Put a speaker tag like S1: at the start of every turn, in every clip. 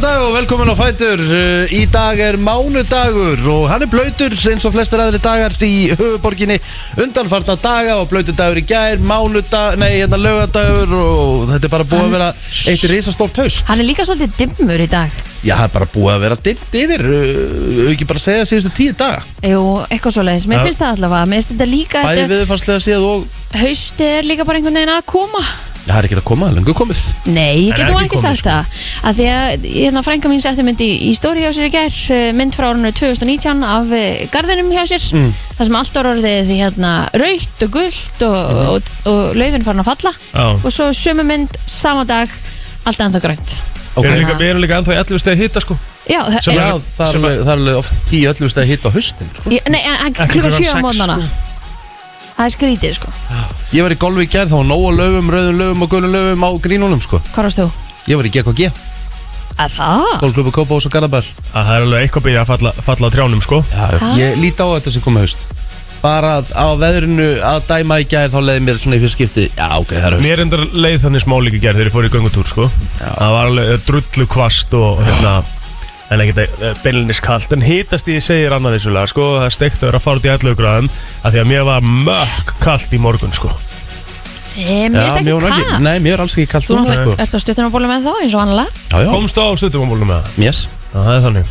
S1: dag og velkomin á Fætur Uh, Í dag er mánudagur og hann er blöytur eins og flestir aðri dagar í höfuborginni undanfarna daga og blöytur dagur í gær, mánudag, nei hérna lögadagur og þetta er bara búið að vera eitt risastórt haust
S2: Hann er líka svolítið dimmur í dag
S1: Já, það er bara búið að vera dimmt yfir, uh, ekki bara að segja síðustu tíu daga
S2: Jú, eitthvað svo leiðis, mér
S1: Já.
S2: finnst það allavega Mér finnst þetta líka,
S1: Bæði
S2: þetta,
S1: viðfarslega séð og
S2: hausti er líka bara einhvern veginn að koma
S1: Já, það er ekki að koma, það er lengur komið
S2: Nei, ég get nú
S1: Það er ekki sko.
S2: ekki
S1: komið,
S3: sko.
S2: sagt það að Því að hérna frænka mín setti mynd í, í stóri hjá sér í gær eh, mynd frá árunni 2019 af eh, garðinum hjá sér
S4: Mm.
S2: þar sem allt var orðið hérna raukt og gult og,
S1: Mhm.
S2: og, og, laufin farin að falla
S3: Já.
S2: og svo sömu mynd sama dag allt ennþá grönt
S3: Við erum líka, við erum líka ennþá í 11 stegi hitta sko
S2: Já, það
S1: Sem
S2: er-
S1: já, það er
S3: sem
S1: alveg- það er alveg oft tíu öllu stegi hitt á haustin sko.
S2: Ég- Nei, en- en
S1: Ekki
S2: klukkan sko.
S1: klukkan
S2: 7 á
S1: sex,
S2: mótnana Það er skrítið sko
S1: Ég var í golfi í gær, þá var nóg að löfum, rauðum löfum og gulum löfum á grínunum sko.
S2: Hvað varst þú?
S1: Ég var í GKG,
S2: Að það?
S1: golfklubu Kópa og svo Garðabær
S3: að Það er alveg eitthvað byrja að falla, falla á trjánum sko
S1: Já, Ég líti á þetta sem komið haust Bara að- á veðrinu að dæma í gær þá leiði mér svona í fyrir skipti Já, ok, það er haust
S3: Mér endar leið þannig smá líka gerð þegar ég fór í göngutúr sko Það var alveg eh, drullu kvast og hérna En ekkert beinlinis kalt En hítast ég segir annar þessulega sko Það steikt að vera að fara út í 11 gráðum Af því að mér var mökk kalt í morgun sko
S2: Ég, Eh, mér finnst ekki kalt
S3: Nei,
S1: mér er alls ekki kalt sko.
S2: Þú náttúrulega ert á stuttunarbólum en þá eins og annarlega
S3: Komst á stuttumambólum með það?
S1: Yes
S3: Það er þannig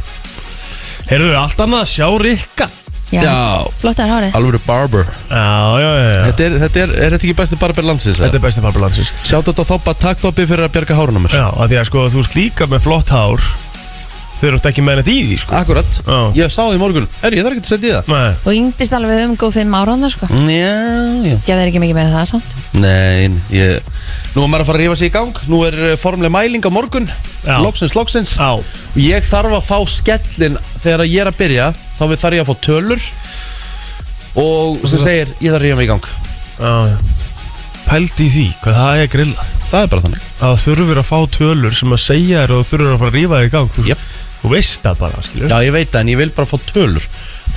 S3: Heyrðu, allt annað að sjá Rikka
S2: Já. Flottar hárið
S1: Alvöru barber
S3: Já, já, já
S1: Þetta er, þetta er, er þetta ekki besti barber landsins?
S3: Þetta er besti barber landsins
S1: Sjátt þetta á þoppa, takk þoppi fyrir að bjarga hárunum
S3: Já, að því að sko þú ert líka með flott hár Þau eru ekki með þetta í því sko
S1: Akkurat,
S3: já.
S1: ég sá því í morgun Herri, ég þarf ekki að setja í það
S3: Nei
S2: Þú yngdist alveg um góð fimm ára annars sko
S1: Mm, Já, já
S2: Gefðir ekki mikið meira en það samt
S1: Nei, ég, nú er maður að fara að rífa sig í gang Nú er eh, formleg mæling á morgun
S3: Já.
S1: Loksins, loksins
S3: Já.
S1: Ég þarf að fá skellin þegar ég er að byrja Þá við þarf ég að fá tölur Og sem segir, ég þarf að rífa mig í gang
S3: Já, já Pældi í því, hvað það er grilla
S1: Það er bara þannig
S3: Að þú þurfir að fá tölur sem að segja þér og þú þurfir að fara að rífa þig í gang sko. Þú,
S1: yep.
S3: þú veist það bara, skilur
S1: Já, ég veit það, en ég vil bara fá tölur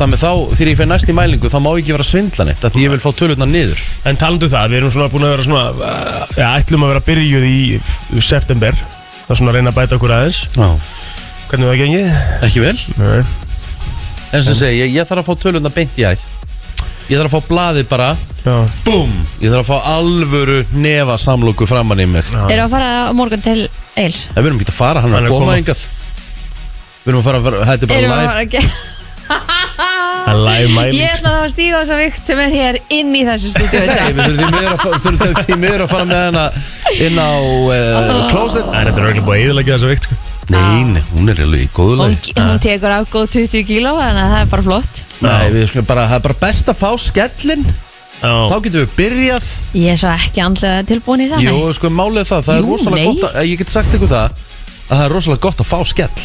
S1: Þannig þá, þegar ég fer næst í mælingu Þá má ég ekki vera að svindla neitt af Því ég vil fá tölurnar niður
S3: En talandu það, við erum svona búin að vera svona uh, Já, ætlum að vera byrjuð í september Það er svona að reyna að bæta okkur aðeins
S1: Já
S3: Hvernig það gengið?
S1: Ekki vel
S3: Nei
S1: En sem segi, ég, ég þarf að fá tölurnar beint í æð Ég þarf að fá blaðið bara
S3: Já.
S1: Búm Ég þarf að fá alvöru nefa samlóku framann í mig
S2: Eru að fara á morgun til Eils?
S1: Nei, við erum ekki að fara, hann er að koma engað Við erum að fara, að fara- þetta er
S2: Eru
S1: bara
S2: að fara
S1: live
S2: að gera
S1: Það er live mæling.
S2: Ég ætla þá að stíga á þessa vikt sem er hér inn í þessu stúdíu í
S1: Nei,
S2: dag.
S1: við þurfum því miður að fa- þurfum því miður að fara með hana inn á uh, closet
S3: En þetta er auðvitað búið að eðilega þessa veikt sko
S1: Nei, nei, hún er alveg í góðu
S2: Hún,
S1: lagi
S2: Ah. hún tekur af góð 20 kíló þannig að það er bara flott
S1: Nei, við skulum bara, það er bara best að fá skellin Þá getum við byrjað
S2: Ég er svo ekki andlega tilbúin í það
S1: Jú,
S2: nei.
S1: sko, málið er það, það er
S2: Jú,
S1: rosalega
S2: nei.
S1: gott að, Ég get sagt ykkur það, að það er rosalega gott að fá skell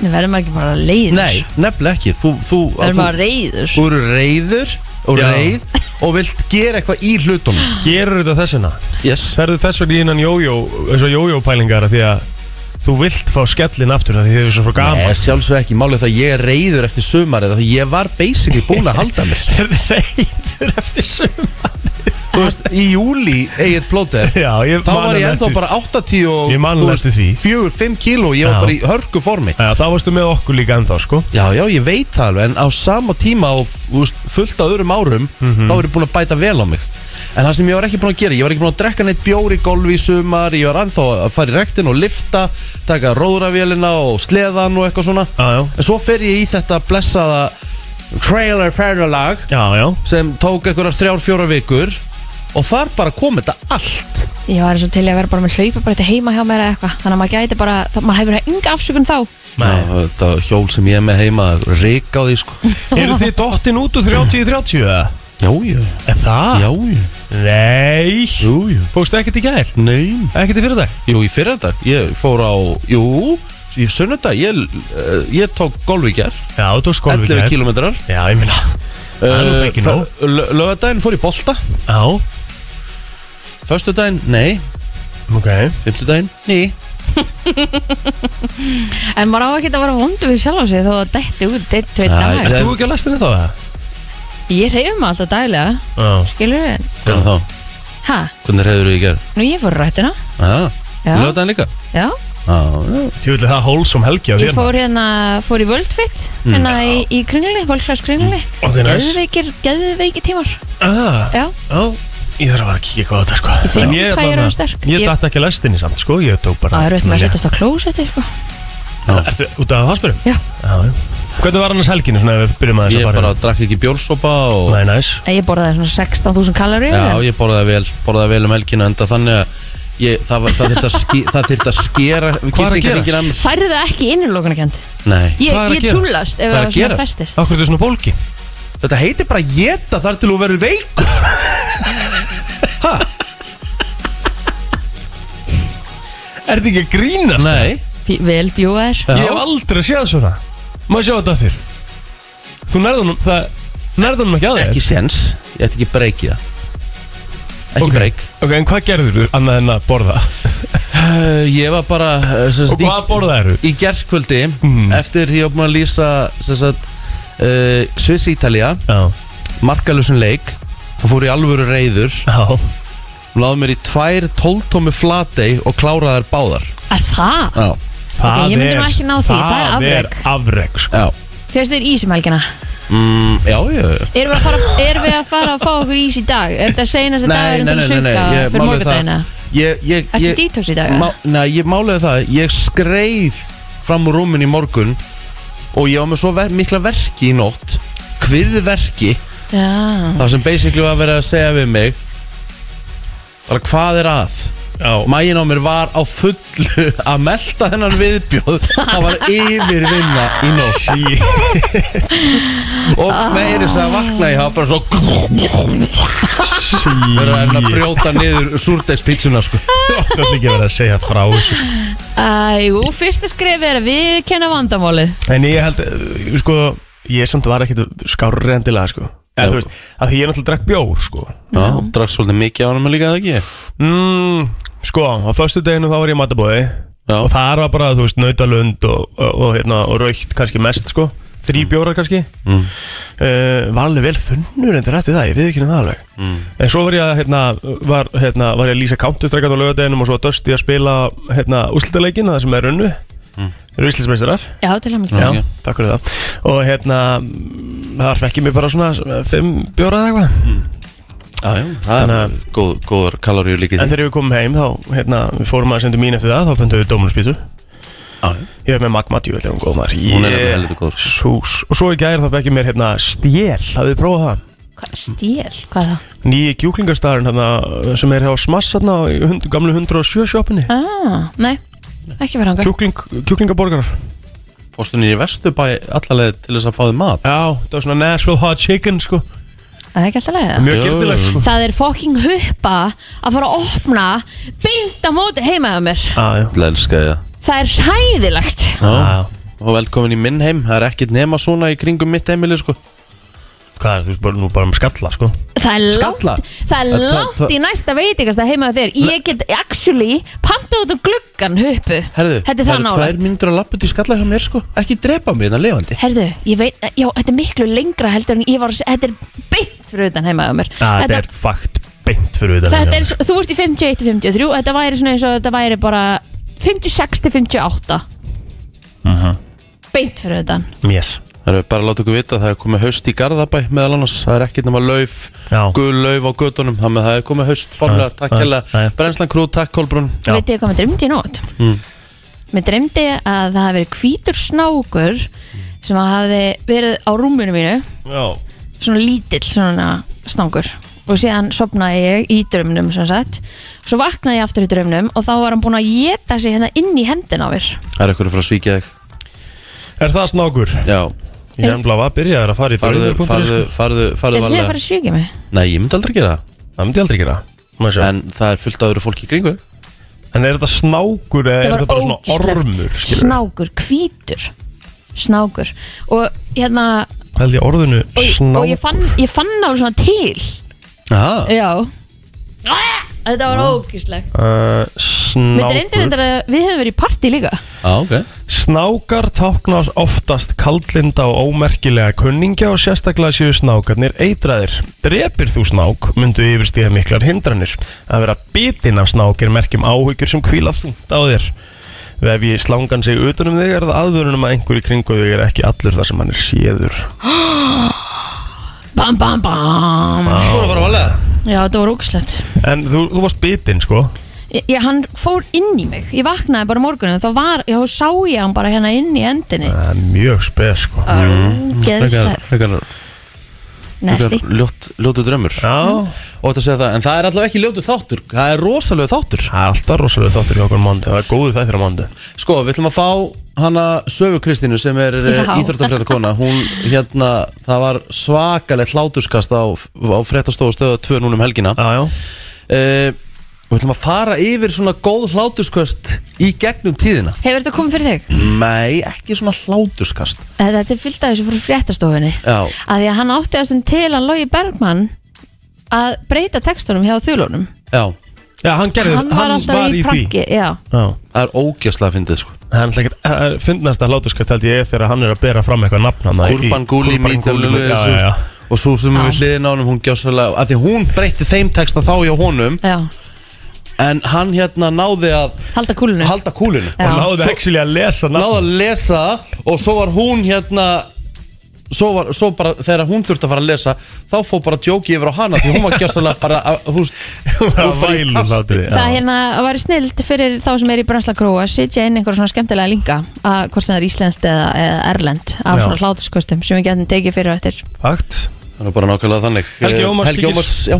S2: Nú verður maður ekki bara leiður
S1: Nei, nefnilega ekki Þú, þú,
S2: Verður
S1: þú-
S2: maður reiður
S1: Þú eru reiður og
S3: Já.
S1: reið og vilt gera eitthvað í hlutunum
S3: Gerur þetta þessina?
S1: Yes
S3: Ferðu þess vegna í innan jójó, eins og jójó pælingar af Því að þú vilt fá skellin aftur af Því þið eru svo frá gaman
S1: Nei, sjálfsög ekki, málið er það að ég er reyður eftir sumarið af Því ég var basically búin að halda mér
S3: Reyður eftir sumarið
S1: Þú veist, í júli eigið plóter
S3: Já, ég
S1: Þá
S3: man
S1: var ég
S3: hann
S1: ennþá
S3: eftir-
S1: bara 80 og
S3: Ég man hann eftir því.
S1: 4-5 kíló, ég
S3: Já.
S1: var bara í hörgu formi
S3: Já, þá varstu með okkur líka ennþá, sko
S1: Já, já, ég veit það alveg En á sama tíma og þú veist, fullt á öðrum árum
S3: Mhm.
S1: Þá var ég búin að bæta vel á mig En það sem ég var ekki búin að gera Ég var ekki búin að drekka neitt bjór í golfi í sumar Ég var ennþá að fara í rektin og lifta Taka róðravélina og sleðan og eitthvað svona
S3: Já, já
S1: En svo fer ég í þetta blessaða Trailer ferralag
S3: Já, já
S1: Sem tók einhverjar þrjár, fjórar vikur Og þar bara kom þetta allt
S2: Ég var eins og til í að vera bara með hlaupa bara þetta heima hjá mér eða eitthvað Þannig að maður gæti bara, það, maður hefur enga afsökun þá
S1: Já, þetta hjól sem ég er með heima Rík á því sko
S3: Eru þið dottin út úr 30-30 eða?
S1: Já, já
S3: Er það?
S1: Já, já
S3: Nei
S1: Jú, jú
S3: Fókstu ekkert í gær?
S1: Nei
S3: Ekkert í fyrir dag?
S1: Jú, í fyrradag Ég fór á Jú, í sunnudag Ég, uh, ég tók golf í gær Eh,
S3: Já, þú tókst golf í gær.
S1: 11 kilometrar
S3: Já, ég minna Það er nú ekki nóg.
S1: Lögadaginn fór í bolta
S3: Já
S1: Föstudaginn, nei
S3: Ok
S1: Fymtudaginn, nei
S2: En maður á ekki að vera vondur við sjálf á sig þó að detti út eitt, tveit dag
S3: Ert þú ekki að lestinni þá eða?
S2: Ég reyfum mig alltaf daglega,
S3: Já
S2: skilur við
S1: Hvernig þá?
S2: Hæ,
S1: Hvernig reyður þú í gær?
S2: nú ég fór á rættina
S1: Aha,
S2: Já.
S1: lögadaginn líka
S2: Já,
S1: Já,
S3: Ég vil það hól som helgi á
S2: Ég
S3: þér
S2: fór hérna, fór í Worldfit
S1: Mm.
S2: hérna í, í kringli, Volkswagen kringli
S3: Mm. Ok, nice.
S2: Geðveikir, geðveikir tímar
S3: ah,
S2: Já,
S3: á, Ég þarf að fara að kíkja eitthvað á þetta sko
S2: finn
S3: En ég,
S2: hvað ég er
S3: þarna-
S2: orðin sterk.
S3: Ég
S2: Ég-
S3: datt ekki lestinni samt sko Ég tók bara
S2: það er auðvitað með að
S3: Ég-
S2: setjast á klósetti sko.
S3: Ertu út af háspurum?
S2: Já.
S3: Hvernig var annars helginu svona ef við byrjum aðeins
S1: Ég
S3: að fara
S1: bara drakk ekki bjórsopa og
S3: Nei, næs
S2: Nei, Ég borðaði svona 16.000 kaloríu
S1: Já, ég borðaði vel, borðaði vel um helgina enda þannig að ég, það, var- það þurfti að, ske, það þyrfti að skera Við
S3: Hvað er að
S1: gifti ekki
S3: gerast?
S1: engin annars
S2: Færðu það ekki innilokunarkend
S1: Nei,
S2: Ég,
S3: Hvað er að
S2: ég
S3: gerast?
S2: trúlast ef
S1: Hvað er
S2: það
S1: að
S2: var svona
S1: gerast?
S2: festist
S3: Akkur er þetta svona bólki?
S1: þetta heitir bara geta þar til þú verður veikur Ha?
S3: Er þetta ekki að grínast?
S1: Nei
S2: Bí- Vel bjúar
S1: Já.
S3: Ég hef aldrei séð svona Má ég sjá þetta aftur Þú nærðunum, það Nærðunum ekki að þér
S1: Ekki séns, ég ætti ekki breykið það Ekki
S3: Ok.
S1: okay. breyk
S3: Ok, en hvað gerður þú annað en að borða?
S1: uh, Ég var bara uh, sem
S3: Og
S1: sagt,
S3: hvað
S1: í,
S3: borðaðir þú?
S1: í gerðkvöldi
S3: Mhm.
S1: Eftir því að maður lýsa sem sagt, uh, Sviss Ítalía
S3: Já
S1: Markalusin leik Það fór í alvöru reyður
S3: Já
S1: Láðu mér í tvær tóltómi flatei Og kláraði þær báðar
S2: Að það?
S1: Já,
S3: Það
S2: ég myndi nú
S3: er-
S2: ekki ná því, það er afrek.
S3: Það er afreg, sko
S1: já
S2: Fyrstu er ís um helgina
S1: mm, Já, já, já
S2: Erum við, að fara, erum við að fara að fá okkur ís í dag? Er þetta seinast að dagur undir að sunga
S1: ég-
S2: fyrir
S1: málið er
S2: morgundagina?
S1: Ég, ég,
S2: Ertu
S1: ég,
S2: dítox í dag?
S1: má,
S2: eða?
S1: Nei, ég máliði það Ég skreið fram úr rúmin í morgun Og ég var með svo ver, mikla verki í nótt Kviðverki
S2: Já,
S1: Það sem basically var að vera að segja við mig Bara hvað er að?
S3: Já
S1: Mæin á mér var á fullu að melta hennan viðbjóð Það var yfirvinna í nótt Og meiri þess að vakna ég hafa bara svo Verða enn að brjóta niður súrdegspítsuna sko
S3: Það er ekki verið að segja frá þessu
S2: Æjú, fyrsta skrif er að við kenna vandamálið
S3: En ég held, uh, sko Ég samt var ekkit skárri endilega, sko
S1: Já.
S3: En þú veist, að því ég náttúrulega drakk bjór, sko
S1: Já, drakk svolítið mikið á hann líka eða ekki
S3: mm, Sko, á föstu deginu þá var ég í matabóði
S1: Já.
S3: Og þar var bara, þú veist, nautalund og, og, og, hérna, og raukt kannski mest, sko Þrý bjórar kannski
S1: Mm.
S3: uh, Var alveg vel þunnur en eftir það, ég við ekki það alveg
S1: Mm.
S3: En svo var ég, að, hérna, var, hérna, var ég að lýsa countustrekkan á lögadeginum og svo dösti að spila hérna, úslitaleikin, það sem er unnu mm. Eru Íslandsmeistarar
S2: Já, til að mikið
S1: Já.
S3: Já, takk fyrir það Og hérna, það fekk ég mig bara svona Fimm bjóra eða eitthvað
S1: Mm. Já, já, það
S3: Þannig
S1: er
S3: að-
S1: góð, góður kaloríu líkið
S3: En
S1: því
S3: þegar við komum heim þá, hérna, við fórum að senda mín eftir það Þá pöntum við dómunarspísu
S1: Já, já.
S3: Ég hef með magma djúvel, hún góð maður
S1: Hún er nefnilega heldur góð, sko.
S3: Sús Og svo í gæri þá fekk ég mér hérna stjél Hafið þið prófað það?
S2: Stíl, hvað er það?
S3: Nýji kjúklingastarinn hérna sem er hjá Smass hérna í hund, gamlu 107 sjópinni
S2: Ah, nei, ekki vera hanga
S3: Kjúkling, Kjúklingaborgarar
S1: Fórstu niður í Vesturbæ allalega til þess að fá þið mat
S3: Já, það var svona Nashville hot chicken sko
S2: Það er ekki alltaf leiða
S3: Mjög
S1: Jú.
S3: gildilegt sko
S2: Það er fucking huppa að fara að opna beint á móti heimaðu mér
S3: Já, já
S1: Alla elska ég það.
S2: Það er hræðilegt
S1: Já, og velkomin í minn heim Það er ekkert nema svona í kringum mitt heimili sko
S3: Hvað er, þú veist, bara, nú bara um skalla sko
S2: Það er
S1: Skalla.
S2: langt, það
S1: Það-
S2: er
S1: það-
S2: langt í næsta veitingast að heimaðu þér Ég get actually pantað út um gluggan huppu
S1: Herðu,
S2: Þetta er það
S1: það er tvær
S2: nálægt
S1: myndur að lappa út í skalla hjá mér sko Ekki drepa mig þannig levandi
S2: Herðu, ég veit, já, þetta er miklu lengra heldur en ég var að segja, þetta er beint fyrir utan heimaðu mér
S3: Já, þetta er fakt beint fyrir hérna. þetta
S2: þetta er, svo- þú ert í 51-53 og þetta væri svona eins og þetta væri bara 56-58
S3: Mhm.
S2: beint fyrir utan
S3: Yes
S1: Það er bara að láta ykkur vita að það er komið haust í Garðabæ meðal annars, það er ekkert nema lauf
S3: Já.
S1: gul lauf á gödunum, þannig að það er komið haust formlega,
S3: Já,
S1: takk
S3: já,
S1: hella
S3: já.
S1: Brennslan Krú, takk Kolbrún Mm.
S3: Já.
S2: veit ég hvað mér dreymdi í nót mér dreymdi að það hafi verið hvítur snákur sem að hafi verið á rúminu mínu
S3: Já
S2: svona lítill svona snákur og síðan sopnaði ég í drömnum sem sagt, svo vaknaði ég aftur í drömnum og þá var hann búin að geta sig hérna inn í hendin á mér
S1: Það er ykkur frá svíkja þig
S3: Er það snákur?
S1: Já,
S3: Ég er ennbláð að byrja að fara í
S1: farðu,
S3: dörðu.is,
S1: farðu, farðu,
S3: sko.
S1: farðu
S2: er þið að fara
S1: varlega
S2: að sjúkja mig?
S1: Nei, ég myndi aldrei gera það,
S3: Það myndi ég aldrei gera Má sjá.
S1: en það er fullt af öðru fólki í kringu
S3: En er þetta snákur eða er þetta bara svona ormur? skilurðu?
S2: snákur, hvítur snákur og hérna
S3: Held ég orðinu
S2: og, og ég,
S3: snákur Ah.
S2: fann, ég fann alveg svona til
S1: Aha,
S2: já Þetta var ógíslegt
S3: Uh,
S2: Við reyndum
S3: snákur
S2: reyndar að við höfum verið í partí líka
S1: á, Ah, ok
S3: Snákar táknast oftast kaldlinda og ómerkilega kunningja og sérstaklega séu snákarnir eitraðir. Drepir þú snák, myndu yfirstíða miklar hindranir. Að vera bitinn af snák er merkjum áhyggjur sem hvíla þungt á þér. Vef ég slangan sig utanum þig er það aðvörunum að einhver í kringu þig er ekki allur þar sem hann er séður
S2: Bam, bam, bam
S1: Þú voru að fara að valega
S2: Já, þetta var ógislegt
S3: En þú, þú varst bitinn sko
S2: ég, ég- Hann fór inn í mig Ég vaknaði bara morgunum Þá var, já, sá ég hann bara hérna inn í endinni
S3: Það er mjög spes sko
S1: Ah.
S2: Geðslegt, nesti
S1: Ljótt, ljótu drömmur
S3: Já,
S1: Og þetta segja það, en það er allavega ekki ljótu þáttur Það er rosalega þáttur
S3: það er alltaf rosalega þáttur hjá okkur mándi Það er góðu þættir á mándi
S1: Sko, við ætlum að fá hana Söfu Kristínu sem er
S2: Já.
S1: íþróttafrétta kona Hún, hérna, það var svakalegt hláturskast á, á fréttastofu stöða 2 núna um helgina
S3: Já, já,
S1: uh, Við ætlum að fara yfir svona góð hláturskast í gegnum tíðina
S2: Hefur þetta komið fyrir þig?
S3: Mm.
S2: Eh,
S1: Nei, ekki svona hláturskast
S2: Þetta er fyllt af þessu frá fréttastofunni
S1: Já,
S2: að því að hann átti þessum til að Lógi Bergmann að breyta textunum hjá þulunum
S1: já,
S3: já hann gerði
S2: hann var alltaf í pranki já.
S3: Já,
S1: það er ógjastlega að fyndið sko
S3: það er alltaf ekkert Það er fyndnast að hláturskast held ég er þegar hann er að bera fram eitthvað nafn hann
S1: Kurban Gúli
S3: Gúli, já, já, já
S1: og svo sem við hliðin á hann hún gjásalega, að því hún breytti þeim texta þá hjá honum
S2: Já.
S1: en hann hérna náði að
S2: halda kúlunum
S1: halda kúlinu
S2: Já.
S3: Og náðu actually að lesa nafn
S1: náði að lesa það og svo var hún hérna svo, var, svo bara þegar hún þurfti að fara að lesa þá fór bara djóki yfir á hana því hún var gjásalega bara að, húst,
S3: Hún
S1: hún
S3: var að
S1: bara í
S3: væla
S1: kasti.
S3: hlátri já.
S2: það hérna var snilt fyrir þá sem er í Brannslakróa að sitja inn einhver svona skemmtilega linka að hvort sem það er íslenskt eða, eða erlend af
S3: Já.
S2: svona hlátuskostum sem við getum tekið fyrir og eftir
S3: Fakt
S1: þannig bara nákvæmlega þannig Eh,
S3: Helgi Ómars
S1: Helgi
S3: kíkir.
S1: Ómars, já,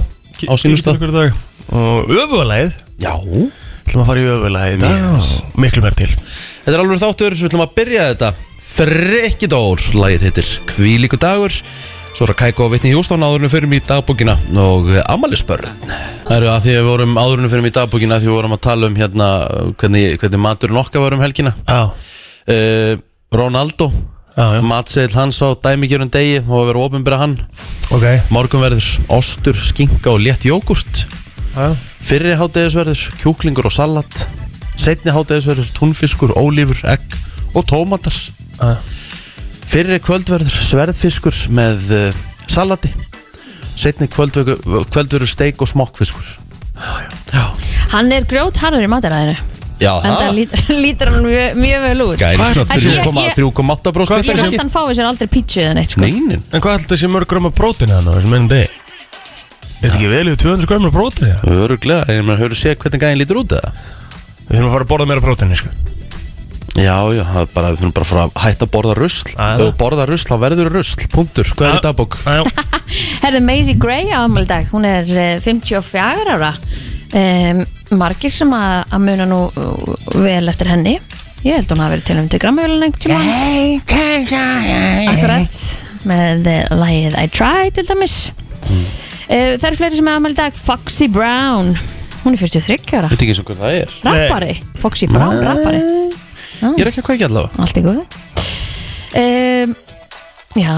S1: á sínum stað
S3: Kíkir okkur í dag. Og öfulæð
S1: já,
S3: ætlum að fara í öfulæð yes. Miklu mér til
S1: þetta er alveg þáttur við ætlum að byrja þetta Frekkidór, lagið hittir Kvílíku dagur Svo er að kæka á vitni Hjústón áðurinn fyrir mig í dagbókina og eh, amalispörn. Það eru að því að við vorum áðurinn fyrir mig í dagbókina því við vorum að tala um hérna hvernig, hvernig maturinn okkar var um helgina.
S3: Já,
S1: uh, Ronaldo
S3: já, já
S1: Matseil hans á dæmikjörnum degi og verður ofinbyrða hann
S3: Ok
S1: Morgunverður, ostur, skinka og létt jógurt
S3: Já,
S1: Fyrri hátegisverður, kjúklingur og salat Seinni hátegisverður, túnfiskur, ólífur, egg og tómatar
S3: já
S1: Fyrri kvöldverður, sverðfiskur með uh, salati Seinni kvöldvegu- kvöldverður, steik og smokkfiskur Já,
S2: hann er grjót harður í mataræðinu
S1: já
S2: en það
S1: það
S2: lítur, lítur hann mjög, mjög vel út
S1: Gæri svona
S2: Ætli ég-
S1: 3,8
S2: ég-
S1: 3,8 bróst
S2: ég held hann fái sér aldrei pítsu eða neitt sko.
S1: Neinin
S3: En hvað heldur þessi mörg grömmar prótina þannig á þessum einum degi? Er þetta ekki vel yfir 200 grömmar prótina?
S1: Öruglega, ég meina, höfðu séð hvernig gæðin lítur út eða?
S3: Við þurfum að fara að borða meira prótina, sko
S1: Já, já, það er bara, við finnum bara að fara að hætta að borða rusl
S3: Aða.
S1: Ef þú borða rusl, þá verður rusl, punktur Hvað er í
S3: Aða.
S1: dagbók?
S3: Æjó,
S2: Herðu Maisie Gray á afmæli í dag, hún er eh, 54 ára um, margir sem að, að muna nú uh, vel eftir henni ég held hún hafi verið til um til grammavölin einhvern tíma akkurat með eh, lagið I Try til dæmis
S1: Mm.
S2: uh, það eru fleiri sem er afmæli í dag Foxy Brown, hún er 43 ára
S1: Veit ekki sem hvað það er
S2: rappari, Foxy Brown rappari Ah,
S1: Ég er ekki að kveikja allavega
S2: allt í góðu um, já,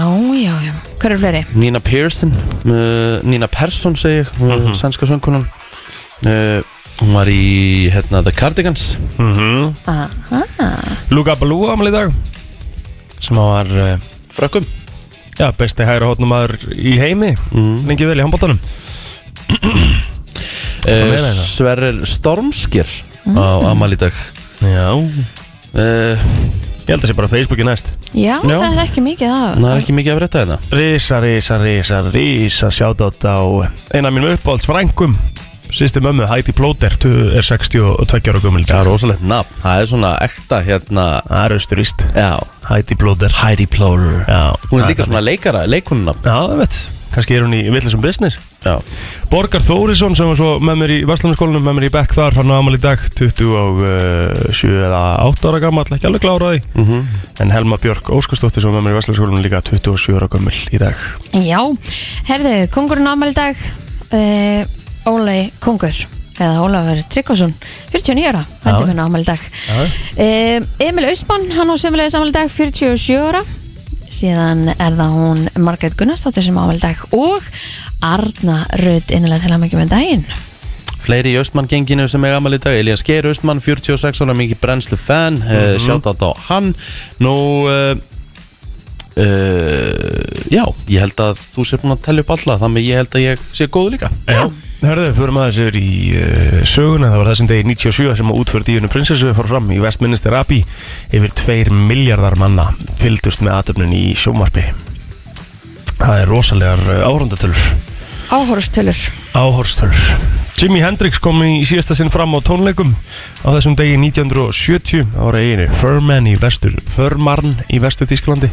S2: já, já hver eru fleiri?
S1: Nina Pearson, uh, Nina Persson segi ég, uh,
S3: Mhm.
S1: sænska söngkonan uh, Hún var í, hérna, The Cardigans
S3: Mhm.
S2: Ah, Aha.
S3: Luka Balú ámali í dag Sem að var, eh,
S1: Frökkum
S3: já, besti hægra hótnumæður í heimi
S1: Mhm.
S3: Lengi vel í handbóltanum
S1: uh,
S3: meira en það?
S1: Eh, Sverrir Stormskir
S2: Mhm.
S1: á Amal í dag
S3: Já
S1: uh,
S3: Ég held að sé bara Facebooki næst
S2: já,
S1: Já.
S2: það er ekki mikið af
S1: Það er ekki mikið að frétta hérna
S3: Rísa, rísa, rísa, rísa Sjátátt á eina mínum uppáhalds frængum Sýsti mömmu, Heidi Plóter tu- Er 62 ára gömul í
S1: Það er
S3: dag
S1: rosalegt nafn, það er svona ekta, hérna,
S3: Það er austuríst
S1: já
S3: Heidi Plóter
S1: Heidi Plower
S3: Já
S1: Hún er líka svona leikara, leikunna
S3: Já, það veit Kannski er hún í villisum business
S1: Já
S3: Borgar Þórisson sem var svo með mér í Vestlunarskólanum, með mér í Beck þar, hann á amal í dag 27 eða 8 ára gammal, ekki alveg kláraði mm en Helma Björk Óskarsdóttir sem var með mér í Vestlunarskólanum líka 27 ára gammal í dag
S2: Já, herðu, kongurinn ámæli dag uh, Ólei Kongur eða Ólafur Tryggvason 49 ára,
S3: Já.
S2: hætti minna ámæli dag
S3: Já.
S2: uh, Emil Ausmann hann á sömulegis ámæli dag 47 ára síðan er það hún Margrét Gunnarsdóttir sem ámæli dag og Arna Rödd innilega til að mikið með daginn
S1: Fleiri í Östmann genginu sem er amal í dag Elías Geir Östmann, 46 ára, mikið brennslu fan mm
S3: Mhm.
S1: Shoutout á hann Nú uh, uh, Já, ég held að þú sér búin að tella upp alla Þannig að ég held að ég sé góð líka
S3: Já, Hörðu, við förum aðeins yfir í uh, söguna, það var þessum degi 97 sem að útför díunum prinsessu fór fram í Westminster Abbey yfir 2 miljardar manna fylgdust með aðtöfnun í sjómarpi. Það er rosalegar uh, áhrandatölur,
S2: Áhorstölur
S3: áhorstölur. Jimi Hendrix kom í síðasta sinn fram á tónleikum á þessum degi 1970 á eiginu Furman í vestur, Furmarn í vestur Þísklandi.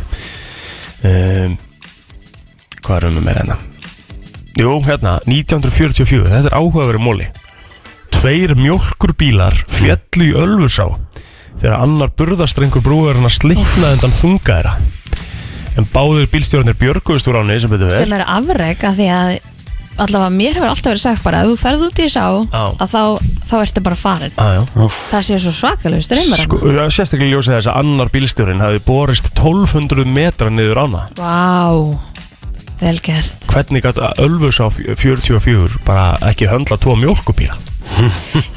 S3: Um, hvað erum við með hérna? Jú, hérna, 1944, þetta er áhugaverið móli Tveir mjólkurbílar fjallu í Ölfusá þegar annar burðastrengur brúðarinn að slikna undan þunga þeirra en báðir bílstjórnir björguðust úr áni sem betur
S2: sem
S3: vel
S2: er afreg af því að allavega mér hefur alltaf verið sagt bara að þú ferð út í sá
S3: Á.
S2: að þá, þá ertu bara farin
S3: aðjá
S2: það sé svo svakalegu streymar
S3: Sko,
S2: sko,
S3: það er sérstaklega ljósið þess að annar bílstjórin hafi borist 1200 metra niður ána
S2: Vá, vel gert
S3: Hvernig gætt Ölfusá 44 bara ekki höndla tvo mjólkubíla?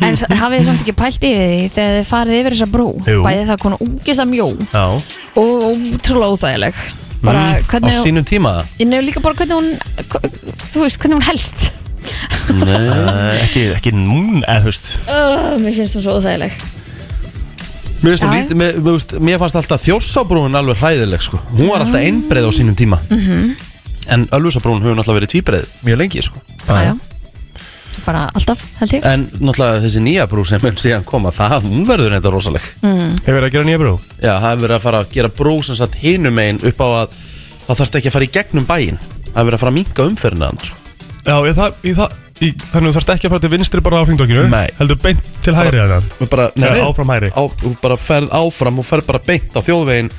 S2: En s- hafið þið samt ekki pælt yfir því þegar þið farið yfir þessa brú
S3: Jú.
S2: bæði það konar úgislega mjó
S3: Já Mm.
S2: og ótrúlega óþægileg bara
S1: Mm. á
S2: hvernig hún,
S1: sínum tíma
S2: ég nefnir líka bara hvernig hún hva- þú veist, hvernig hún helst
S3: Uh, ekki, ekki núna, eða þú veist
S2: uh, Mér finnst það svo óþægileg
S1: Mér, finnst hún
S2: Já.
S1: lítið- mér, mér, finnst- mér fannst alltaf þjórsábrúin alveg hræðileg sko. Hún var alltaf einbreið á sínum tíma
S2: Mhm.
S1: En Ölfusabrún hefur náttúrulega verið tvíbreið Mjög lengi sko.
S2: Æja bara alltaf, held ég
S1: En náttúrulega þessi nýja brú sem mun síðan koma Það hún verður þetta rosaleg
S2: Mm.
S3: Hefur það að gera nýja brú?
S1: Já, það hefur verið að fara að gera brú sem satt hinum megin upp á að það þarf ekki að fara í gegnum bæinn Það hefur verið að fara að minka umferðina þannig sko.
S3: Já, ég, það, ég, það, ég, þannig að þú þarfst ekki að fara til vinstri bara á hringdókinu
S1: Nei.
S3: Heldur beint til hægri þannig
S1: Þú bara, nei,
S3: Eða
S1: nei,
S3: áfram hægri.
S1: á, Þú bara ferð áfram og ferð bara beint á þjóðvegin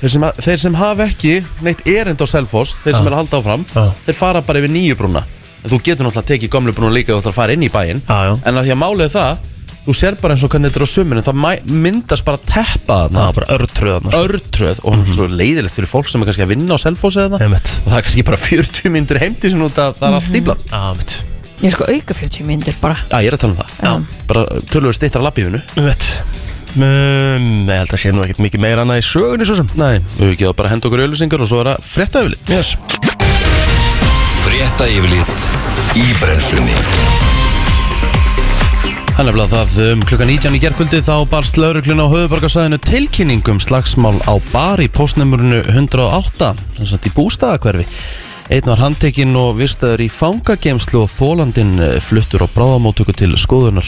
S1: Þeir sem, þeir sem hafa ekki neitt erind á Selfoss Þeir sem
S3: Ah.
S1: er að halda áfram
S3: Ah.
S1: Þeir fara bara yfir nýju brúna En þú getur náttúrulega tekið gömlu brúna líka og þú ætlar að fara inn í bæinn
S3: Já, já.
S1: En að því að málið er það Þú sér bara eins og hvernig þetta er á suminu Það mæ- myndast bara teppa þarna
S3: Það er bara örtröð sko. þannig
S1: örtröð og hún er svo leiðilegt fyrir fólk sem er kannski að vinna á Selfoss eða það
S3: Einmitt. Mhm.
S1: og það er kannski bara 40 myndir heimdi sem út að það er allt stíbla
S3: Já, mitt
S2: Ég er sko auka 40 myndir bara
S1: Já, ég er að tala um það
S2: Já.
S1: bara tölvöld stittra lappífinu
S3: Mitt um, Ég held að sé nú ekkert mikið meira annað í sögunni svo sem
S1: Nei, við hefum ekki að bara henda okkur öllusingar og svo er að frétta yfirlit
S3: Yes
S4: Frétta yfirlit í brennslunni
S1: Hann er blað það um klukkan 19 í gerkvöldi þá barst lauruglun á höfuborgarsæðinu tilkynningum slagsmál á bar í postnumurinu 108 þess að í bústaðakverfi Einn var handtekinn og vistaður í fangagemslu og þólandinn eh, fluttur á bráðamótöku til skoðunar.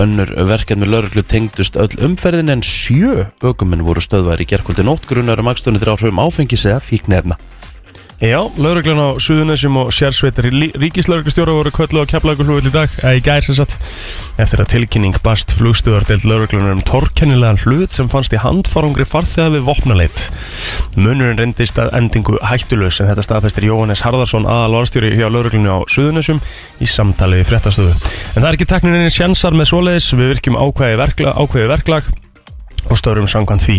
S1: Önnur verkefni lauruglu tengdust öll umferðin en sjö ökuminn voru stöðværi í gerkvöldi nótgrunar um akstunni þegar áhrifum áfengis eða fíknefna.
S3: Já, lauruglan á Suðunessjum og sérsveitar í ríkislauruglustjóra voru köllu á keflaugurflugvill í dag, eða í gær sem sagt eftir að tilkynning bast flugstuðardelt lauruglunar um torkennilegan hlut sem fannst í handfarungri farþega við vopnaleit Munurinn reyndist að endingu hættulus en þetta staðfestir Jóhannes Harðarsson aðalvarstjóri hjá lauruglunni á Suðunessjum í samtali við fréttastöðu. En það er ekki tekninni sjansar með svoleiðis, við virkjum ákveði verklag, ákveði verklag og störum samkvæmt því.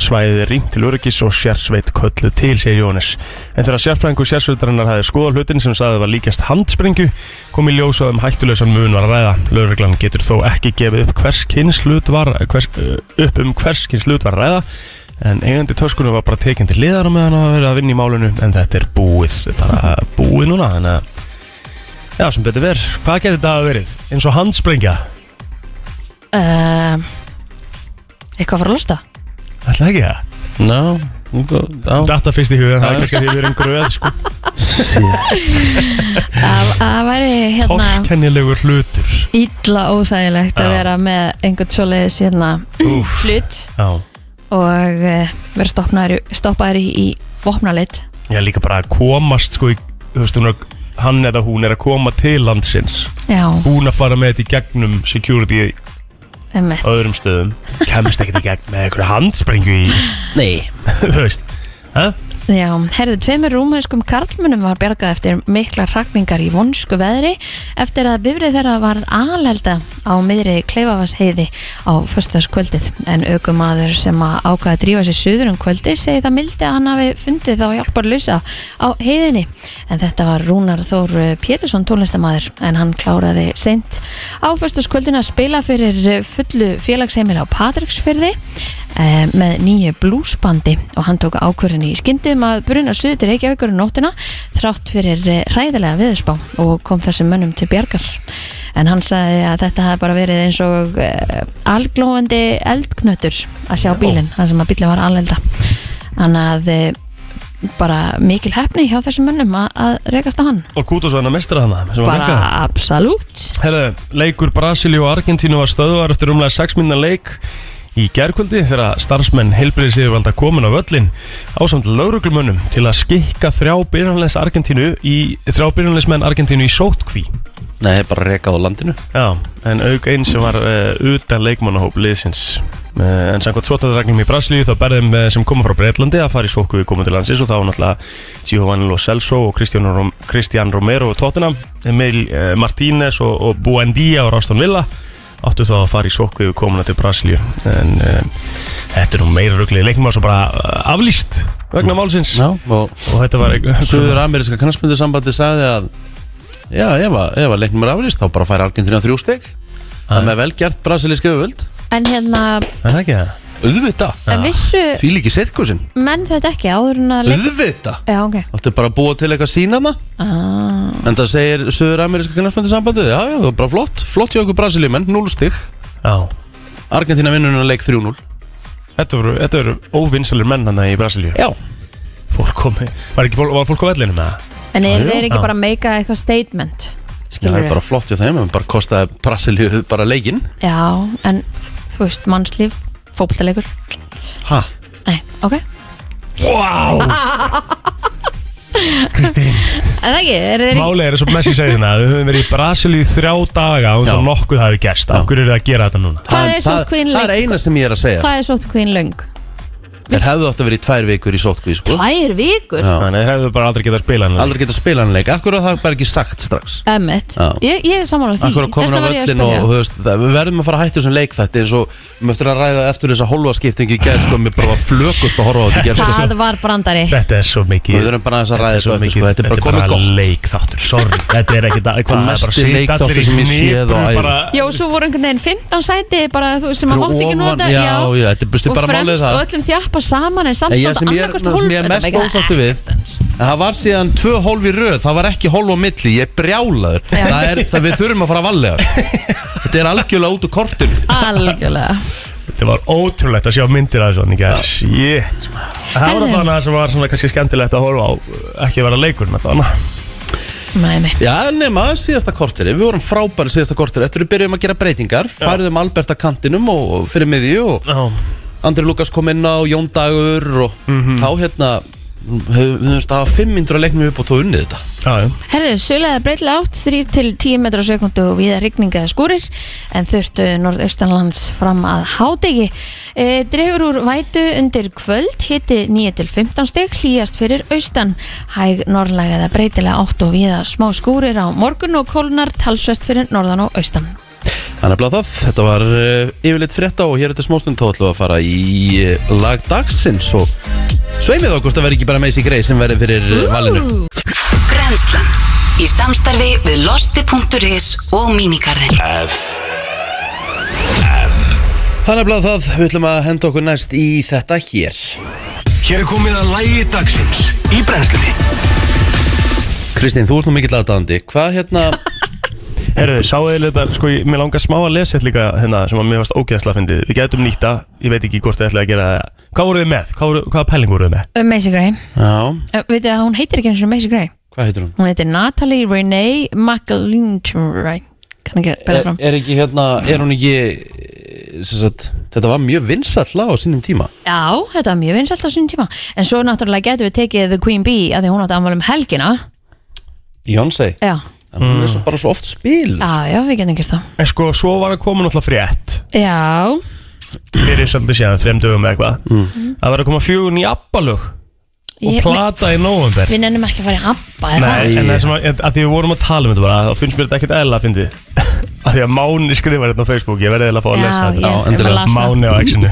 S3: Svæðið er rýmt til öryggis og sérsveit köllu til, segir Jóhannes. En þegar sérfræðingu sérsveitarinnar hafði skoða hlutin sem sagði var líkast handsprengu, kom í ljós að um hættulausan mun var að ræða. Lögreglan getur þó ekki gefið upp hvers kyns hlut var, hvers, uh, upp um hvers kyns hlut var að ræða, en eigandi töskunum var bara tekin til liðar á meðan að verið að vinna í málinu, en þetta er búið, bara búið núna, þannig að Já, sem betur verð, hvað getur þetta að verið? Eins og handsprengja?
S2: uh, Eitthvað að fara að lusta
S3: Ætla ekki það?
S1: Ná,
S3: Þetta fyrst í huga, það er kannski að því við erum gröð sko.
S2: Það það væri hérna
S3: Torkennilegur hlutur
S2: illa óþægilegt að
S3: Já.
S2: vera með einhvern svoleiðis hérna
S3: Úff.
S2: hlut
S3: Já
S2: og uh, vera stoppaður, stoppaður í, í vopnalit
S3: Ég er líka bara að komast sko í, Þú veist, hún er, hann eða hún er að koma til landsins
S2: Já,
S3: Hún að fara með þetta í gegnum security í
S2: emmitt
S3: öðrum stöðum Kemst ekkert í gegn með einhverja handsprengju í
S1: Nei,
S3: Þú veist Hæ?
S2: Já, herðu, tveimur rúmænskum karlmunum var bjargað eftir mikla rakningar í vonsku veðri eftir að bifrið þeirra varð alelda á miðri kleifavasheiði á föstaskvöldið. En aukumadur sem að ákvaða að drífa sér suður um kvöldi segi það mildi að hann hafi fundið þá hjálpar lausa á heiðinni. En þetta var Rúnar Þór Pétursson tónlistamadur en hann kláraði seint á föstaskvöldin að spila fyrir fullu félagsheimil á Patricksfyrði eh, með nýju blúsbandi og hann tók ákvörðin í skyndi um að bruna suðu til Reykjavíkur um nóttina þrátt fyrir eh, hræðilega viðurspá og kom þessum mönnum til bjargar en hann sagði að þetta hafði bara verið eins og uh, alglóðandi eldknötur að sjá bílinn þar sem að bílinn var alelda þannig að eh, bara mikil hefni hjá þessum mönnum að, að rekast á hann
S3: Og Kutos var hann að mestra þannig sem var
S2: bara
S3: þekkaði.
S2: absolutt
S3: Herðu, leikur Brasilíu og Argentínu var stöðvar eftir umlega 6 minna leik í gærkvöldi þegar starfsmenn heilbriðis yfirvalda komin á völlin ásamt lauruglumönnum til að skikka þrjá byrjanleis Argentínu í þrjá byrjanleismenn Argentínu í sótkví
S1: Nei, bara rekað á landinu
S3: Já, en auk einn sem var uh, utan leikmannahóp liðsins uh, en samkvæmt svotaðarreglum í Brasilíu þá berðum uh, sem koma frá Breitlandi að fara í sóku við komum til landsins og þá var náttúrulega Giovanni Lo Celso og Cristiano Rom Cristian Romero og Tottenham Emil uh, Martínez og, og Buendia og Ráston Villa áttu þá að fara í sóku við komuna til Brasilíu en uh, þetta er nú meira ruglið leikmann svo bara uh, aflýst vegna málsins
S1: Mm. Já, og
S3: og þetta var
S1: Suður ameríska knastmyndusambandi sagði að Já, ef að, ef að leiknum er aflýst þá bara fær Argentina þrjú stygg Það með velgjart brasilíska yfirvöld
S2: en hérna,
S3: Er það ekki það?
S1: Auðvita
S2: en vissu
S1: Því líki sirkusinn
S2: menn þetta ekki áður en að leik
S1: Auðvita
S2: já ok
S1: Þetta er bara að búa til eitthvað sína maður
S2: ah.
S1: En það segir Suður-Ameríska knarfmyndisambandið Já, já, það er bara flott Flott hjá okkur brasilíumenn, 0 stig
S3: Já
S1: Argentina vinnunum leik 3-0
S3: Þetta voru, þetta voru óvinnsalir menn hann í Brasilíu
S1: Já
S3: fólk komi var, ekki, fólk- var fólk á vellinu með það?
S2: en er
S1: Já, já.
S2: þeir ekki
S3: Já.
S2: bara að meika eitthvað statement
S1: Það er
S2: skilur
S1: bara flott hjá þeim En bara kostaði Brasilíu bara leikinn
S2: Já, en þú veist, mannslíf, fókbaltalegur
S1: Ha?
S2: Nei, ok
S3: Wow! Kristín
S2: En ekki, er þeir ekki
S3: Málið er eins og Messi segir hérna Við höfum verið í Brasilíu í þrjá daga og
S1: Já.
S3: svo nokkuð hafi gerst
S1: Já.
S3: Af hverju eru það að gera þetta núna?
S2: Hvað
S1: Það-
S2: er sóttkvíin
S1: Það það er
S2: lengi?
S1: eina sem ég er að segja sko.
S2: Hvað er sótt kvín löng?
S1: Þeir hefðu átt að vera í tvær vikur í sótkví sko.
S2: Tvær vikur?
S1: Já.
S3: Þannig að þeir hefðu bara aldrei getað að spila hann
S1: Aldrei geta að spila hann leik Akkur að það er bara ekki sagt strax
S2: Emmett,
S1: Já.
S2: ég, ég er sammála því
S1: Akkur að komin
S2: Þessna
S1: á
S2: var ég að
S1: völlin og
S2: spyrja.
S1: þú veist, það, Við verðum að fara að hættu þessum leik þetta eins og Við möttum að ræða eftir þessa hólfaskiptingi Gæð sko, mér bara var flökult að horfa á þetta í gær, sko.
S2: Það var brandari
S3: Þetta er svo mikið
S1: Við verðum bara aðeins að ræða
S3: svo
S1: þetta á eftir,
S3: mikið-
S1: sko, þetta er bara komið gott.
S3: leik þáttur, sorry Þetta er ekki það Hvað það er bara
S1: Mesti
S3: að sitja
S1: leikþáttur
S3: allir í
S1: sem ég séð á
S3: hniprum
S1: ævi.
S3: bara-
S2: Já, svo voru einhvern veginn 15 sæti bara, þú, sem að
S1: Fyrir
S2: mátt ekki
S1: ofan,
S2: nota
S1: já, já, þetta er busti
S2: Og
S1: bara málið
S2: fremst
S1: það.
S2: og öllum þjappa saman en samt
S1: Nei, ég sem ég er-
S2: annaðhvort
S1: sem ég er
S2: hólf- Þetta
S1: mest
S2: make
S1: ósáttur við.
S2: sense.
S1: En Það var síðan tvö hólf í röð, það var ekki hólf á milli, ég er brjálaður Það er, það við þurfum að fara að vallega Þetta er algjörlega út úr kortinu
S2: Algjörlega
S3: Þetta var ótrúlegt að sjá myndir af þessu hann í gerð Shit sko. Það var
S2: Herðu.
S3: alltaf það sem var svona kannski skemmtilegt að horfa á Ekki að vera leikur með það
S2: Nei, nei
S1: Já, nema síðasta kortinu, við vorum frábæri síðasta kortinu Eftir við byrjum að gera breytingar, færðum Albert að kantinum og og fyrir miðju og Andri Lukas kom inn á, Jón Dagur og
S3: Mhm.
S1: þá hérna höfum við þurft að hafa 500 leiknum upp og tóð unnið þetta
S3: Já, já
S2: Herðu, suðlega breytilega átt 3 til 10 metra á sekundu og viða rigninga eða skúrir en þurftu norðaustanlands fram að hádegi. E, dregur úr vætu undir kvöld, hitti 9 til 15 steg, hlýjast fyrir austan hæg norðlega eða breytilega átt og viða smá skúrir á morgun og kólnar talsvert fyrir norðan og austan.
S1: Þannig að það, þetta var uh, yfirleitt frétta og hér eftir smástund þá ætlum við að fara í uh, lag dagsins og sveimið okkur, það verði ekki bara Macy Gray sem verði fyrir uh, valinu.
S5: Brennslan Í samstarfi við losti.is og Minigarðin
S1: Þannig að það, við ætlum að henda okkur næst í þetta hér.
S4: Hér er komið að lægi dagsins í brennslunni
S1: Kristín, þú ert nú mikill aðdandi. Hvað hérna,
S3: Herðu, sáuðu þetta, sko, ég, mér langar smá að lesa þetta líka hérna sem að mér varst ógeðsla að fyndið Við gætum nýta, ég veit ekki hvort þið ætlaði að gera það Hvað voruð þið með? Hvað, voru, hvaða pæling voruð þið með?
S2: Um Macy Gray.
S1: já,
S2: Uh, Vitið að hún heitir ekki eins og Macy Gray.
S1: hvað heitir hún?
S2: Hún heitir Natalie Renee McAlintry. Kann ekki að bæra
S1: Er,
S2: fram.
S1: er ekki hérna, er hún ekki, eh, sem sagt, þetta var mjög vinsall lag á sínum tíma.
S2: Já, þetta var mjög vinsalt á sínum tíma En svo náttúrulega getum við tekið The Queen Bee að því hún átti afmæli um helgina
S1: Jónsei,
S2: Já,
S1: hún er svo, bara svo oft spil.
S2: já, já, við getum gert það
S3: En sko, svo var að koma náttúrulega frétt
S2: Já,
S3: Fyrir svolítið séðan, þrem dögum eða eitthvað
S1: Mm.
S3: Það var að koma fjögun í appalög og
S2: Ég-
S3: plata í nóvember
S2: við nennum ekki að fara í abba er það?
S3: Nei, en það sem að, að því við vorum að tala um þetta bara þá finnst mér þetta ekkert eðla að fyndi að því að Máni skrifar þetta á Facebook ég verði eðla að fá að
S2: Já,
S3: lesa þetta
S2: ég- Já, ég endilega. las það.
S3: Máni á Exinu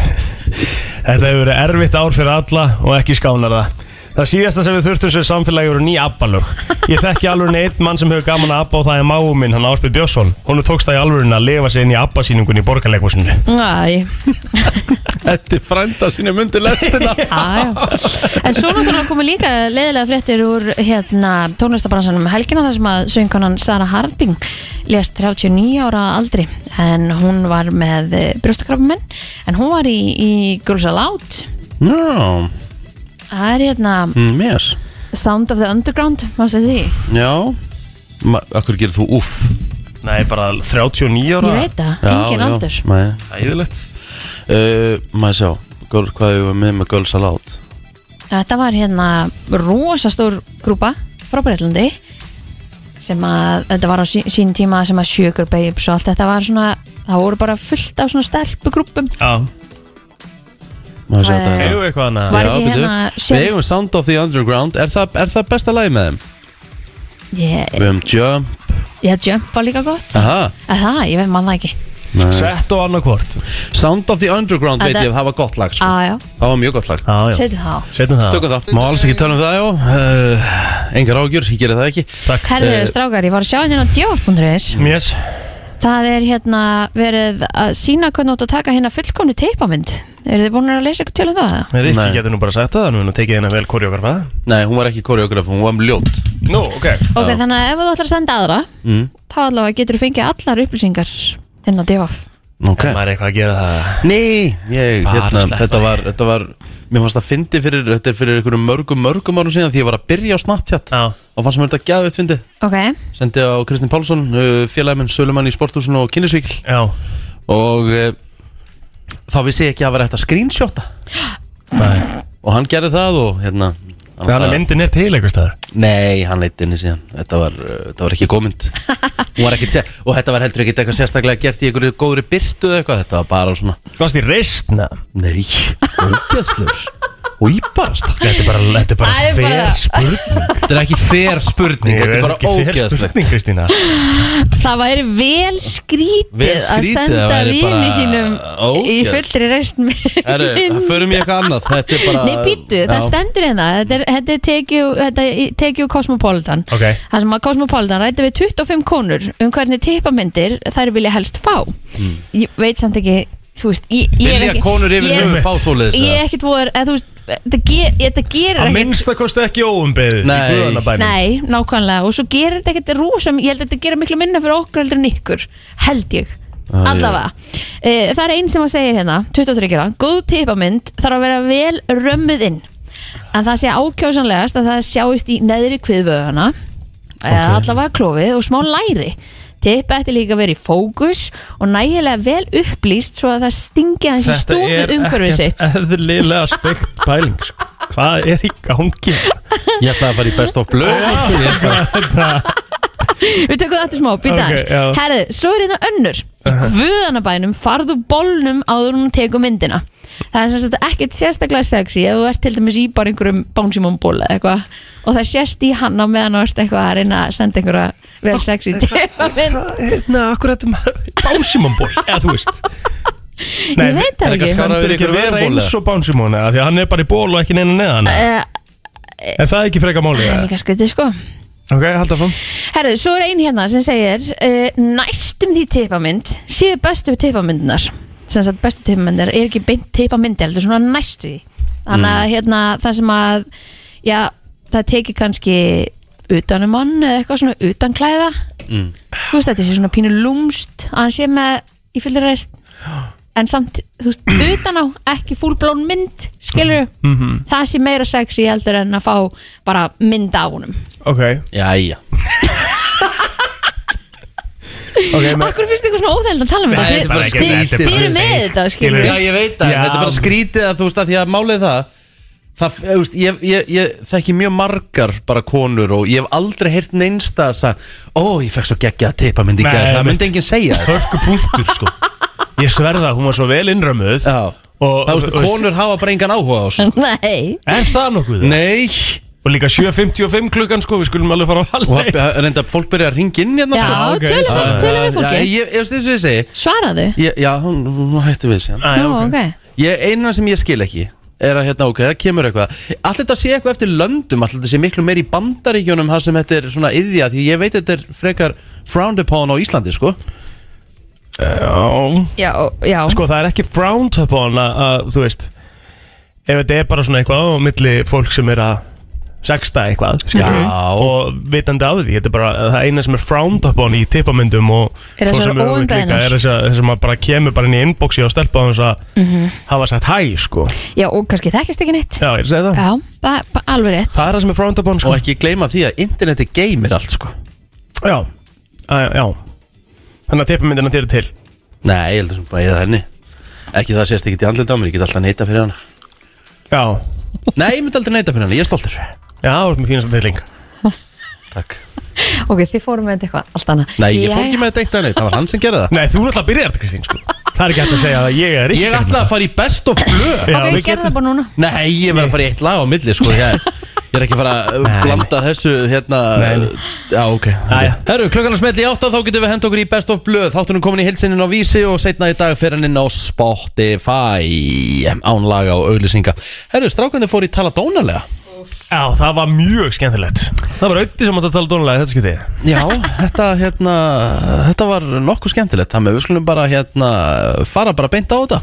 S3: Þetta hefur verið erfitt ár fyrir alla og ekki skánar það Það síðasta sem við þurftum sem samfélagi voru ný abbalög Ég þekki alveg einn mann sem hefur gaman að abba og það er máu minn, hann Áspil Björnsson Hún tókst það í alvörun að lifa sig inn í abbasýningun í borgarleikvúsinu
S2: Æ,
S1: Þetta er frænda sinni myndi lestina
S2: aðjá En svo náttúrulega komu líka leiðilega fréttir úr hérna, tónlistabransanum um helgina þar sem að söngkonan Sara Harding lést 39 ára að aldri en hún var með brjóstakrafumenn en hún var í, í Girls Aloud
S1: Já, mm,
S2: Það er hérna
S3: Hm.
S1: mjöss
S2: Sound of the Underground, varstu því?
S1: Já Ma, Akkur gerir þú uff
S3: Nei, bara 39 ára
S2: Ég veit það,
S1: Já,
S2: engin
S1: já,
S2: aldur
S1: Nei
S3: Æðilegt
S1: uh, Maður sjá Göl, Hvað hefur með með Girls Aloud
S2: Þetta var hérna rosastór grúpa frá Breitlandi sem að þetta var á sí, sín tíma sem að Sugar Babes og allt þetta var svona það voru bara fullt af svona stelpugrúpum
S3: Já,
S1: Maður sjá
S2: Eh,
S1: þetta
S3: eigum
S1: hérna.
S3: við eitthvað annað
S2: Var
S1: Já,
S2: ekki
S1: bíddu.
S2: hérna
S1: Við
S2: Shake-
S1: eigum Sound of the Underground Er það, er það besta lagi með þeim?
S2: ég,
S1: Við höfum Jump
S2: ég jump var líka gott
S1: Aha
S2: að það, ég veit mann það ekki
S1: Nei.
S3: Sett og annarkvort
S1: Sound of the Underground veit
S2: Þetta-
S1: ég að það var gott lag sko.
S2: aðjá,
S1: Það var mjög gott lag
S3: Já, já,
S2: setið þá
S3: setjum það
S1: Tökum það Má alls ekki tala um það já uh, Engar ágjur, ég gerir það ekki
S3: Takk
S2: herðu
S1: Eh,
S2: strákar, ég var að sjá hérna á djóf.is
S3: Yes,
S2: það er hérna verið að sína hvernig átt að taka hérna fullkomni teipamynd eru þið búin að leysa ykkur til um það?
S3: Nei, Rikki
S1: Nei.
S3: getur nú bara sagt það Nú erum við að tekið hérna vel koreografa
S1: Nei, hún var ekki koreograf, hún var ljót
S3: Nú, ok
S2: ok, þannig að ef þú ætlar að senda aðra
S1: mm.
S2: þá allavega getur þú fengið allar upplýsingar hérna á djóf
S1: Mm, Ok
S3: Maður er eitthvað að gera það
S1: Nei, ég,
S3: Bara
S1: hérna,
S3: sleppa
S1: þetta
S3: því.
S1: var, þetta var Mér fannst það fyndi fyrir, þetta er fyrir einhverjum mörgum, mörgum árum síðan Því ég var að byrja á Snapchat
S3: Já,
S1: Og fannst mér þetta gæðu upp fyndi
S2: ok,
S1: Sendi á Kristinn Pálsson, uh, félagi minn, sölumann í sporthúsinu og kynnesvíkil
S3: já
S1: Og uh, þá vissi ég ekki að vera þetta screenshota
S3: Nei.
S1: Og hann gerði það og hérna
S3: Þannig að myndin er til einhvers staðar
S1: Nei, hann leitt inni síðan Þetta var, uh, þetta var ekki gómynd Hún var ekkit sé- Og þetta var heldur ekkit eitthvað sérstaklega gert í einhverju góðri byrtu eða eitthvað Þetta var bara svona
S3: Fannst í reistna
S1: Nei, ógæðslegur Og íbarast það
S3: Þetta er bara, þetta
S2: Það
S3: er bara
S2: er
S3: fer
S2: bara-
S3: spurning
S1: Þetta er ekki fair spurning, þetta er bara
S3: ekki fair spurning,
S1: ógeðslegt
S3: Kristína
S2: það væri vel skrítið,
S1: Vel
S2: að
S1: skrítið, það
S2: senda
S1: væri bara
S2: vini sínum í
S1: ógeð.
S2: fullri reist
S1: Herru, það förum ég eitthvað annað Þetta er bara
S2: Nei, býttu, það stendur hérna Þetta er, þetta er tekið úr- þetta er tekið úr Cosmopolitan
S3: Ok.
S2: Það sem að Cosmopolitan rætti við 25 konur um hvernig tippamyndir þær vilja helst fá
S1: Hmm.
S2: Ég veit samt ekki, þú veist Ég, ég er
S1: Vilja
S2: ekki
S1: konur yfir
S2: ég-
S1: höfu fá svoleiðis
S2: Ég
S1: eða?
S2: er ekkit voru, eða þú veist Þetta ge- þetta gerir
S3: Að
S2: ekkit
S3: minnstakosti ekki óumbeðið
S1: Nei.
S3: Í guðanabænum
S2: Nei, nákvæmlega, og svo gerir þetta ekkert rúsum Ég held að þetta gerir miklu minna fyrir okkur heldur en ykkur Held ég,
S1: Já,
S2: allavega e, Það er einn sem að segja hérna 23 ára, góð tipamynd þarf að vera vel römmuð inn En það sé ákjósanlegast að það sjáist í neðri kviðvöðuna eða allavega klófið og smá læri Tippa ætti líka að vera í fókus og nægilega vel upplýst svo að það stingi hans í stúfið umhverfið sitt
S3: eðlilega steikt pæling sko. Hvað er í gangi?
S1: Ég ætlaði að fara í best of blue Ég ætlaði að-
S2: Við tökum það eftir smá, býta
S3: Ok,
S2: okay,
S3: já.
S2: aðeins Herðu, svo er þetta önnur Í guðanabænum farðu bólnum áður en hún tekur myndina Það er sem sagt ekkert sérstaklega sexy ef þú ert til dæmis í bara einhverjum bánsimum ból eða eitthvað og það sést í hann á meðan þú ert eitthvað að reyna að senda einhverja vel sexy tepamynd
S3: Hérna, akkur þetta maður Bánsimónból, eða þú veist Nei,
S2: Ég veit það
S1: er
S2: ekki
S1: ekki að skara-
S3: Það er ekki að vera
S1: Bánsimón,
S3: eins og bánsimón eða, Því að hann er bara í ból og ekki neina neðan eða?
S2: Eh,
S3: Er það ekki freka máli?
S2: Það er
S3: eða?
S2: líka skrítið sko
S3: Ok, halda fram
S2: Herðu, svo er ein hérna sem segir uh, næstum því tipamynd séu bestu tipamyndunar sem sagt bestu tipamyndar er ekki beint tipamyndi heldur svona næstu því þannig að hérna það sem að já, það teki kannski utanum hann eða eitthvað svona utan klæða þú veist þetta sé svona pínu lúmst að hann sé með í fyllir reist en samt, þú veist, utan á ekki fullblón mynd, skilur það sé meira sexy heldur en að fá bara mynd á honum
S3: Ok,
S1: Jæja
S3: ok með-
S2: Akkur finnst ykkur svona óþægild að tala um
S1: Nei,
S2: þetta
S1: þetta er bara
S2: Þið-
S1: skrítið,
S2: þið-
S1: þetta er
S2: Þið
S1: bara
S2: eru með
S3: skrítið,
S2: þetta, skilur
S1: Já, ég veit það,
S3: Já.
S1: þetta er bara skrítið að þú veist að því að málið það Það, þú veist, ég, ég, ég þekki mjög margar bara konur og ég hef aldrei heyrt neinsta að sagði, ó, ég fekk svo geggja að teipa myndi
S3: Nei,
S1: ekki, það
S3: einmitt.
S1: myndi enginn segja þetta
S3: Hörku punktur, sko Ég sverða, hún var svo vel innrömmuð
S1: Já,
S3: Og-
S1: þá veistu,
S3: og-
S1: konur hafa bara engan áhuga á þessu
S2: Nei,
S3: Er það nokkuð?
S1: Nei,
S3: Og líka 7.55 klukkan, sko Við skulum alveg fara á
S1: og það-
S3: halda
S1: það- reynda fólk byrja að ringa inn hérna
S2: já,
S1: sko.
S3: ok,
S2: tölum
S3: svo-
S2: tölum við
S1: Já,
S2: fólki
S1: ég, ég, ég, ég, segi,
S2: Svaraðu
S1: ég, já, hún, hún hætti við sér
S3: Æ,
S2: Nú,
S3: Ah, ok
S2: Ah, ok
S1: Ég, eina sem ég skil ekki er að hérna, ok, það kemur eitthvað Allt þetta sé eitthvað eftir löndum, allt þetta sé miklu meir í bandaríkjunum þar sem þetta er svona yðja því ég veit þetta er frekar frowned upon á Íslandi, sko
S3: Já
S2: Já, já
S3: Sko það er ekki frowned upon að, að þú veist Ef þetta er bara svona eitthvað á milli fólk sem er að sexta eitthvað skilurðu,
S1: Já.
S3: Og vitandi af því Þetta er bara það eina sem er frowned upon í tippamyndum Og
S2: Er
S3: svo
S2: þessar
S3: sem öfugt líka,
S2: óumbeðnar?
S3: Er þess að, þess að maður bara kemur bara inn í inboxi og stelpa á þess að hafa sagt hæ sko
S2: Mhm. Já, og kannski þekkist ekki neitt
S3: Já, ég er að segja það
S2: Já, ba, ba, alveg rétt
S3: Það er það sem er frowned upon sko
S1: Og ekki gleyma því að interneti geymir allt, sko
S3: Já, Æ, já Þannig að tippamyndina þér er til
S1: Nei, ég heldur sem bara eða henni Ekki það sést ekki í andlita á mér, ég get alltaf neita fyrir hana
S3: Já,
S1: Nei, ég myndi aldrei neita fyrir hana, ég er stoltur
S3: já, þú ert með fínasta tilling
S1: Takk
S2: Ok, þið fórum með þetta eitthvað allt annað
S1: Nei, ég fór
S2: Jæja.
S1: ekki með þetta eitt að neitt, það var hann sem gerði það
S3: Nei, þú náttúrulega byrjar þetta Kristín sko Það er ekki hægt að segja að ég er
S1: Ég
S3: Ríkharð.
S1: ætlaði að fara í best of blöð
S3: Já,
S2: Ok,
S3: við
S2: ég gerði
S3: getum-
S2: það bara núna
S1: Nei, ég verð að fara í eitt lag á milli, sko Ég, ég er ekki að fara að
S3: Nei.
S1: blanda þessu hérna
S3: Nei, nei.
S1: Já, ok
S3: Jæja.
S1: Herru, klukkan að smetli í átta, þá getum við hend okkur í best of blöð Þáttunum komin í hilsininn á Vísi og setna í dag fer hann inn á Spotify Án laga og auglýsinga Herru, strákandi fór í tala dónalega
S3: Já, það var mjög skemmtilegt Það var auðvitað sem átti að tala dónulega þetta skipti
S1: Já, þetta, hérna, þetta var nokkuð skemmtilegt Þannig að við skulum bara hérna, fara bara beint á þetta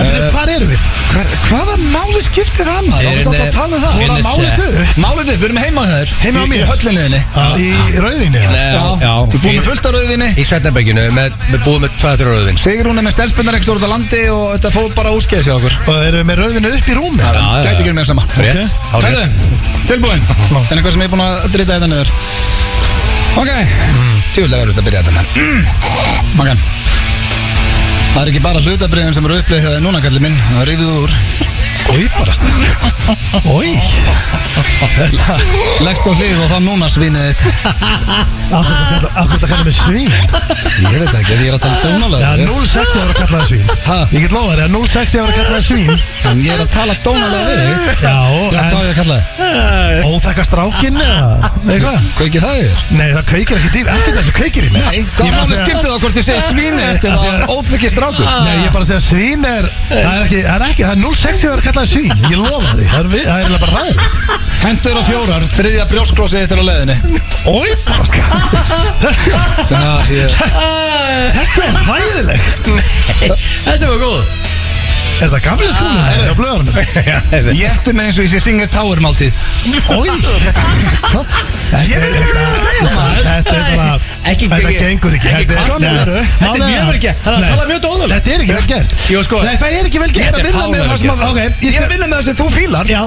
S6: Býtu, hvar erum við?
S7: Hver, hvaða máli skiptir það maður?
S6: Erum
S7: Átti alltaf að
S6: við-
S7: tala um það
S6: Þú voru að máli þetta upp.
S7: Málið upp, við erum heima á þér
S6: Heima hjá
S7: Í-
S6: mér.
S7: Í höllinniðinni
S6: Í rauðinni eða?
S7: Já,
S6: já.
S7: Við erum búin með fullt á rauðinni
S8: Í Sveitabækinu, með, með búið með 2-3 rauðvins
S7: Sigrún er með stelspunnar ekki stórt á landi og þetta fóð bara úrskeiðis hjá okkur
S6: Og erum við með rauðinni upp í rúmi? Já,
S8: já.
S7: Gæti ekki verið meira sama
S8: Rétt.
S7: Ok. Herðu, tilbúin Það er eitthvað sem ég er búin að drita þetta niður Ok Tjúlega er þetta að byrja þetta menn Ok Það er ekki bara hlutabriðin sem eru upplýðið þegar núna kallið minn Það er yfir úr
S6: Í barast Í Þetta
S7: Leggst á hlið og þá núna svinið þitt
S6: Akkur þetta kallar mig svín
S7: Ég veit það ekki, ég er að tala
S6: Já,
S7: dónalega
S6: 06 ég var að kalla það svín
S7: Ha?
S6: Ég get lofa þér að 06 ég var að kalla það svín
S7: En ég er að tala dónalega við þig Já,
S6: Já,
S7: hvað á ég að kalla þig?
S6: en óþekka strákinn eða eitthvað
S7: Kveikið það yfir?
S6: Nei, það kveikir ekki dýr, ekkert þessu kveikir í mig
S7: Nei,
S6: Ég
S7: hvað
S6: bara
S7: máli
S6: segja-
S7: skiptið þá hvort ég segi svínið þitt eða óþykkið strákur?
S6: Nei, ég er bara að segja svín er Það er ekki, það er ekki, það er 06 ég var að kalla það svín Ég lofa því, það er, við, það er eiginlega bara ræðilegt
S7: Hendur á fjórar, þriðja brjósklósið þitt er á leiðinni
S6: Ói, bara skatt
S7: Sem að ég...
S6: Þessu er ræðileg
S1: Þessi var góð
S6: Er það gamlega skóla? Er það blöðarunum?
S7: Ég ætti Ah. með eins og ég sé Singer Tower máltíð
S6: Ói Ég veit ekki hvað Þetta er bara
S1: Ekki-
S6: Þetta
S1: ekki-
S6: gengur ekki
S1: ekki
S6: Þetta
S1: hvað meinar
S6: er-
S1: þú? Þetta er
S6: Málega-
S1: mjög vel gert. Hann er að
S6: Nei.
S1: tala mjög dónalega.
S6: Þetta er ekki vel gert
S1: Jú, sko.
S6: Nei, það er ekki vel
S7: Ég
S6: gert
S7: er að vinna með það sem að
S6: Ok,
S7: Ég er að vinna með það sem þú fílar
S6: Já,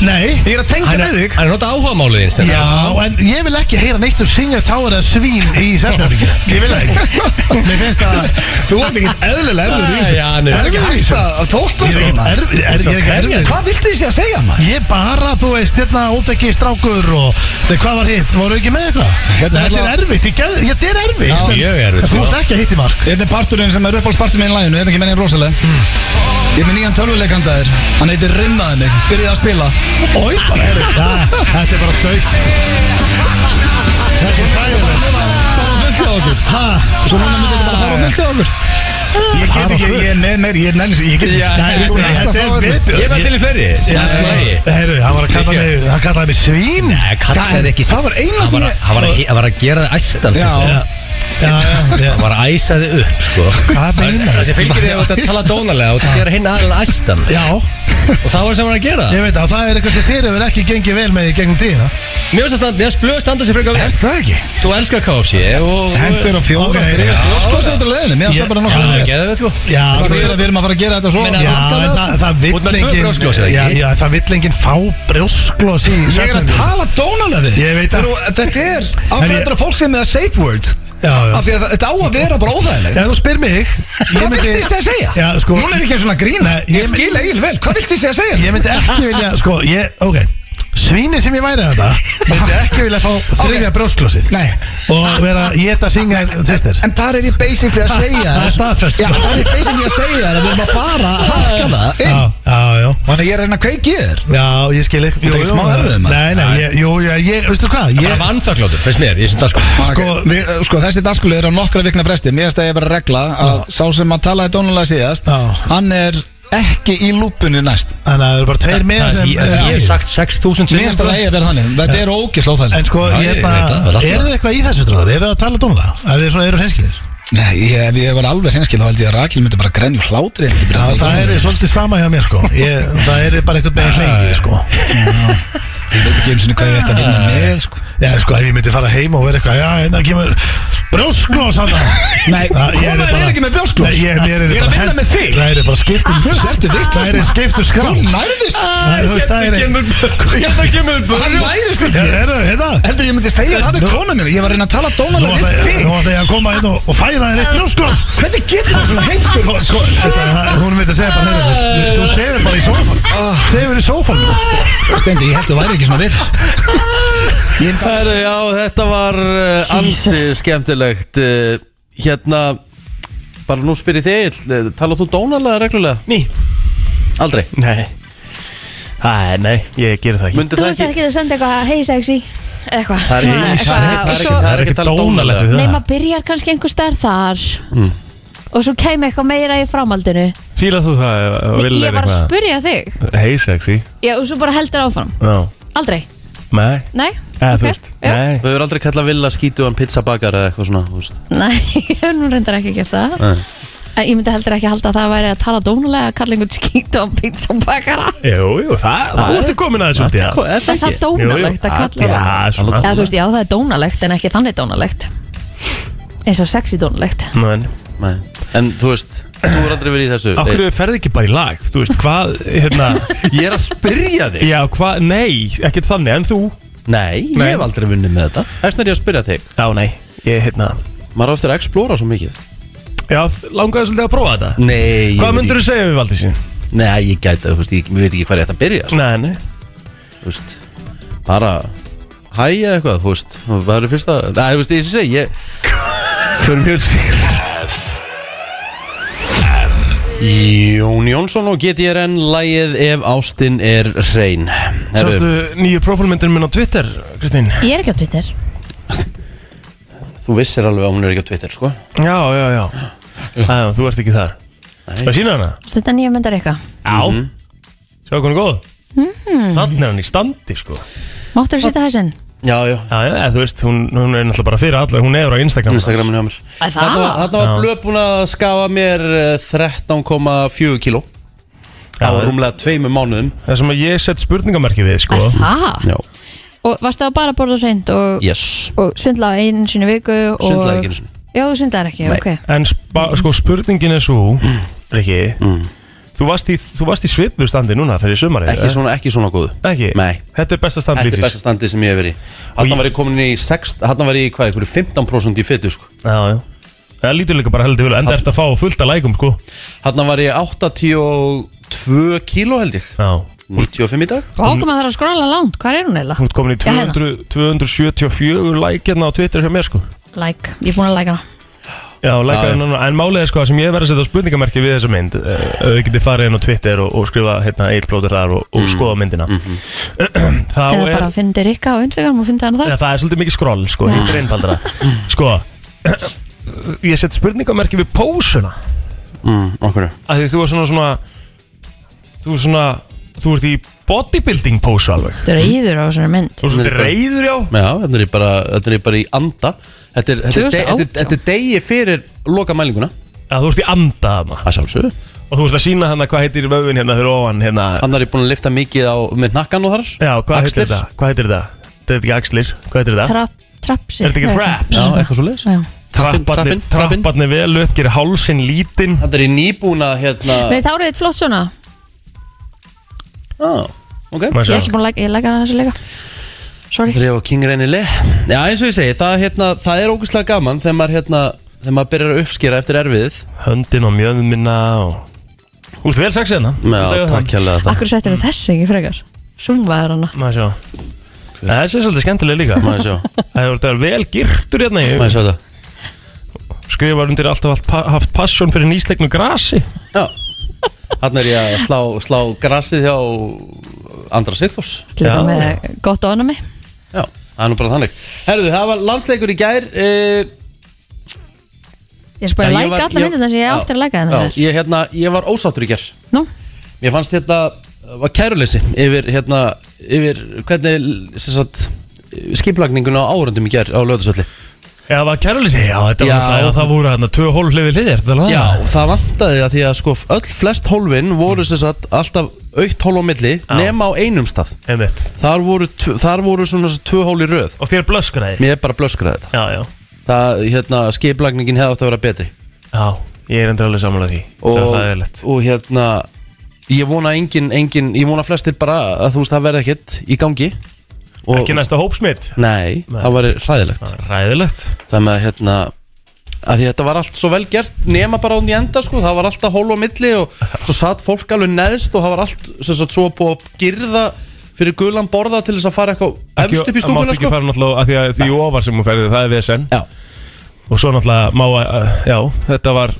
S6: nei
S7: Ég er að tengja með þig
S8: Hann er nota áhuga málið þins
S6: Já, en ég vil ekki heyra neitt um Singer Tower eða svín í Sefnabíkina Ég vil það ekki Mér finnst að
S7: Þú ert ekkert eðlilega erfður í þessu
S8: Já,
S7: Það
S8: nei.
S7: er ekki hægt
S6: sko.
S7: sko. að að tókna
S6: Ég er ekki
S7: svona
S6: erfið er, Ég er ekki erfið
S7: Hvað viltu þessi að segja maður?
S6: Ég bara, þú veist, hérna óþekki strákur og Nei, hvað var hitt, voru ekki með eitthvað?
S7: Hérna
S6: Þetta er
S7: alla-
S6: erfitt, ég gef- þetta er erfitt
S7: Já,
S6: En-
S8: mjög erfitt,
S6: en Þú
S8: já.
S6: ert ekki að hitti mark Hmm.
S7: Þetta er parturinn sem er uppáhaldspartur minn í læginu, þetta ekki menn ég rosalega Ég er með nýjan tölvuleikanda þér, hann heitir Rimmaði mig, byrjaði að spila
S6: Ói, bara, heyrðu, já, þetta er bara dögt Þetta er hræðilegt
S7: Fullt af okkur,
S6: Ha,
S7: svo núna myndi þetta bara fara á fullt af okkur Ég
S6: Fara á
S7: get ekki,
S6: fullt?
S7: ég er neð meir, ég er neðlis, ég get
S6: Nei,
S7: ekki
S6: veistu, þetta er viðbjörn
S8: Ég var til í fleiri
S6: Já,
S8: Það er
S6: nei,
S8: sko
S6: Heyrðu, hann var að kalla mig, hann kallaði mig svín
S8: Nei, kallaði ekki
S7: Það var eina
S8: Hann
S7: sem
S8: var að-
S7: ég
S8: hann var að- hann var að gera það æstan
S7: Já,
S8: sko.
S6: Já, já, já, já
S8: Hann var að æsa þið upp sko.
S6: Hvað meinar
S8: Það sem fylgir þig að tala dónalega og það gera hinn aðeins æstan
S6: Já,
S8: Og það var sem hann var að gera
S6: ég veit að það er eitthvað sem þér hefur ekki gengið vel með í gegnum tíðina
S8: Mér finnst að standa- mér finnst blöð standa sér frekar vel
S7: er það ekki?
S8: Þú elskar KFC og
S7: Hendur og
S6: Ok,
S7: fjóra,
S6: já.
S7: þriðja, skósa þetta leðinu, mér
S6: Ég-
S7: finnst það bara
S6: já,
S7: nokkuð
S8: Það
S7: vel.
S8: er geðveikt, sko
S6: Já,
S7: Það
S6: þú
S7: er að við erum að fara að gera þetta svo
S8: Meina,
S6: Já,
S8: vantar
S6: en
S8: það?
S6: það, það vill
S8: Út með tvö
S6: enginn-
S8: brjósklos, eða ekki?
S6: Já, já, það vill enginn fá brjósklós í
S7: Ég er að
S6: svefnherbergi.
S7: tala dónalega við
S6: Ég veit
S7: Þeir
S6: að-
S7: eru- Þetta er
S6: En ég-
S7: ákveðandra fólk sem er með safe word
S6: Já, já.
S7: Af því að þetta á að vera bara óþægilegt
S6: Ef þú spyr mig
S7: Hvað viltu ég sé að segja?
S6: Já, sko
S7: Núna er ekki svona grín
S6: Nei, ég-
S7: Ég skil eigin vel, hvað viltu ég sé að segja?
S6: Ég myndi ekki vilja, sko, ég, ok Svíni sem ég væri þetta Myndi ekki vilja fá þriðja okay. brjósklósið
S7: Nei.
S6: Og vera ég þetta syngja Sýstir
S7: En þar er ég basically að segja
S6: Það er staðfest
S7: Já, þar er ég basically að segja þér að við erum að fara að harkana
S6: Já,
S7: inn
S6: já, já
S7: Þannig að ég er að reyna að kveiki í þér
S6: Já, ég skil ekki
S7: Þetta er ekki smá erfiður, maður.
S6: Nei, nei, ég, jú, já, ég, veistu hvað
S8: Það
S6: Ég,
S8: var anþakláttur, finnst mér, ég sem það sko
S7: Sko, við, sko þessi dagskóli er á nokkra vikna fresti Mér finnst að ég er bara að regla að sá sem að talaði dónulega síðast
S6: Já.
S7: Hann er ekki í lúpunni næst
S6: Þannig að það eru bara tveir með
S8: Það
S6: sem
S8: ég það sem ég hef sagt 6.000
S7: Mér finnst að það eigi að vera þannig, þetta er ógislega
S6: sko. En
S7: óþægilegt
S6: sko,
S8: sko. Já, ég
S6: ég
S8: veit það, það er
S6: bara,
S8: alltaf-
S6: er þið eitthvað í þessu dróðar? Er þið að tala tónlega? Ef þið svona eru hinskilir?
S7: Nei, ég, ef ég var alveg sinnskil þá held ég að Rakel myndi bara grenju hlátri held ég
S6: Já,
S7: bara að
S6: það
S7: tala um
S6: er
S7: tónlega.
S6: svolítið sama hjá mér sko ég, Það er bara einhvern veginn hlengi sko
S7: Ég veit ekki einu sinni hvað ég ætti að vinna með sko.
S6: Já, sko, ef ég myndi fara heim og vera eitthvað Já, en það kemur brjósklós hann
S7: Nei, komaður er ekki með brjósklos.
S6: Nei, ég,
S7: Ég er
S6: mér
S7: að
S6: bara
S7: vinna
S6: hent-
S7: með þig. Ah,
S6: Það er bara skiptum
S7: Þú ertu vitlaus,
S6: Það er
S7: maður.
S6: skiptum skrá
S7: Þú nærðist
S6: Nei, þú veist, það er
S3: Hérna kemur
S7: Hann nærðist
S6: Já, er það, er það?
S7: Heldur ég myndi segja það við kona mér Ég var að reyna að tala
S6: Nú
S7: dónalega við
S6: ætla ég-
S7: þig
S6: nú ætla ég að koma inn og, og færa þér eitt brjósklós
S7: Hvernig getur þú svona heimskur?
S6: Ko- ko- það- Hún myndi segja bara heyrðu, Þú sefur bara í sófan Sefur í sófan
S7: Stendi, ég held þú væri ekki svona vill
S1: Herru, já, þetta var uh, ansi skemmtilegt uh, Hérna, bara nú spyr ég þig Egill, uh, Talar þú dónalega reglulega?
S3: Ný
S1: Aldrei
S3: Nei Æ, nei, ég gerir það ekki
S1: Mundi
S2: Þú
S1: það
S2: veist
S1: ekki?
S2: ekki að senda eitthvað hei sexy eða eitthvað
S1: Það er
S2: Svona
S1: ekki- það er
S2: eitthvað- og
S1: ekki- það er ekki-
S2: svo-
S1: það er ekki talað dónalegt við
S2: Nei, maður byrjar kannski einhver starf þar
S1: Mm.
S2: og svo kemur eitthvað meira í framaldinu
S3: Fýlað þú það og
S2: Nei,
S3: vil
S2: Ég var að spyrja þig
S3: Hei sexy
S2: Já, og svo bara heldur áfram
S3: Já
S2: Aldrei,
S3: Nei
S2: nei,
S3: Eða þú
S2: ok,
S3: veist
S2: já.
S3: Nei
S1: Við höfum aldrei kallað Villa skítuðan pizzabakar eða eitthvað svona, þú veist
S2: Nei, ég hef nú reyndar ekki gert það
S1: Nei.
S2: En Ég myndi heldur ekki halda að það væri að tala dónulega að kalla einhvern skýt og pizzabakara
S3: Jú, jú, það Þú ertu komin aðeins út í það
S1: Hvað, er
S2: Er það dónalegt að kalla það?
S3: Já, svona
S2: Já, þú veist, já, það er dónalegt en ekki þannig dónalegt eins og sexy dónalegt
S3: Men,
S1: Nei. En þú veist, þú er aldrei verið í þessu
S3: af hverju ferði ekki bara í lag? Þú veist, hvað, hérna
S1: Ég er að spyrja þig
S3: Já, hvað, nei, ekkert þannig, en þú
S1: Nei, ég hef aldrei vunnið með þetta Þessna er ég að spyrja þig
S3: Já, nei, ég, hérna
S1: Maður á eftir að explora svo mikið
S3: Já, langaði svolítið að prófa þetta
S1: Nei,
S3: Hvað myndur þú segja við valdið sín?
S1: Nei, ég gæti, þú veist, ég, ég veit ekki hvað ég ætti að byrja sko.
S3: Nei, nei
S1: Þú veist, bara Hæ eða eitthvað, þú veist Hvað er fyrsta? Nei, þú veist, ég sé, ég Fyrir mjög sigur Jón Jónsson og GTRN Lægið ef ástin er hrein Herru,
S3: Sástu nýju profilmyndir minn á Twitter, Kristín?
S2: Ég er ekki á Twitter
S1: þú vissir alveg að hún er ekki á Twitter, sko
S3: Já, já, já Æ, Þú ert ekki þar Það sína hana?
S2: Þetta er nýja myndar eitthvað
S3: Já
S1: Mhm.
S3: Sjá hvernig góð
S2: Mhm.
S3: Þannig er hann í standi, sko
S2: Máttur þú setja þessinn?
S1: Já, já,
S3: Já, já, eða þú veist, hún, hún er náttúrulega bara fyrir allar Hún er á Instagram
S1: Instagramin hjá mér
S2: Æ, það?
S1: Þarna var- þarna var
S3: Já.
S1: blöð búin að skafa mér eh, 13,4 kíló
S3: Já,
S1: Það var rúmlega tveimur mánuðum
S3: Það sem að ég sett spurningamerki við, sko
S2: Æ, það?
S1: Já,
S2: Og varstu að bara borða hreint og,
S1: yes
S2: og svindla á einu sinni í viku og...
S1: Svindlaði ekki einu sinni.
S2: Já, þú svindlaði ekki,
S1: Nei. Mm.
S2: ok
S3: En spa, sko, spurningin er svo Riki Þú varst í, þú varst í svipu standi núna fyrir sumarið
S1: Ekki svona, ekki svona góðu
S3: eh? Ekki?
S1: Nei
S3: Þetta er besta standi
S1: Þetta er besta standið sem ég hef verið í Þarna
S3: ég-
S1: var ég komin í 6 Þarna var ég í hvað, einhverju 15% í fytu sko.
S3: Já, já Það lítur líka bara heldur vel En það ert að fá fullt að lækum, sko
S1: Þarna var ég 82 kíló held ég
S3: Já
S1: 95 í dag
S2: Vákum að það er að skrolla langt, hvað er hún
S3: Þú
S2: eiginlega?
S3: ert komin í
S2: Já, hérna.
S3: 200, 274 like hérna á Twitter hjá mér, sko
S2: Like, ég er búin að like hana
S3: Já,
S1: Já, já.
S3: lækka hennan En málið er sko að sem ég verið að setja spurningamerki við þessa mynd eh, Ef þið getið farið inn á Twitter og, og skrifa hérna eilplótur þar og, og
S1: Mm.
S3: skoða myndina
S1: Mhm.
S3: Þá
S2: Eða
S3: er
S2: bara að finna Rikka á Instagram og finna hann þar
S3: ja, Það er svolítið mikið skroll sko, hitt er einfaldra Sko Ég set spurningamerki við pósuna
S1: mm, Okkur
S3: Af því þú er svona svona Þú er svona Þú ert í bodybuilding pósu alveg
S2: Þetta er íður á þessari mynd
S3: Þú er
S1: Nei,
S3: svona
S1: bara-
S3: reyður já
S1: Já, þetta er ég bara, þetta er ég bara í anda Þetta er, þetta er, de, þetta er,
S2: 2018.
S1: þetta er degi fyrir loka mælinguna
S3: að Þú ert í anda þarna
S1: Það sjálfsögðu
S3: Og þú ert að sína hann hvað heitir vöfin hérna fyrir ofan hérna
S1: Þannig er ég búin að lifta mikið á, með nakkan og þar
S3: Já, hvað
S1: Axlir.
S3: heitir þetta? Hvað heitir þetta? Þetta er ekki axlir, hvað heitir þetta?
S2: Trapp, trappsi
S3: Er þetta ekki
S2: Nei,
S3: traps?
S1: Já, eitthvað svo leiðis
S2: Já.
S1: Trappin,
S3: Trapparnir,
S1: trappin, trappin.
S3: trapparnir vel upp, gerir hálsin lítinn
S1: Þetta er í nýbúna hérna
S2: Mér finnst árið þitt flott svona
S1: ah, Ok
S3: Má
S2: Ég er
S3: sjá.
S2: ekki búin að like, ég like hana þessi leika Sorry
S1: Refa King reynileg Já eins og ég segi það, hérna, það er ógeðslega gaman þegar maður, hérna, þegar maður byrjar að uppskera eftir erfiðið
S3: Höndin og mjöðmina og... Þú ert vel sexið hérna
S1: Já takk hérlega það
S2: Akkur settir við þessu ekki frekar Sumvaður hana
S3: Má sjá Þessi er svolítið skemmtileg líka
S1: Má ég sjá
S3: Það er þetta vel girtur hérna
S1: Má
S3: ég
S1: ég sjá það
S3: Skrifar undir alltaf allt pa haft passion fyrir nýslegnu grasi
S1: Já Þannig er ég að slá, slá grasið hjá Andra Sigþórs
S2: Líka
S3: Já,
S2: með gott ónami
S1: Já það er nú bara þannig Herðu það var landsleikur í gær uh,
S2: Ég er bara að like alla myndirna sem ég átti að like hana
S1: Já, ég, hérna, ég var ósáttur í gær
S2: Nú,
S1: Mér fannst hérna var kæruleysi yfir, hérna, yfir hvernig sem sagt, skiplagningun á árundum í gær á löðarsöldi
S3: Já, það var kæruleysi, já, þetta
S1: Já.
S3: var það, það voru hérna tvö hól hliði hliði, ertu talað?
S1: Já, það vantaði að því að sko öll flest hólfin voru sem sagt alltaf aukt hól á milli nema á einum stað
S3: Einmitt.
S1: Þar voru, tv- þar voðu svona þessi tvö hól í röð
S3: Og þér blöskraði?
S1: Mér er bara blöskraði þetta
S3: Já, já,
S1: Það, hérna, skiplagningin hefði átt að vera betri
S3: já, ég er endur alveg samanlega því, þetta
S1: og,
S3: er hlæðilegt.
S1: og hérna ég vona engin, engin, ég vona flestir bara að þú veist það verði ekkert í gangi og,
S3: Ekki næsta hópsmitt?
S1: nei, það var hræðilegt
S3: Ræðilegt.
S1: það með að hérna að því þetta var allt svo vel gert nema bara án í enda sko, það var alltaf hól á milli og svo satt fólk alveg neðst og það var allt sem sagt svo búið að girða fyrir gulan borða til þess að fara eitthvað efst upp í
S3: Það
S1: stúkuna
S3: mátt ekki
S1: sko
S3: fara náttúrulega að því að því ofar sem hún ferði, það er vesen.
S1: Já.
S3: Og svo náttúrulega má að, að- já, þetta var,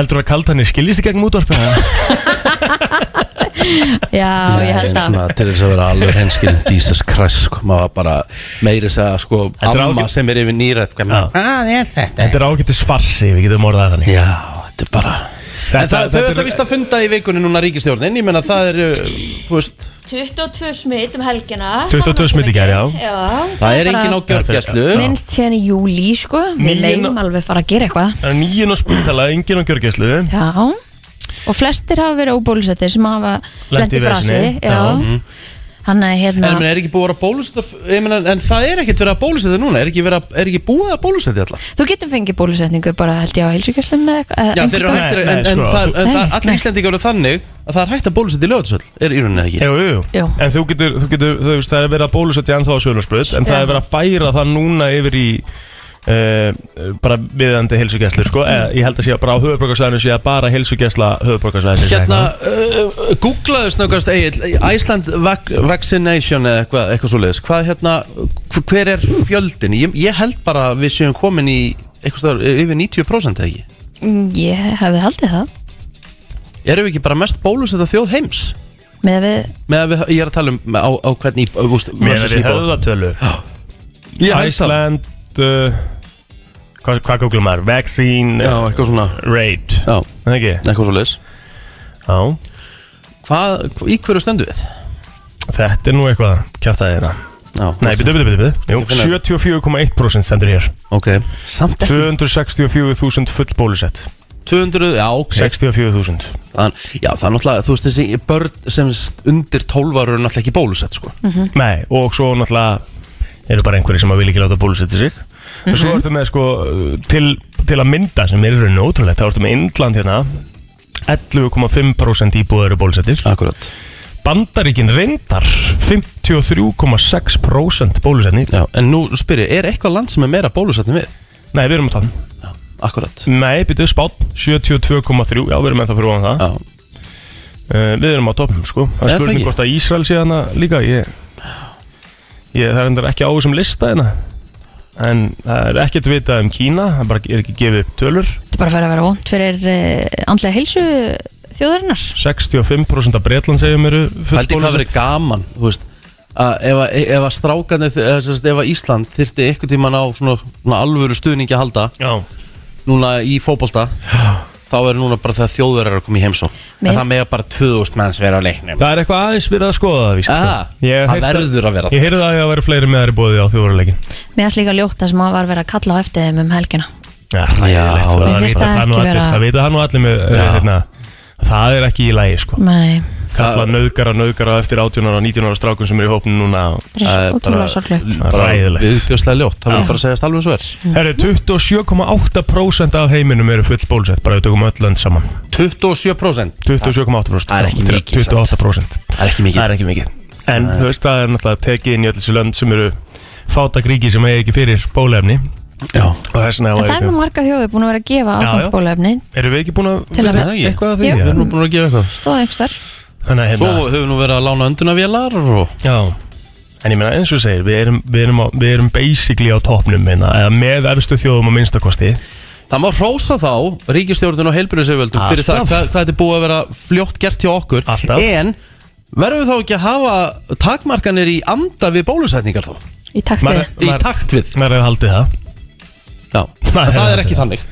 S3: heldur að kalda henni skiljist í gegnum útvarpið?
S2: Já, ég held að
S1: svona, til þess að vera alveg henskinn Jesus Christ, sko, maður var bara meiri að sko,
S3: Þetta er
S1: amma
S3: ágætt-
S1: sem er yfir nýrætt hvað
S3: Já.
S1: er þetta?
S3: Þetta er ágættis farsi, við getum orðað það þannig
S1: Já, þetta er bara
S3: Þetta-
S1: En það, þau
S3: þetta er-
S1: ætla vist að funda í vikunni núna ríkistjórnin Ég menna það er, uh, þú veist
S2: 22 smitt um helgina
S3: 22 smitt í gær, já.
S2: Já,
S1: Það er
S2: bara
S1: engin á gjörgæslu
S2: Minnst síðan í júli, sko Við
S3: Níu-
S2: meðum alveg fara að gera eitthvað
S3: Það er nýjun á spítala, engin á gjörgæslu
S2: Já Og flestir hafa verið óbólusettir sem hafa lent
S3: Lent í
S2: í brasi
S3: veseni,
S2: Já
S3: já.
S2: Hann er hérna
S1: Mhm. En, menn, er ekki búið að vera bólusetja ég meina, En það er ekkert verið að bólusetja núna Er ekki, vera, er ekki búið að bólusetja alltaf
S2: Þú getur fengið bólusetningu bara held ég á heilsugjörslum með eitthvað
S1: Já, þeir eru
S3: Nei,
S1: hættir að- En,
S3: nei,
S1: en,
S3: sko,
S1: það,
S3: þú-
S1: en það,
S2: Nei,
S1: allir
S2: nei.
S1: íslendingar eru þannig Að það er hægt að bólusetja í lögatsöld Er í rauninni eða ekki
S3: Jú, jú,
S2: Jú.
S3: En þú getur, þú getur, þú veist, það er verið að bólusetja ennþá á Sjölunarsbröð En það
S2: Já.
S3: er verið að færa það núna yfir í uh, bara viðandi heilsugæslu sko. mm. Ég held að sé að bara á höfuborgarsvæðinu sé að bara heilsugæsla höfuborgarsvæðinu
S1: Hérna, uh, uh, googlaðu snöggast Egil Iceland vac vaccination eða eitthvað, eitthvað svoleiðis Hvað hérna, hv- hver er fjöldin ég, ég held bara að við séum komin í Eitthvað stöður, yfir 90% eða ekki
S2: Mm, Ég hefði haldið það
S1: Erum við ekki bara mest bólusetta þjóð heims?
S2: Með við
S1: Með að við, ég er að tala um með- á, á hvernig eh, í- úst,
S3: Mér
S1: versus
S3: er í
S1: íbúð.
S3: höfðatölu
S1: Ég held það.
S3: Æsland uh, Hvað, hvað googlum maður? Vaccine
S1: Já, eitthvað svona
S3: rate
S1: Já,
S3: Það ekki?
S1: eitthvað svo leis
S3: Já
S1: Hvað, hv- í hverju stendu við?
S3: Þetta er nú eitthvað Kjátaði hérna
S1: Já,
S3: Nei, byrju, byrju, byrju, byrju. Jú,
S1: Ég finna-
S3: 74,1% sendur hér
S1: Ok, samt ekki
S3: 264.000 full bólusett
S1: 200, já, ok
S3: 64.000
S1: Þann, Já, það er náttúrulega, þú veist þessi börn sem st- undir 12 ára eru náttúrulega ekki bólusett sko.
S3: Nei, og svo náttúrulega eru bara einhverjir sem að vilja ekki láta bólusetja sig mm Svo ertu með sko til, til að mynda sem er í rauninni ótrúlegt þá ertu með Indland hérna 11,5% íbúið eru bólusettir
S1: Akkurat
S3: Bandaríkin reyndar 53,6% bólusetning
S1: já, En nú spyr ég, er eitthvað land sem er meira bólusett en við?
S3: Nei, við erum að tala
S1: Akkurat
S3: Nei, byrjuðu spátt 72,3 Já, við erum ennþá fyrir ofan það
S1: Já,
S3: Uh, við erum á toppum sko
S1: Er
S3: Það er
S1: það
S3: spurning
S1: ekki?
S3: hvort að Ísrael sé hana líka Ég, ég það er endur ekki á þessum lista hérna En það er ekkert vitað um Kína Það bara er ekki gefið upp tölur
S2: Þetta er bara að fara að vera vond fyrir uh, andlega heilsu þjóðarinnar
S3: 65% af Bretland segjum eru
S1: Pældi hvað verið gaman, þú veist að ef, að- ef að strákarnir, eða sem sagt, ef að Ísland þyrfti einhvern tíman á svona, svona alvöru stuðningi að halda
S3: Já,
S1: núna í fótbolta þá er núna bara þegar þjóðverðar eru að koma í heimsó en
S2: Mér-
S1: það mega bara 2000 manns vera á leiknum
S3: það er eitthvað aðeins verið að skoða það víst sko.
S1: Aha,
S3: Ég hef
S1: það
S3: heyrt
S1: verður að vera sko. það.
S3: Ég heyrði að ég að vera fleiri með þær í bóði á þjóðurleikin
S2: Mér finnst líka ljótt að sem að var verið að kalla á eftir þeim um helgina
S3: Já, ræðilegt
S1: Mér
S3: Það
S2: finnst
S3: vita
S2: það
S3: það nú
S2: ekki
S3: allir
S2: vera-
S3: Það vita það nú allir með eh,
S1: Já.
S3: hérna, Það er ekki í lagi sko
S2: Nei,
S3: Kalla nöðgara nöðgara eftir 18 ára 19 ára strákun sem eru í hópnum núna og
S2: það er
S1: Það er
S2: svo
S1: bara-
S2: ótrúlega sorglegt
S3: Það er
S1: bara
S3: ræðilegt.
S1: viðbjóðslega ljótt það verður bara að segjast alveg eins og er
S3: Herri, 27,8% af heiminum eru full bólusett, bara ef við tökum öll lönd saman
S1: 27%
S3: 27,8%
S1: Það er ekki mikið, samt.
S3: 28%
S1: það er ekki mikið
S3: Það er ekki mikið En þú veist, það er náttúrulega tekið inn í öll þessu lönd sem eru fátak ríki sem eigi ekki fyrir bólefni
S1: Já.
S3: og þess vegna
S2: En það er nú
S3: ekki-
S2: marga þjóði búin að vera að gefa
S3: Já, já.
S2: ákvæmt bólefni
S3: Erum við ekki búin að
S2: Til að-
S1: Það er ekki.
S3: eitthvað að því?
S2: Jú.
S1: við
S3: Já.
S1: erum nú búin að gefa eitthvað
S2: Stóð einhvers þar
S3: Þannig að
S1: svo
S3: hérna
S1: höfum við nú verið að lána öndunavélar og
S3: Já En ég meina eins og þú segir, við erum, við erum, á, við erum basically á topnum hérna, eða með efstu þjóðum á minnstakosti
S1: það má hrósa þá ríkistjórnum og heilbyrðisauðvöldum fyrir það
S3: Alltaf.
S1: hvað, hvað þetta er búið að vera fljótt gert hjá okkur
S3: Alltaf.
S1: en verðum við þá ekki að hafa takmarkanir í anda við bólusetningar þó
S2: Í takt
S3: Maður-
S2: við
S1: í
S3: Maður-
S1: takt við
S3: Mér hefur haldið það
S1: Já. En það er ekki þannig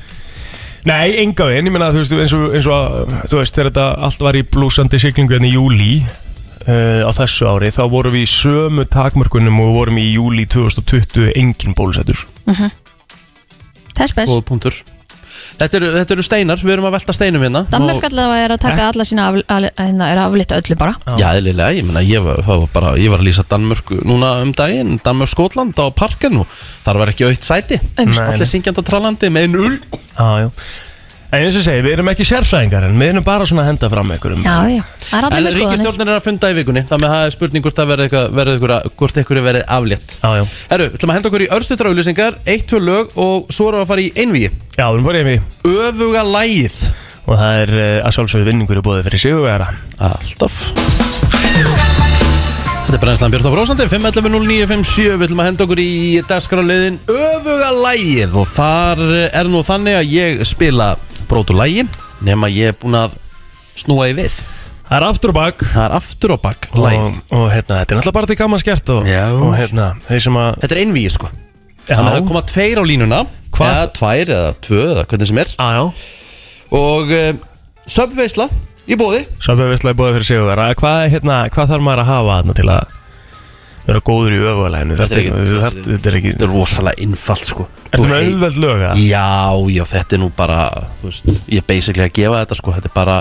S3: Nei, enga veginn, ég meina þú veist, eins og, eins og að- þú veist, þegar þetta allt var í blúsandi siglingu hérna í júli uh, á þessu ári, þá vorum við í sömu takmörkunum og vorum í júli 2020 engin bólusettur.
S2: Þess best.
S1: Góð punktur Þetta eru, þetta eru steinar, við erum að velta steinum hérna
S2: Danmark
S1: Nú-
S2: allavega er að
S3: Eh?
S2: taka alla sína af, al, hérna, er að aflita öllu bara
S1: Já, eðlilega, ég meina, ég var, það var bara, ég var að lýsa Danmörk núna um daginn, Danmörk-Skotland á parkinu, þar var ekki aukt sæti,
S2: Um.
S1: allir syngjandi og trallandi með einu ull.
S3: Já, já. En eins og ég segi, við erum ekki sérfræðingar en við erum bara svona að henda fram einhverjum.
S2: Já, já, það er allir
S1: En
S2: með skoðanir
S1: ríkistjórnin er að funda í vikunni, þannig að það er spurning hvort það verður eitthvað, verður eitthvað, hvort eitthvað verður aflétt.
S3: Já, já.
S1: Herru, ætlum að henda okkur í örstutra auðlýsingar, eitt, tvö lög og svo erum við að fara í einvíi.
S3: Já, við erum fórið yfir í.
S1: Öfuga lægið.
S3: og það er uh, að sjálfsögðu vinningur í bóði fyrir sigurvegara.
S1: Alltaf. Þetta er brennslan Björn Brósandi, 5.11.09.57 Við ætlum að henda okkur í dagskráliðin Öfuga lægið Og þar er nú þannig að ég spila brótu lægi Nefn að ég er búin að snúa í við
S3: Það er aftur og bak
S1: Það er aftur á bakk
S3: og,
S1: lægið
S3: og hérna, þetta er náttúrulega bara til gaman skert og,
S1: Já.
S3: og hérna, þeir sem að
S1: Þetta er einvíi sko
S3: Já,
S1: Þannig að það koma tveir á línuna
S3: Hvað?
S1: Eða tvær eða tvö eða hvernig sem er
S3: já, já.
S1: Og um, söpveisla í bóði
S3: Sjáfum við í bóði fyrir sigurvegara hvað, er, hérna, hvað þarf maður að hafa hérna, til að vera góður í öfugalæginu
S1: Þetta
S3: þetta,
S1: er
S3: er-
S1: ekki-
S3: þetta, er- þetta er ekki
S1: Þetta er rosalega innfalt sko
S3: Ertu
S1: Þú
S3: með
S1: hei-
S3: auðveld lög að?
S1: Já, já, þetta er nú bara þú veist, Ég er basically að gefa þetta sko Þetta er bara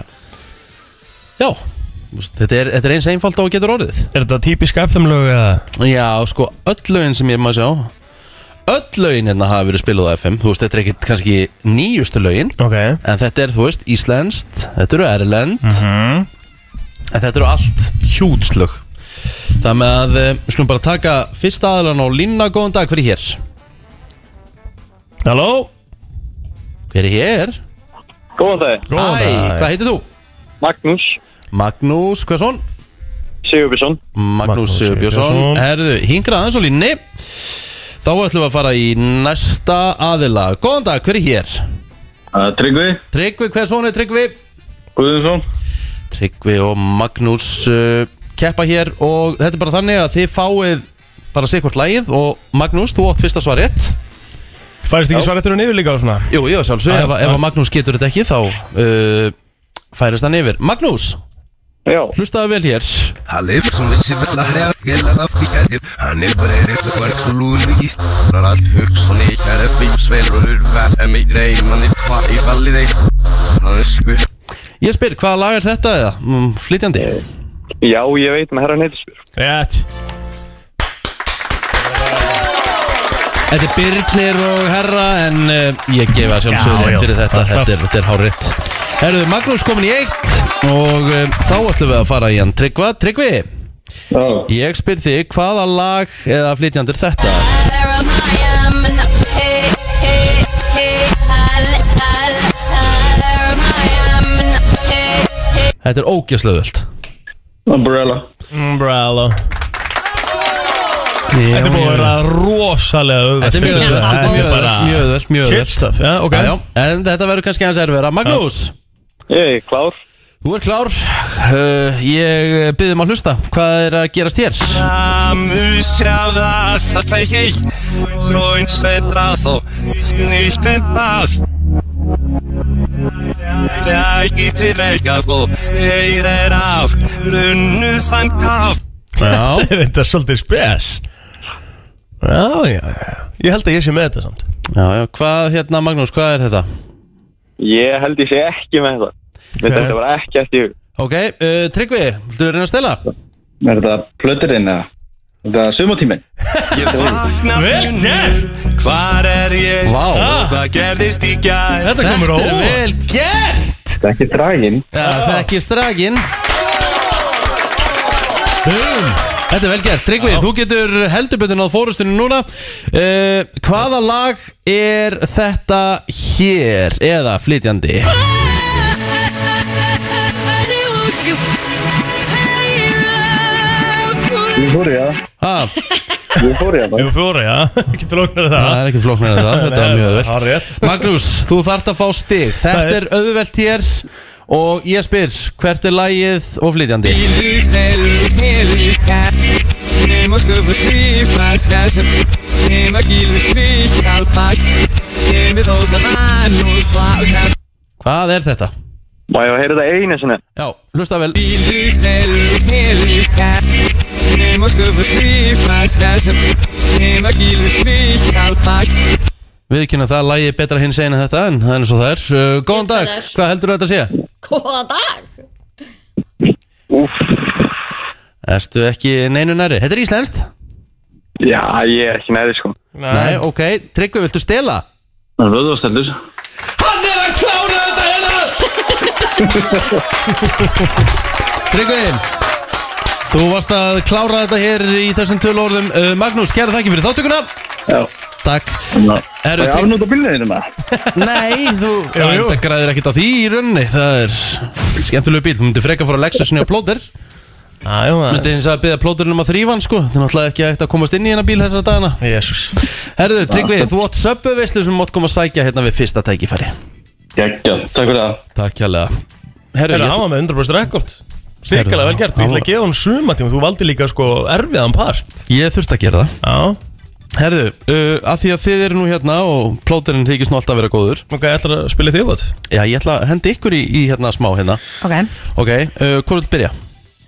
S1: Já, þú veist, þetta er, þetta er eins einfalt á að getur orðið
S3: Er þetta típisk FM lög eða?
S1: Já, sko, öll lögin sem ég maður sjá Öll lögin hérna hafa verið spiluð á FM Þú veist, þetta er ekkit kannski nýjustu lögin
S3: Ok
S1: En þetta er, þú veist, íslenskt Þetta eru erlend
S3: Mhm.
S1: En þetta eru allt hjútslög Það með að eh, Við skulum bara taka fyrsta aðlan á línna Góðan dag, hver er hér?
S3: Halló
S1: Hver er hér?
S9: Góðan dag,
S3: Góðan
S1: Hæ,
S3: dag.
S1: hvað heitir þú?
S9: Magnús
S1: Magnús Hversson
S9: Sigurbjörnsson
S1: Magnús
S3: Magnús
S1: Björnsson
S3: Björnsson.
S1: Herðu, hingrað aðeins á línni Þá ætlum við að fara í næsta aðila Góðan dag, hver er hér?
S9: Uh, Tryggvi
S1: Tryggvi, Hversson er Tryggvi?
S9: Guðinsson
S1: Tryggvi og Magnús uh, keppa hér og þetta er bara þannig að þið fáið bara sér hvort lagið og Magnús, þú átt fyrsta svar rétt
S3: Færist ekki svaretur og niður líka og svona?
S1: Jú, jú, sjálfsög,
S3: Já,
S1: ef, ef
S3: já.
S1: að Magnús getur þetta ekki þá uh, færist hann yfir Magnús,
S9: Já,
S1: hlustaðu vel hér Ég spyr, hvaða lag er þetta eða? Mm, flytjandi
S9: já ég veit með herra neytisbjör
S3: Rétt
S1: Þetta er Birnir og Herra en uh, ég gefa sjálfsögur
S3: Já,
S1: rétt
S3: já,
S1: fyrir þetta,
S3: alltaf.
S1: þetta er, þetta er hárétt Herðu, Magnús komin í eitt og uh, þá ætlum við að fara í hann Tryggva, Tryggvi Ég spyr þig, hvaða lag eða flytjandi er þetta? Þetta er ógjaslöðvöld
S9: Umbrella
S3: Mm, Umbrella Þetta er búið að vera rosalega auðvelt
S1: Þetta er mjög auðvelt, þetta er mjög
S3: bara
S1: auðvelt, mjög auðvelt, mjög
S3: Kid
S1: auðvelt
S3: stuff, já, ok
S1: Já, já, En þetta verður kannski hans erfiðara Magnús,
S9: Ég er klár
S1: þú er klár uh, Ég byggðum að hlusta Hvað er að gerast hér? Já,
S3: Þetta er þetta svolítið spes Já, já, já Ég held að ég sé með þetta samt
S1: já, já, hvað hérna Magnús, hvað er þetta?
S9: Ég held ég sé ekki með þetta Mér þetta var ekki eftir hug
S1: Ok, uh, Tryggvi, viltu reyna að stela?
S9: Er þetta plöturinn eða? Er þetta sumatíminn?
S3: Vel gert
S1: Vá,
S3: Þetta komur
S1: þetta
S3: á
S1: er
S3: óvart.
S1: vel gert!
S9: Þetta er ekki draginn
S1: Já, það er ekki straginn Þetta er vel gert, Tryggvi, þú getur heldurbyrðin á fórustunum núna uh, Hvaða lag er þetta hér, eða flytjandi?
S9: Ég fór í það
S1: Ha,
S9: Ég fór í það
S3: Jú, fjóra, já Getur lóknar það
S1: það er ekki flóknar en það, þetta var mjög öðvöld
S3: Það er rétt
S1: Magnús, þú þart að fá stig Þetta er auðvelt hér og ég spyr, hvert er lagið og flytjandi? Hvað er þetta?
S9: Má ég að heyra þetta einu sinni?
S1: Já, hlusta vel Við kynna það, lagi er betra hins einu þetta en það er svo það er uh, Góðan dag,
S2: Betra er.
S1: hvað heldur þetta að sé?
S2: Góða dag
S9: Úff,
S1: Erstu ekki neinu næri? Þetta er íslenskt?
S9: já, ég er ekki næði sko
S1: Nei, ok, Tryggvi, viltu stela?
S9: Það er vöðvastendur
S1: Hann er að klára þetta hérna Tryggvi Þú varst að klára þetta hér í þessum tölu orðum uh, Magnús, kæra þakki fyrir þáttökuna
S9: Já,
S1: Takk
S9: það
S1: Herru,
S9: er
S1: Tryggvi-
S9: afnóta bílnið þínum að
S1: Nei, þú Það græðir ekkert á því í rauninni Það er skemmtilegu bíl Þú myndir freka að fara að Lexusinni á plóter
S3: Æjó,
S1: Myndi hins að byggja plóterinn um að þrýfa hann sko Það er náttúrulega ekki hægt að komast inn í hennar bíl þessa dagana
S3: jésús
S1: Herðu, Tryggvi, þú átt söpöveislu sem mátt koma að sækja hérna við fyrsta tækifæri
S9: Gekkja, takk fyrir það
S1: Takk hérlega Herru,
S3: Herra,
S1: ég
S3: hann
S1: ætla-
S3: var með 100% rekord Ríkilega
S1: Herra,
S3: vel gert, ég
S1: hann
S3: ætla
S1: var-
S3: að gefa hún suma tíma Þú valdi líka sko erfiðan part
S1: ég þurfti að gera það
S3: Já,
S1: Herðu, uh, að því að þið eru nú hérna og plóterinn þykist nú alltaf að vera góður
S3: ok, ég ætla að spila þig út
S1: Já, ég ætla að henda ykkur í, í hérna smá hérna
S2: Ok,
S1: Ok, uh, hvað vil byrja?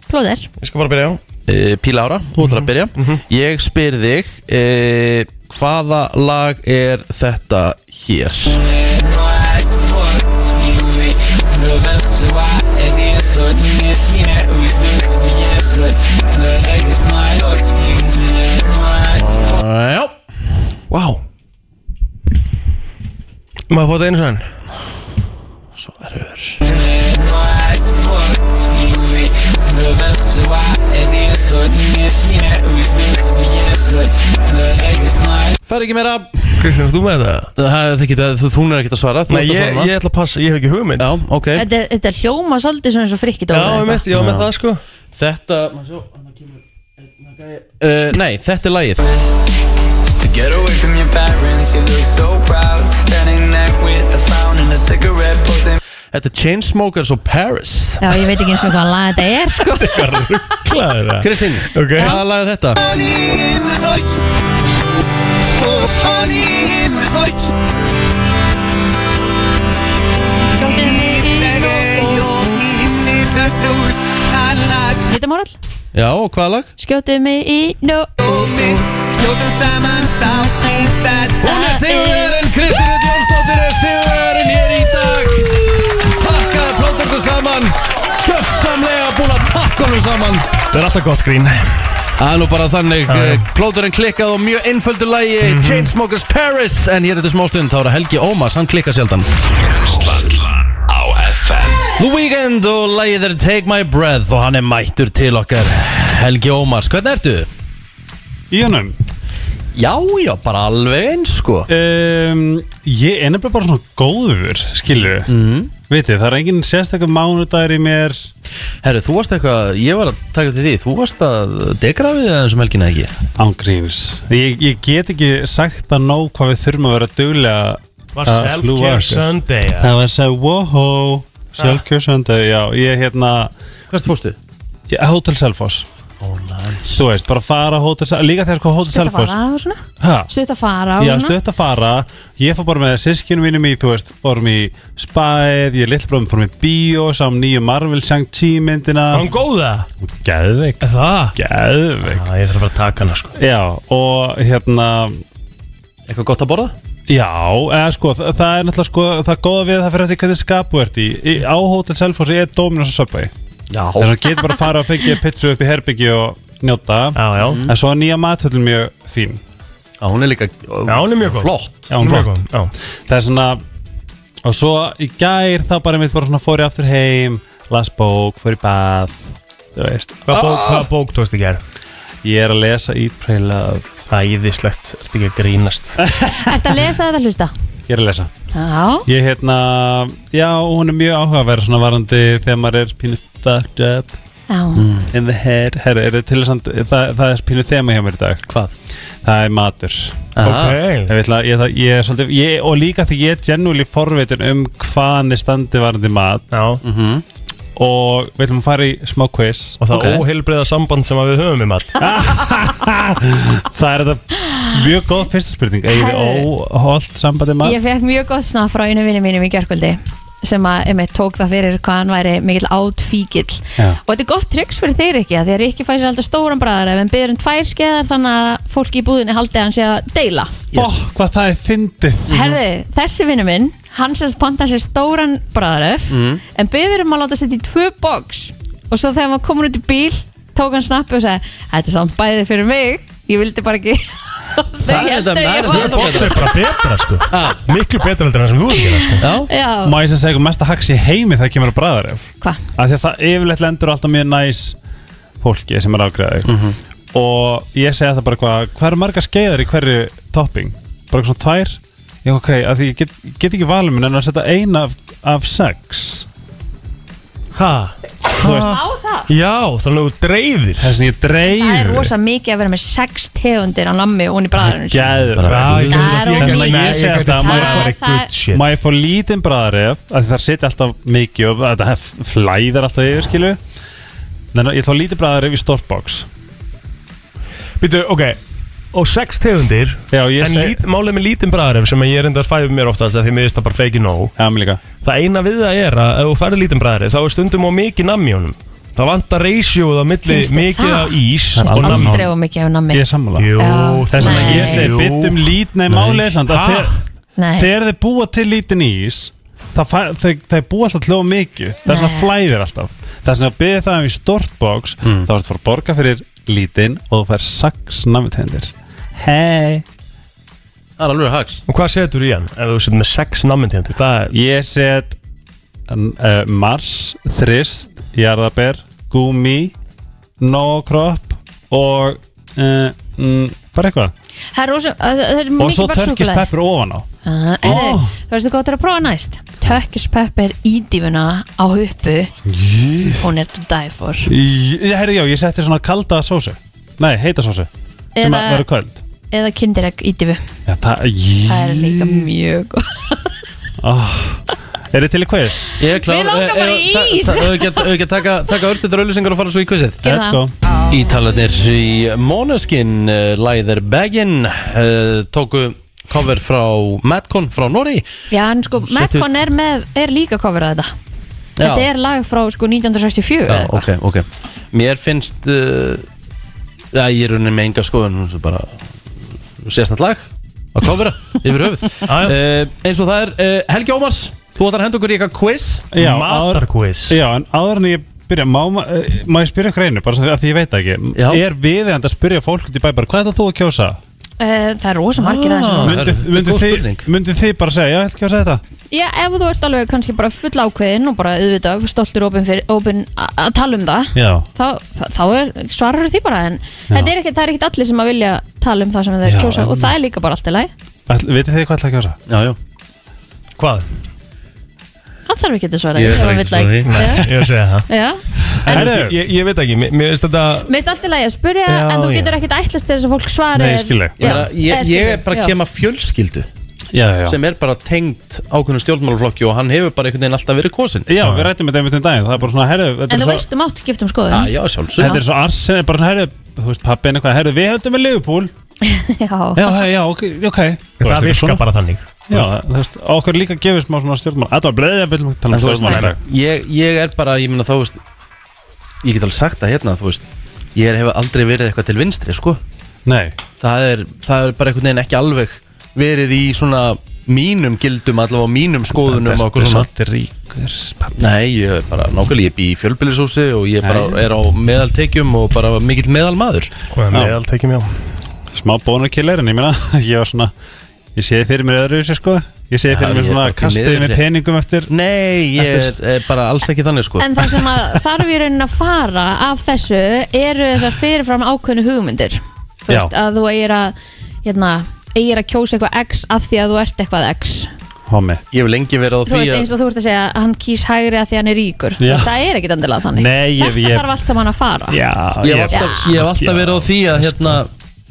S2: plóðir
S3: Ég skal bara byrja Mhm. á
S1: Uh, Píla Ára, þú ætlar að byrja Ég spyr þig uh, Hvaða lag er þetta hér? Já,
S3: Vá wow. Maður fótt einu sann
S1: svo erfur Fær ekki meira
S3: Kristján, þú með það?
S1: Það það geta, þú, hún er ekkert að svara Þú
S3: Nei,
S1: ert að
S3: ég,
S1: svara
S3: ég ætla að passa, ég hef ekki hugmynd
S1: Já, ok
S2: Þetta, þetta hljóma svolítið svona eins og frikki
S3: já ég mitt, ég var með það sko
S1: Þetta uh, Nei, þetta er lagið
S10: To get away from your parents, you look so proud. Standing there with a frown and a cigarette posing.
S1: Þetta er Chainsmokers og Paris
S2: Já, ég veit ekki eins og hvað lag þetta er sko
S3: Klaður það
S1: Kristín,
S3: Ok.
S1: hvaða lag er þetta?
S10: Honey in my light. Oh, honey in my light.
S2: Gita Mórall,
S1: Já, og hvaða lag?
S2: skjótið mig í no
S1: Hún er Sigurverðin, Kristín Rutt Jónsdóttir er Sigurverðin hér í dag Pakkaði plóttorku saman Gjössamlega búin að pakka honum saman
S3: Það er alltaf gott grín
S1: Það er nú bara þannig,
S3: já. Mhm.
S1: eh, plóturinn klikkað og mjög einföldu lagi Chainsmokers Paris En hér eftir smástund þá er það Helgi Ómas, hann klikkað sjaldan
S4: Brennslan á FM
S1: The Weeknd og lagið er Take My Breath og hann er mættur til okkar Helgi Ómars, hvernig ertu?
S11: Í hannum
S1: Já, já, bara alveg eins sko
S11: um, Ég er nefnilega bara svona góður Skilur
S1: Mhm.
S11: mm. Vitið, það er engin sérstakar mánudagur í mér
S1: Herru, þú varst eitthvað, ég var að taka til því Þú varst að degra við það eins og melgina ekki
S11: Ángríns ég, ég get ekki sagt það nóg hvað við þurfum að vera duglega
S3: Var
S11: að hlúa
S3: self-care
S11: að þessu.
S3: Sunday ja. Ah.
S11: Það var að segja Woho, self-care Sunday Já, ég hérna
S1: Hvert fórstu?
S11: ég, Hotel Selfoss
S1: Ó, næs
S11: Þú veist, bara fara á Hotel Selfoss Líka þegar sko Hotel
S2: Stutt að
S11: Selfoss
S2: fara og svona
S11: Ha?
S2: Stutt að fara og
S11: Já,
S2: svona
S11: stöðt að fara Ég fór bara með sískinu mínum í, þú veist, fórum í spæð Ég lillbróðum fórum í bíó Sáum nýju Marvel Shang-Chi myndina
S3: Var hún góða?
S11: Geðveik
S3: Er Það?
S11: Geðveik
S3: Já, ég þarf að fara að taka hana sko
S11: Já, og hérna
S1: Eitthvað gott að borða?
S11: Já, eða sko, þa- það er náttúrulega sko Það góða við að það fyrir eftir hvernig skapu ert í, í Á Hotel Selfoss er Dominos og Subway
S1: Já
S11: Þannig að getur bara að fara og fengja pizzu upp í herbyggi og njóta
S3: Já, já
S11: En svo er nýja matöldin mjög fín
S1: Já, hún er líka
S3: Já, hún er mjög góð.
S1: Flott
S11: Já, hún er
S3: Mjög
S11: flott
S3: góð, Já
S11: það er svona og svo í gær þá bara mitt bara svona fór ég aftur heim las bók, fór í bað þú veist,
S3: Hvað bók,
S1: Ah!
S3: hvað bók tókst í gær?
S11: ég er að lesa Eat, Pray, Love
S3: Æðislegt, ertu ekki að grínast
S2: Ertu að lesa eða hlusta?
S11: ég er að lesa,
S2: Já,
S11: ég hérna já, hún er mjög áhugaverð svona varandi þegar maður er pínu fucked up Mm.
S2: já
S11: in the head, herru, er það til þess að það, það er pínu þema hjá mér í dag
S1: Hvað?
S11: það er matur
S1: Aha.
S11: Ég, ætla, ég, ætla, ég, er svolítið, ég, og líka því ég er genúli forveitin um hvaðan þið standi varandi mat
S3: Já,
S1: Mhm.
S11: og við ætlum að fara í smá quiz
S3: Og það
S11: Ok.
S3: okay. óheilbreiða samband sem að við höfum um all
S11: Það er þetta mjög góð fyrsta spurning Eða við
S2: Herðu.
S11: óholt sambandi
S2: Ég
S11: maður
S2: fekk mjög gott snaf frá einu vinni mínum í gerkvöldi sem að emitt tók það fyrir hvað hann væri mikill átfíkil
S11: Já.
S2: og þetta er gott tryggs fyrir þeir ekki því að Rikki fæsir alltaf stóran bræðar ef hann byrður um tvær skeðar þannig að fólki í búðinni haldi að hann sé að deila
S11: Ó, hvað það er fyndið
S2: Herðu, þessi vinnu minn hann semst panta sér stóran bræðaröf
S11: Mhm.
S2: en byrður um að láta setja í tvö box og svo þegar hann var komin út í bíl tók hann snappi og sagði Þetta er samt bæði fyrir mig, ég vildi bara ekki
S1: Það er þetta- það er þetta ennþá
S3: Box er bara betra sko Miklu betra heldur en það sem þú ert að gera
S1: sko
S2: Já.
S11: Má ég sem segja mesta haks í heimi þegar kemur að bræðar
S2: Hva?
S11: Af því að það yfirleitt lendur alltaf mjög næs fólki sem er afgræði mm og ég segja það bara hvað hvað eru marga skeiðar í hverju topping bara eitthvað svona tvær já ok, af því ég get, ég get ekki valið minn en að setja eina af, af sex
S3: ha?
S11: þú veist
S2: Á það?
S3: Já, þannig að þú dreifir
S11: þess að ég dreif
S2: Það er rosa mikið að vera með sex tegundir á nammi og hún í bræðarinn
S11: Gæður
S3: Bara fyrir-
S2: Það er ógeðslega mikið. Það- það-
S11: Má ég fá lítinn bræðaref af því það setja alltaf mikið og þetta hef- flæðir alltaf yfir skilu Þannig að ég fá lítinn bræðaref í stórt box
S3: Býtu, ok Og sex tegundir
S11: Já, ég
S3: En
S11: seg-
S3: lít, málið með lítinn bræðaref sem ég er enda að fæði mér oftast af Því mér finnst það bara feiki nóg
S11: Já, mér líka
S3: Það eina við það er að ef þú færði lítinn bræðaref Þá er stundum og mikið nammi í honum Það vantar reysjóð á milli
S2: Finnst þér
S3: mikið
S2: það?
S3: af ís
S11: Það er
S3: og nammi.
S2: Aldrei og mikið af nammi
S11: Ég er sammála
S3: Jú,
S2: Já.
S11: Þess að
S2: Nei.
S11: ég segi byttum lít Nei,
S3: Nei.
S11: málið er samt að
S3: Ha?
S11: þegar-
S2: Nei.
S11: Þegar þið búa til lítinn ís Það, fæ, það, það búa alltaf hljóð mikið Það er svona
S2: Nei.
S11: flæðir alltaf Það er svona að byrja það um í stórt box mm. Það varst bara að borga fyrir lítinn Og þú fær sex namitendir Hei
S1: Það er alveg hags
S3: Og hvað setur í hann ef þú setur með sex nammintegundir? Hvað er
S11: Ég set uh, Mars, Þrist, Jarðaber Gumi Nókropp Og uh, mm, bara eitthvað
S2: Það er rosa, það það er
S11: Og
S2: mikið
S11: svo
S2: bara
S11: törkis
S2: súkulæði
S11: peppur ofan á
S2: Þú
S3: Oh.
S2: veistu hvað þú er að prófa næst Tökkispepper í dífuna á huppu Hún er to die for
S11: Ég, herri, já, ég setti svona kalda sósu Nei, heita sósu Sem
S2: Eða-
S11: að verður köld
S2: Eða kindiregg í dífu
S11: já, það, jí,
S2: Það er líka mjög góð
S11: oh.
S3: Ah.
S11: Er þið til í quiz?
S1: Ég er klár Eh,
S2: Mig langar bara í ís.
S1: Þau ekki að taka, taka örstöldur auðlýsingar og fara svo í quizið
S2: Gerum Let's það.
S1: Ítalarnir í Måneskin uh, Læðir Baggin uh, Tóku cover frá Madcon frá Norri
S2: Já, en sko,
S1: Setur-
S2: Metcon er, með, er líka cover á þetta
S1: Já.
S2: Þetta er lag frá sko 1964
S1: Já,
S2: eða
S1: ok, ok Mér finnst uh, Já, ég er raunin með enga skoðun hún er bara sérstætt lag að covera yfir höfuð uh, Eins og það er uh, Helgi Ómars Þú ætlar að henda okkur í eitthvað quiz
S11: Já, áður- Já, en áður en ég byrja Má, má eh, má ég spyrja ykkur einu, bara svo að því ég veit það ekki
S1: Já.
S11: Er viðeigandi að spyrja fólk út í bæ bara, Hvað er það þú að kjósa? Ah,
S2: Eh, Það er rosa margir að
S3: Ah.
S2: þessu núna.
S11: Myndið myndi þið, myndi þið bara segja, já, ég ætla að kjósa þetta
S2: Já, ef þú ert alveg kannski bara full ákveðin og bara auðvitað stoltur opin, fyrir, opin a- að tala um það
S11: Já
S2: þá, þá er, svarar því bara en þetta er ekkert, það er ekkert allir sem að vilja tala um það sem þeir
S11: Já,
S2: kjósa
S11: en-
S2: og það er líka bara allt í lagi
S11: Ætl- Vitið þið hvað ætla að kjósa?
S1: Já, já
S3: Hvað?
S2: hann þarf ekki að svara því,
S3: Ég
S2: ef
S3: þarf
S2: hann
S3: ekki
S2: vill
S3: að svara
S2: ekki.
S3: því. Nei, ég er að segja það.
S2: Já.
S3: En, ég, ég, ég veit ekki, mér, mér finnst þetta
S2: Mér finnst allt í lagi að spurja
S3: Já,
S2: en þú
S3: já.
S2: getur ekkert ætlast til þess að fólk svari þér- Já,
S1: Ég, meina,
S2: eða
S1: ég, ég
S2: skilur,
S1: er bara
S2: já.
S1: að kema fjölskyldu
S11: já, já.
S1: sem er bara tengt ákveðinu stjórnmálaflokki og hann hefur bara einhvern veginn alltaf verið kosin
S11: Já, við rættum þetta einmitt um daginn Það er bara svona, herðu þetta
S2: En
S11: er
S2: þú
S11: svo-
S2: veist, þú mátt skipta um skoðun
S1: Ah, Já, já, sjálfsög
S11: Þetta er svo arsen, bara herðu, þú veist pappin eitthvað, herðu við höldum við Liverpool Já,
S2: Já,
S11: hei, já, ok, ok
S3: Það virkar bara þannig
S11: Já, þú veist, okkur líka gefur smá svona stjórnmál Þetta var bleið að byrja að tala
S1: En
S11: um
S1: þú veist,
S11: stjórnmál í dag.
S1: ég, ég er bara, ég meina þá veist Ég get alveg sagt það hérna, þú veist Ég er, hef aldrei verið eitthvað til vinstri, sko
S11: Nei
S1: Það er, það er bara einhvern veginn ekki alveg verið í svona mínum gildum allavega á mínum skoðunum og um okkur svona
S11: svolítið ríkur pappi.
S1: Nei, ég er bara nákvæmlega, ég bý í fjölbýlisúsi og ég bara er á meðaltekjum og bara mikill meðalmaður
S3: Og er meðaltekjum, já
S11: Smá bónukiller, en ég meina, ég var svona Ég sé fyrir mér öðru þessu sko Ég sé
S1: Já,
S11: fyrir mér
S1: ég er
S11: svona
S1: bara því
S11: kastiði
S1: miður
S11: með
S1: ég-
S11: peningum eftir
S1: Nei, ég er,
S11: Eftir-
S1: er bara alls ekki þannig, sko
S2: En það sem að þarf í raunin að fara af þessu eru þessar fyrirfram ákveðnu hugmyndir Þú
S11: Já.
S2: veist að þú eigir að hérna, eigir að kjósa eitthvað X af því að þú ert eitthvað X
S11: Homi
S1: Ég hef lengi verið á
S2: Þú
S1: því
S2: veist eins og þú ert að segja að hann kýs hægri af því að hann er ríkur
S1: Já.
S2: Það er ekkit endilega þannig
S1: Nei, ég-
S2: Þetta
S1: ég-
S2: þarf allt saman að fara
S1: ég hef alltaf, ég hef alltaf verið á því að hérna,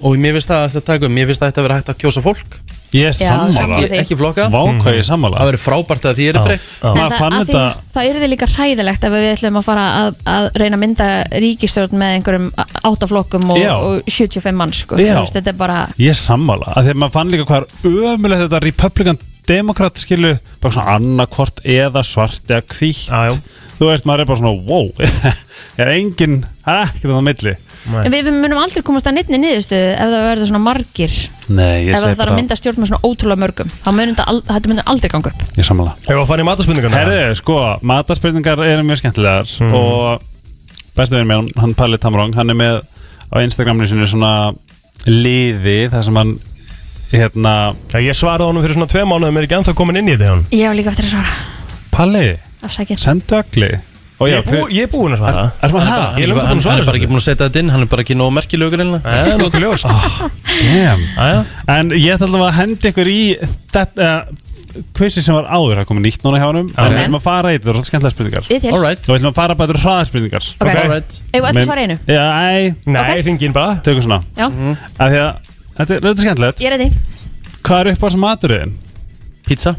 S1: og mér finnst það að þetta taka mér finnst það að þetta vera hægt að kjósa fólk
S11: Ég er
S2: Já,
S11: sammála
S2: sammála því. Ekki
S1: flokka Mm.
S11: Vá hvað ég er sammála
S1: Það verður frábært að því er breytt
S2: En
S11: Maður
S2: það,
S11: fann
S2: að því,
S11: þetta
S2: það er þið líka hræðilegt ef við ætlum að fara að, að reyna að mynda ríkistjórn með einhverjum áttaflokkum og,
S11: Já.
S2: og 75 mann sko.
S11: Já.
S2: Þú veist, þetta er bara
S11: Ég er sammála að Þegar maður fann líka hvað er ömulegt þetta Republikan Demokrat skilu Bara svona annarkvort eða svart eða hvítt Þú veist maður er bara svona wow Er engin ekkert það á milli
S2: En við munum aldrei komast að neittni niðurstöðu ef það verður svona margir
S11: Nei, ég
S2: ef það
S11: segi
S2: þarf að
S11: bara
S2: mynda stjórn með svona ótrúlega mörgum þá munum þetta al- þetta munum aldrei ganga upp
S11: Ég er sammála
S3: Hefur að fara í matarspurningarna?
S11: Herðu, sko, matarspurningar eru mjög skemmtilegar
S3: Mm.
S11: og bestu verið mér, hann Palli Tamrong hann er með á Instagraminu sinu svona liði þar sem hann hérna
S3: Já, ég svaraði honum fyrir svona tvei mánuðum er ekki ennþá komin inn í þetta hjá hann
S2: Ég hef líka eftir að svara,
S11: Palli,
S2: afsækir
S11: sendu ögli Og
S3: Ég
S11: já,
S3: er bú-
S11: hver-
S3: ég er búinn að svara
S11: Er maður
S1: Hann er
S11: það?
S1: bara- hann- hann er bara ekki búin að setja þetta inn Hann er bara ekki nóg merkilegur einlega
S3: Það er nokkuð ljóst
S11: Ah, Damn En ég ætla alltaf að hendi ykkur í þetta kvissi sem var áður það komið nýtt núna hjá honum en við ætlum að fara í þetta, það er alltaf skemmtilega spurningar
S2: Ég til. Alright.
S11: Nú ætlum að fara bara til hraðarspurningar
S2: Ok. Alright. Eigum við öll að svara í einu?
S11: Já, æ
S3: Nei, okay. ringin bara
S11: Tökum svona
S2: Já.
S11: Af því að þetta er þetta er skemmtilegt
S2: Ég er ready,
S11: Hvað er uppáðs maturinn?
S1: Pizza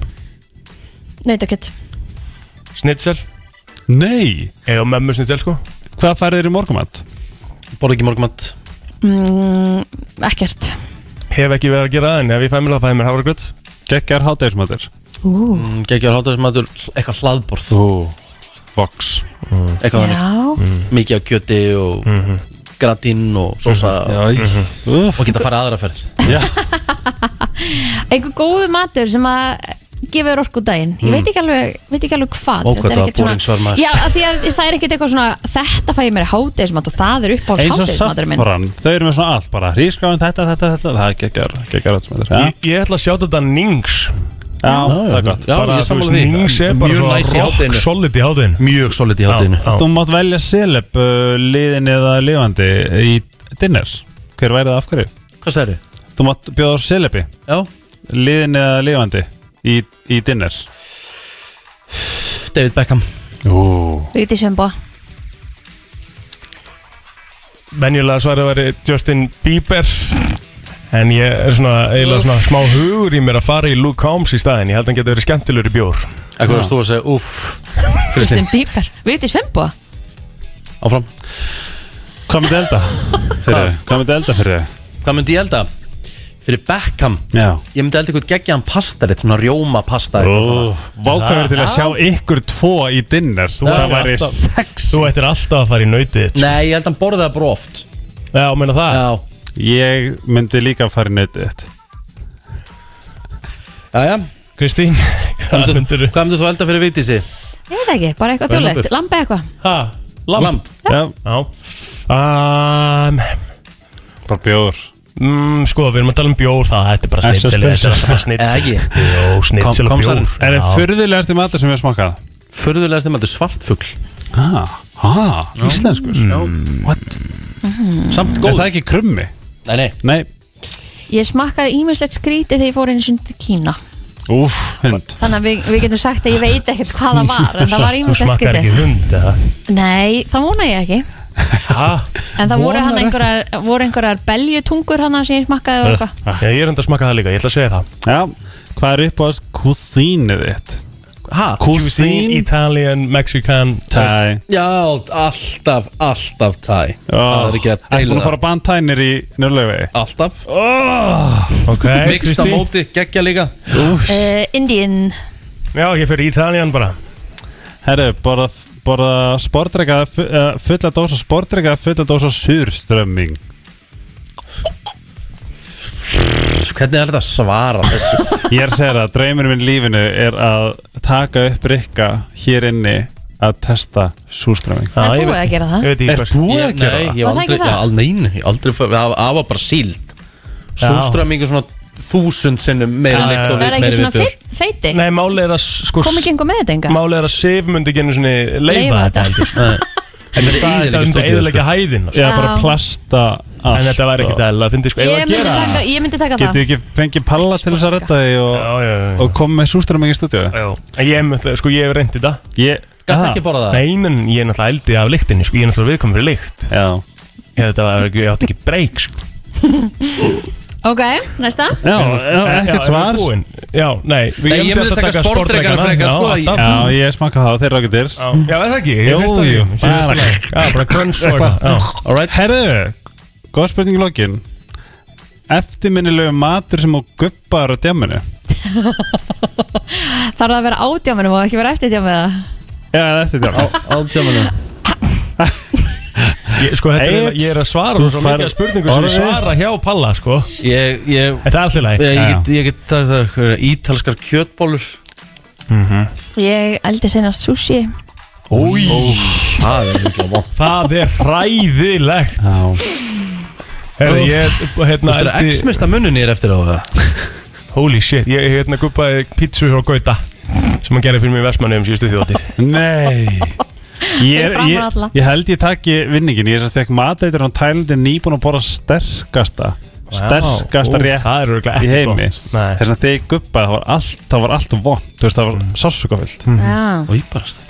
S2: nautakjött
S3: Snitsel
S11: Nei
S3: Eða mömmu snitsel sko
S11: Hvað færið þér í morgumat?
S1: Borð ekki morgumat
S2: mm, Ekkert
S3: Hef ekki verið að gera það en ef ég fæ mér það fæ ég mér hafragröð
S11: Gekkjar hátægismatur
S2: Ú.
S1: Mm, Gekkjar hátægismatur Eitthvað hlaðborð
S11: Ú, vox
S1: Eitthvað
S2: Já.
S1: þannig Mm. Mikið á kjöti og gratín og sósa
S11: Mhm. Já,
S1: Og geta farið aðra ferð
S2: einhver góðu matur sem að gefa þér orku daginn, ég
S1: Mm.
S2: veit ekki alveg, veit ekki alveg hvað
S1: Ó,
S2: Þetta
S1: hvað
S2: er
S1: það var
S2: ekkert svona-
S1: boring svar, maður.
S2: Já, af því að það er ekkert eitthvað svona þetta fæ ég mér hádegismat og það er uppáhalds
S11: Eins og
S2: hádegismatur minn
S11: saffran Þau eru með svona allt bara Rísgráin, þetta, þetta, þetta Það er gekkjar, gekkjar hátægismatur ja.
S3: Ég, ég ætla að sjá þetta Nings
S11: Já, það er gott
S1: Já,
S3: bara,
S1: ég
S3: þú
S1: sammála
S3: veist,
S1: því.
S3: Nings er bara
S1: Mjög
S3: svona
S1: næs í hádeginu.
S3: rock solid í hátinn
S1: Mjög solid í hátteginu
S3: Já, já.
S11: Þú mátt velja seleb uh, liðin eða lifandi í dinner Hver væri það af hverju?
S1: Hvað sagði?
S11: Þú mátt bjóða á selebi
S1: Já
S11: Liðin eða lifandi í, í dinner
S1: David Beckham
S11: Ú
S2: Við getum sjömbá
S3: Venjulega svarið væri Justin Bieber En ég er svona eiginlega svona smá hugur í mér að fara í Luke Combs í staðin Ég held að hann geti verið skemmtilegur í bjór
S1: Ekkur varst þú að segja uff
S2: Justin
S1: Kristinn
S2: Bieber, við getum sjömbá
S1: Áfram
S11: Hvað myndi elda? Fyrir, hvað myndi elda fyrir?
S1: Hvað myndi ég elda? Fyrir Beckham
S11: Já
S1: Ég myndi elda eitthvað geggjaðan pastarétt Svona rjóma pasta
S11: Vákvæður til að sjá ykkur tvo í dinner Þú
S1: Það
S11: það væri
S1: alltaf-
S11: sex
S3: Þú ættir alltaf að fara í nautið þitt.
S1: Nei, ég held að hann borði það bara oft
S3: Já, meina það
S1: Já,
S11: Ég myndi líka að fara í nautið þitt
S1: já, já
S3: Kristín, hvað myndir
S1: Hvað myndir þú elda fyrir Vigdísi?
S2: Ég veit ekki, bara eitthvað
S1: Vel
S2: þjóðlegt,
S1: nokkuð.
S2: lambi eitthvað
S3: Ha, lamb
S1: Lamb
S11: Já
S3: Já um,
S11: Bara bjóður
S3: mm, Sko, við erum að tala um bjór það Þetta er bara
S11: Það er svo
S3: snitsel Þetta
S11: spensa.
S3: er bara snitsel
S1: Eða ekki?
S3: Jó,
S1: Kom-
S3: snitsel og
S1: komsarinn.
S3: bjór
S11: Er það
S3: Já.
S11: fyrðulegasti matur sem við smakað?
S1: Furðulega stemma, þetta er svartfugl
S11: Ha, ha, Ah, íslenskur
S3: Mm.
S1: Já.
S11: What?
S1: Samt
S11: Er
S1: góð
S11: það ekki krummi?
S1: Nei, nei
S11: Nei
S2: Ég smakkaði ímislegt skrítið þegar ég fór einu sinni til Kína
S11: Úf, hund
S2: Þannig að við, við getum sagt að ég veit ekkert hvað það var En það var
S3: Þú
S2: ímislegt
S3: smakkar ekki
S2: skrítið
S3: hund eða?
S2: Nei, það vona ég ekki
S3: Ha?
S2: En það voru,
S3: Vonar
S2: hann
S3: ekki. Eh.
S2: einhverjar, voru einhverjar beljutungur hann sem ég smakkaði og eitthvað
S3: Já, ég er enda að smakka það líka Ég ætla að segja það
S11: Já, hvað er upp á þess kúþínið þitt?
S1: Ha?
S11: Cuisine.
S3: Italian, Mexican
S11: Tæ
S1: Já, alltaf, alltaf tæ Það er ekki að
S11: Það er búin
S1: deila
S11: að fara bantænir í njörlega
S1: það Alltaf
S3: Ok,
S1: Mikst á
S3: Kristín
S1: móti, geggja líka
S2: uh, Indian
S3: Já, ég fyrir Italian bara
S11: Herru, borða, borða sportdrykka eða fu- eða fulla dósa sportdrykka eða fulla dósa surströmming
S1: Hvernig er þetta að svara þessu?
S11: Ég er að segja það, draumurinn minn í lífinu er að taka upp rikka hér inni að testa surströmming
S2: Það
S3: Já,
S2: er
S3: ég
S2: búið
S3: veit-
S2: að gera
S3: Ég
S2: það
S3: veit ekki
S11: Er
S3: hvað
S11: búið að gera
S1: Nei,
S2: Var
S1: ég hef
S11: það?
S2: það
S1: aldrei,
S2: ekki það?
S1: já, al- nein, ég hef aldrei fór- Það það var bara síld Sústraming er svona þúsund sinnum meiri
S3: Já,
S1: lykt
S3: já,
S1: og
S2: Það er
S1: vit,
S2: ekki
S1: meiri
S2: svona
S1: viðbjör
S2: fe- feiti
S3: Nei, málið er að sko
S2: Kom ekki einhver með þetta enga
S3: Málið er að Sif myndi ekki einu sinni leifa
S2: Leyfa
S3: þetta
S2: þetta.
S3: heldur.
S1: Nei.
S3: En
S1: Þetta er
S3: það
S1: eyðileggja
S3: myndi
S1: stúdíóið, sko.
S3: eðilega hæðin
S11: Eða bara
S2: Já.
S11: plasta allt
S3: En þetta væri ekkert eðla, það fyndi sko eigum við
S2: Ég myndi,
S3: að
S2: taka, ég myndi taka það
S11: Getur ekki fengið palla til þess að redda því og,
S3: Já, já, já, já.
S11: og koma með surströmming í stúdíu
S3: Já, en ég myndi, sko ég hef reynd í dag
S11: Ég,
S1: Gast
S11: Ah,
S1: ekki borða það?
S3: Nei, menn ég er náttúrulega eldið af lyktinni, sko, ég er náttúrulega viðkomið fyrir lykt
S11: Já
S3: Ég þetta var ekki, ég átti ekki breyk, sko
S2: Ok, Ok, næsta
S3: Já,
S11: já, ekkert svar.
S3: búin. Já, nei
S11: Nei, ég myndi taka sportdrekkana frekar, sko. Já, ég smaka það og þeir eru ekki til
S3: Já, já, er það ekki? Ég
S11: Jú,
S3: veist það
S11: jú,
S3: ekki. Ég
S11: bara
S3: veist það ekki. Já, bara crunch og
S11: Eitthvað.
S3: eitthvað. Já.
S11: Alright. Herðu, góð spurning í lokin Eftirminnilegu matur sem á gubbar á djáminu
S2: Þarf það að vera á djámanum og ekki vera eftir djámanum
S11: Já, eða eftir djáminu
S1: Á djáminu
S3: Ég, sko, þetta er,
S11: Egill,
S3: ég er að svara
S11: þú
S3: þú svo
S11: færð
S3: mikið af spurningum sem ég
S11: orðið.
S3: svara hjá Palla, sko
S1: Ég, ég
S3: Þetta er alltaf
S1: Ég,
S3: læg
S1: ég get, ég get það, það, það, eh, ítalskar kjötbólur
S2: Ég eldi senast sushi
S3: Új,
S1: Það er hugla vond
S3: það er hræðilegt Herðu, ég,
S1: Þú
S3: hérna
S1: veist það að
S3: eldi-
S1: X-mista munnunni er eftir á það
S3: Holy shit, ég ég, hérna guppaði pítsu hjá Gauta sem hann gerði fyrir mig í Vestmanni um síðustu þjóttir
S11: Nei
S2: Fyrir
S11: Ég, er-
S2: framan
S11: ég,
S2: alla.
S11: ég held ég takki vinningin Ég er sérst ekki matætur á Tælandi nýbúin að borða sterkasta Sterkasta
S3: ó,
S11: rétt
S3: það er örugglega
S11: í
S3: ekki
S11: heimi
S3: gott.
S11: Þess vegna þegar ég guppaði það var allt Það var allt vond, þú veist það
S3: Mm.
S11: var sársukafyllt
S2: Já
S1: Og íbarast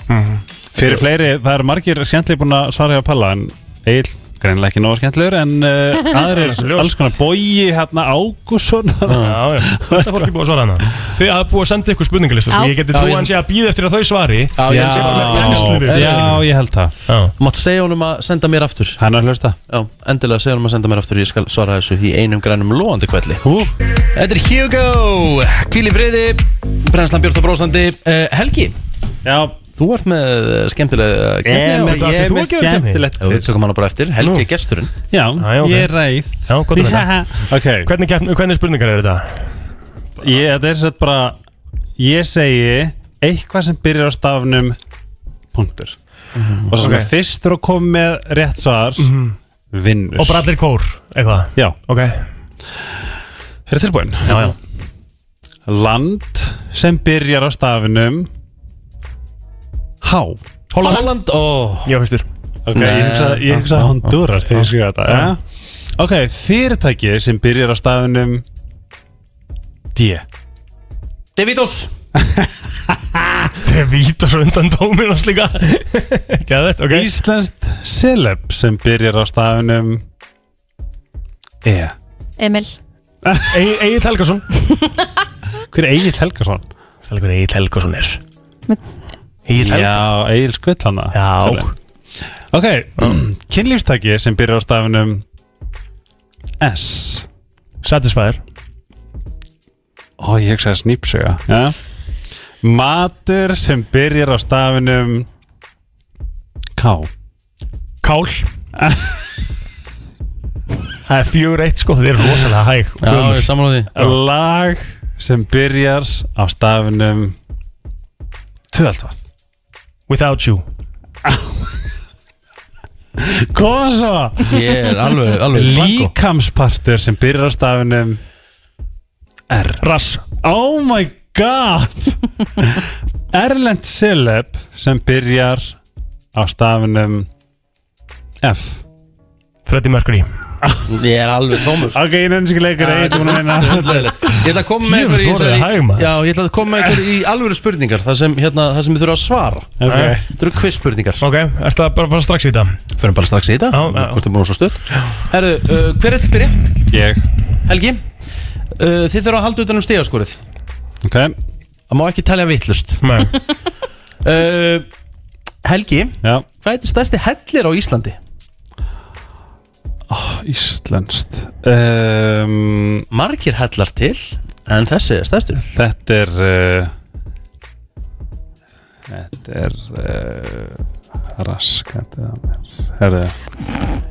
S11: Fyrir fleiri, það eru margir skemmtileg búin að svara hjá Palla En Egil, greinilega ekki nóg skemmtilegur En uh, aðrir,
S3: Ljóst.
S11: alls konar Bogi, hérna Ágússon
S3: Já, já, þetta fólk er búið að svara hana Þið hafa búið að senda ykkur spurningalista
S2: Já.
S3: sem ég geti
S1: Já,
S3: trú
S1: ég-
S3: hans ég að býða eftir að þau svari Já,
S1: ég
S3: sé bara með- ég skal slurfa yfir
S11: Já,
S3: þessu.
S11: ég held það
S1: Þú mátt segja honum að senda mér aftur
S11: Hann er að hlusta
S1: Já, endilega segja honum að senda mér aftur Ég skal svara þessu í einum grænum lóandi kvelli
S11: Hú,
S1: Þetta er Hugo Kvíl í friði Brennslan Björn og Brósandi uh, Helgi
S11: já
S1: Þú ert með eh, skemmtilega
S11: Ég
S1: keppni
S11: með-
S1: á-
S3: átti
S11: ég er
S3: þú
S11: með
S3: að gera keppni?
S11: skemmtilegt
S1: Já, Við tökum hana bara eftir Helgi
S11: Nú.
S1: er gesturinn
S11: Já,
S3: Já, já, ok.
S11: ég er reið
S3: Já, gott að vita.
S11: Ok,
S3: Hvernig, keppni- hvernig spurningar eru þetta?
S11: ég, þetta er sett bara Ég segi eitthvað sem byrjar á stafnum punktur Og svo okay.
S3: Ok. Mhm.
S11: fyrstur að koma með rétt svar vinnur
S3: Og bara allir kór, eitthvað
S11: Já,
S3: Ok,
S11: er það tilbúin?
S3: já, já
S11: Land sem byrjar á stafnum Há
S3: Holland,
S1: Holland og
S3: ég var fyrstur
S11: Ok, ég hugsa, ég hugsa að Honduras þegar ég skrifa þetta ja. Ok, fyrirtæki sem byrjar á stafnum D
S1: Davidos
S3: Þetta er vít og svo undan Dóminos líka Gæðið, ok
S11: Íslenskt celeb sem byrjar á stafunum E
S2: Emil
S3: Egil Helgason
S11: Hver er Egil Helgason?
S3: Sæli hvernig Egil Helgason er Egil Helgason
S11: Já, Egil Skvillhanna
S3: Já,
S11: Ok, kynlífstæki sem byrjar á stafunum S
S3: Satisfyer
S11: Ó, ég hugsaði snýpsuga ja. Matur sem byrjar á stafunum K
S3: Kál Það er fjögur eitt sko, þið eru rosalega hæg og
S1: Já,
S3: gömul.
S1: ég er saman á því
S11: Lag sem byrjar á stafunum Tvöldvað
S3: Without you
S11: Góða svo
S1: Ég er alveg, alveg blanko.
S11: Líkamspartur sem byrjar á stafunum R
S3: Rass
S11: Oh my god Erlend Sileb sem byrjar á stafunum F
S3: Freddie Mercury
S1: Ég er alveg tómur
S11: Ok, ég nefnir sér leikur Ég er búin að vinna
S1: Leiðilegt. Ég ætla að koma með ykkur í
S3: Djöfull voru þið
S1: þessari-
S3: hæg, maður.
S1: Já, ég ætla að koma með ykkur í alvöru spurningar Það sem, hérna, það sem við þurfum að svara
S11: Ok,
S1: Þetta eru quiz spurningar
S3: Ok, er það bara, bara strax í þetta?
S1: Förum bara strax í þetta
S3: Já, já.
S1: Hvort er búin svo stutt Herru, uh, hver er til byrja?
S11: ég
S1: Helgi uh, Þið þurfa að halda utan um stegaskorið
S11: Ok,
S1: Það má ekki talja vittlust
S3: Nei
S1: uh, Helgi,
S11: já
S1: hvað er þetta stærsti hellir á Íslandi?
S11: Íslenskt um,
S1: Margir hellar til En þessi er stærstur
S11: Þetta er uh, Þetta er uh, Raskat Herðu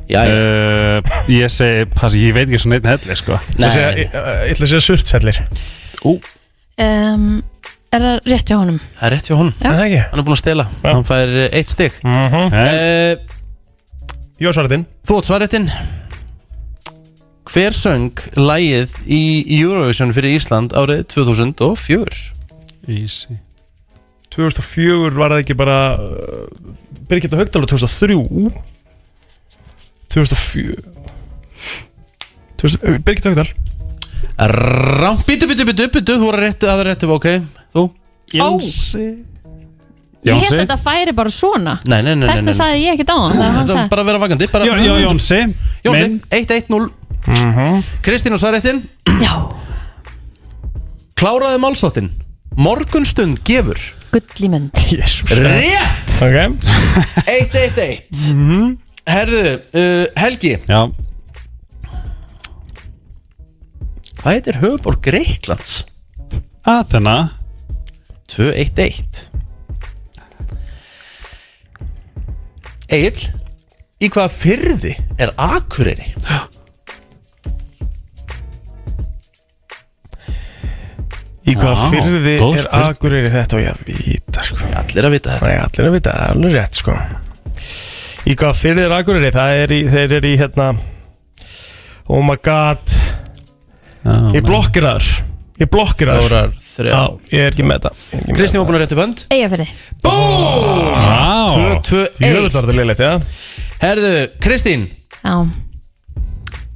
S1: Jæja,
S11: Uh, ég segi, pass, ég veit ekki svona einn helli sko.
S1: Nei,
S3: Ég
S1: nei, nei.
S3: ætla að segja surtsellir
S2: um, Er það rétt hjá honum?
S1: það er rétt hjá honum
S3: Er það ekki?
S1: Hann er búin að stela
S3: Já. Mhm.
S1: Hann fær uh, eitt stygg
S11: Nei,
S1: uh,
S3: Jó svarðinn
S1: Þú átt svarréttin Hver söng lægið í Eurovision fyrir Ísland árið 2004?
S11: easy
S3: 2004 var það ekki bara uh, Birgitta Haugdal 2003 2004 2000, uh, Birgitta Haugdal
S1: Rám, bítu, bítu, bítu, bítu, þú voru réttu, aðra réttu, ok, þú?
S11: Jónsi
S2: Ég held að
S11: Jónsi
S2: þetta færi bara svona
S1: Nei, nei, nei, nei,
S2: Þessna
S1: nei.
S2: sagði ég ekki á hann Það er hann
S1: Þetta var
S2: sagði
S1: bara að vera vakandi, bara
S11: Jó, Jó, Jónsi
S1: Jónsi,
S11: Minn.
S1: 1-1-0 Kristín og Svarettin
S2: Já
S1: Kláraði málsáttin Morgunstund gefur
S2: Gullimund
S3: Jésús
S1: Rétt
S3: Ok
S1: 1-1-1 Herðu, uh, Helgi
S11: Já
S1: Hvað heitir höfuborg Greiklands?
S11: Athena
S1: 2-1-1 Egil Í hvaða fyrði er Akureyri?
S3: Í hvaða
S1: Vá,
S3: fyrði
S1: góð
S3: er
S1: spurning.
S3: Akureyri þetta og ég að vita sko
S1: Allir að vita þetta
S3: Nei, allir að vita, það er alveg rétt sko Í hvaða fyrði er Akureyri, það er í, þeir eru í hérna Oh my god Ég blokkir þar Ég blokkir þar
S1: Fjórar, þrjár.
S3: Já, ég er ekki með það
S1: Kristín var búin að réttu bönd
S2: Eyjafyrði
S3: Búm!
S1: 2-2-1
S3: Jöfnveld var þetta liðlegt, já
S1: Herðu, Kristín
S2: Já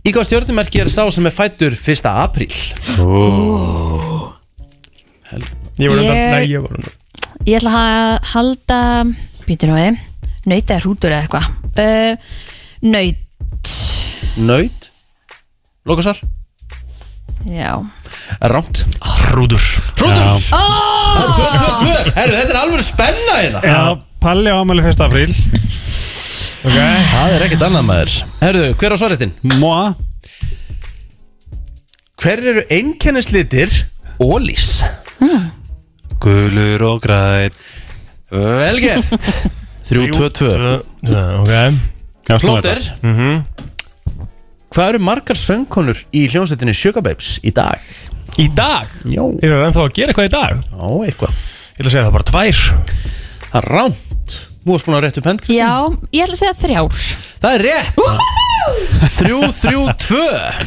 S1: Í hvaða stjórnumerki er sá sem er fættur 1. apríl?
S3: Ég var undan,
S2: Ég-
S3: nei, ég var undan
S2: Ég ætla að halda Býtu nú við Naut eða hrútur eða eitthvað uh, Naut
S1: Naut Lókasar
S2: Já
S1: Rámt
S3: Hrúdur
S1: Hrútur Það er 2-2-2 Herru, þetta er alveg spenna hérna
S11: Já, Palli á ámæli 1. apríl
S1: Það er ekkert annað maður Herru, hver á svaretinn?
S11: Móa
S1: Hver eru einkennislitir Ólís?
S11: Gulur og græn
S1: Vel gert 3-2-2
S3: Ok Mhm.
S11: Já, slá
S1: Plóter
S11: þetta.
S1: Hvað eru margar söngkonur í hljómsveitinni Sugar Babes í dag?
S3: Í dag
S1: Jó
S3: Ég er ennþá að gera eitthvað í dag
S1: Já, eitthvað
S3: Ég ætla að segja það bara tvær
S1: Það er rámt Þú varst búin að réttu pend
S2: Já, ég ætla að segja þrjár
S1: Það er rétt 3-3-2
S3: Þrjú,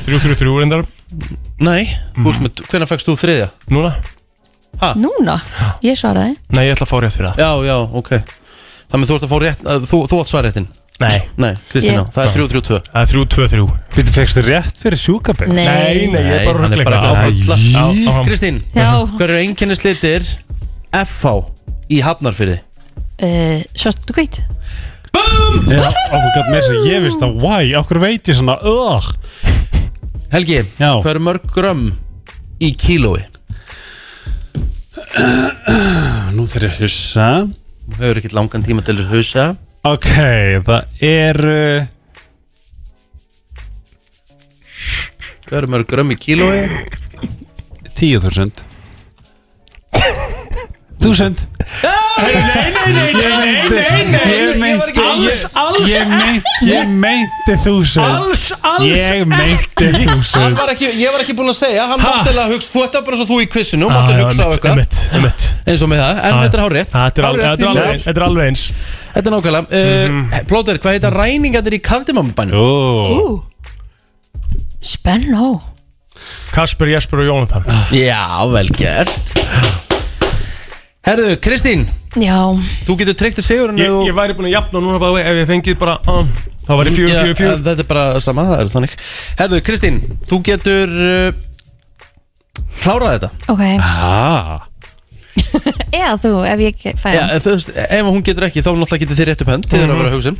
S3: þrjú, þrjú reyndar Mhm.
S1: Nei, mm. með, hvenær fækst þú þriðja?
S3: Núna
S2: Núna, ég svaraði
S3: Nei, ég ætla að fá rétt fyrir það
S1: Já, já, ok Þannig þú ert að fá rétt, að, þú, þú átt svarréttin
S3: Nei
S1: Nei, Kristín,
S2: Ég-
S1: yeah. það er 3-3-2
S3: Það er þrjú, tvö, þrjú
S11: Býttu fegstu rétt fyrir sjúkabeg
S3: Nei, nei, ég er bara
S1: hann er bara eitthvað
S3: ruggleika
S1: að bulla.
S3: Já, áfram.
S1: Kristín,
S2: Já,
S1: hver eru einkennislitir FH í Hafnarfyrði?
S2: uh, svart og hvít
S1: BOOM!
S11: Já, okkur gætt með þess að ég veist að Why, okkur veit ég svona Ugh
S1: Helgi,
S11: Já.
S1: hvað eru mörg grömm í kílói?
S11: Nú þeir ég að hussa
S1: Þú hefur ekkert langan tíma til að hausa
S11: Ok, það uh, eru
S1: Hvað eru mörg grömm í kílói?
S11: 10.000 1000 Nei, nei, nei, nei, nei, nei Alls, alls Ég meinti, ég meinti þúsund Alls, alls Ég meinti
S1: Hann
S11: þúsund
S1: var ekki, ég var ekki búin að segja, hann mátti alveg að hugsa, þú ert bara svo þú í kvissinu,
S3: Já,
S1: mátti
S3: já,
S1: að hugsa á
S3: einmitt,
S1: eitthvað
S3: einmitt, einmitt.
S1: eins og með það, en
S3: Já.
S1: þetta er hárétt
S3: Þetta er al-
S1: Hárrétt
S3: þetta er
S1: tími.
S3: alveg eins- þetta er alveg eins Mhm.
S1: Þetta er nákvæmlega uh, Plóter, hvað heita ræningandir í kardimambænum?
S11: Ó,
S2: Ú Spennó
S3: Kasper, Jesper og Jónatan
S1: Já, vel gert Herðu, Kristín
S2: Já,
S1: Þú getur treykt að segjur
S3: ég, ég væri búin að jafna núna bara ef ég fengið bara um, þá væri fjör, fjör, fjör
S1: Þetta er bara sama, það er þannig Herðu, Kristín, þú getur uh, klárað þetta
S2: ok
S11: ah,
S2: Eða þú, ef ég ekki fæ
S1: Já,
S2: hann
S1: þú veist, ef hún getur ekki, þá náttúrulega getur þið rétt upp hönd
S2: Mhm.
S1: Þið eru að vera að hugsa um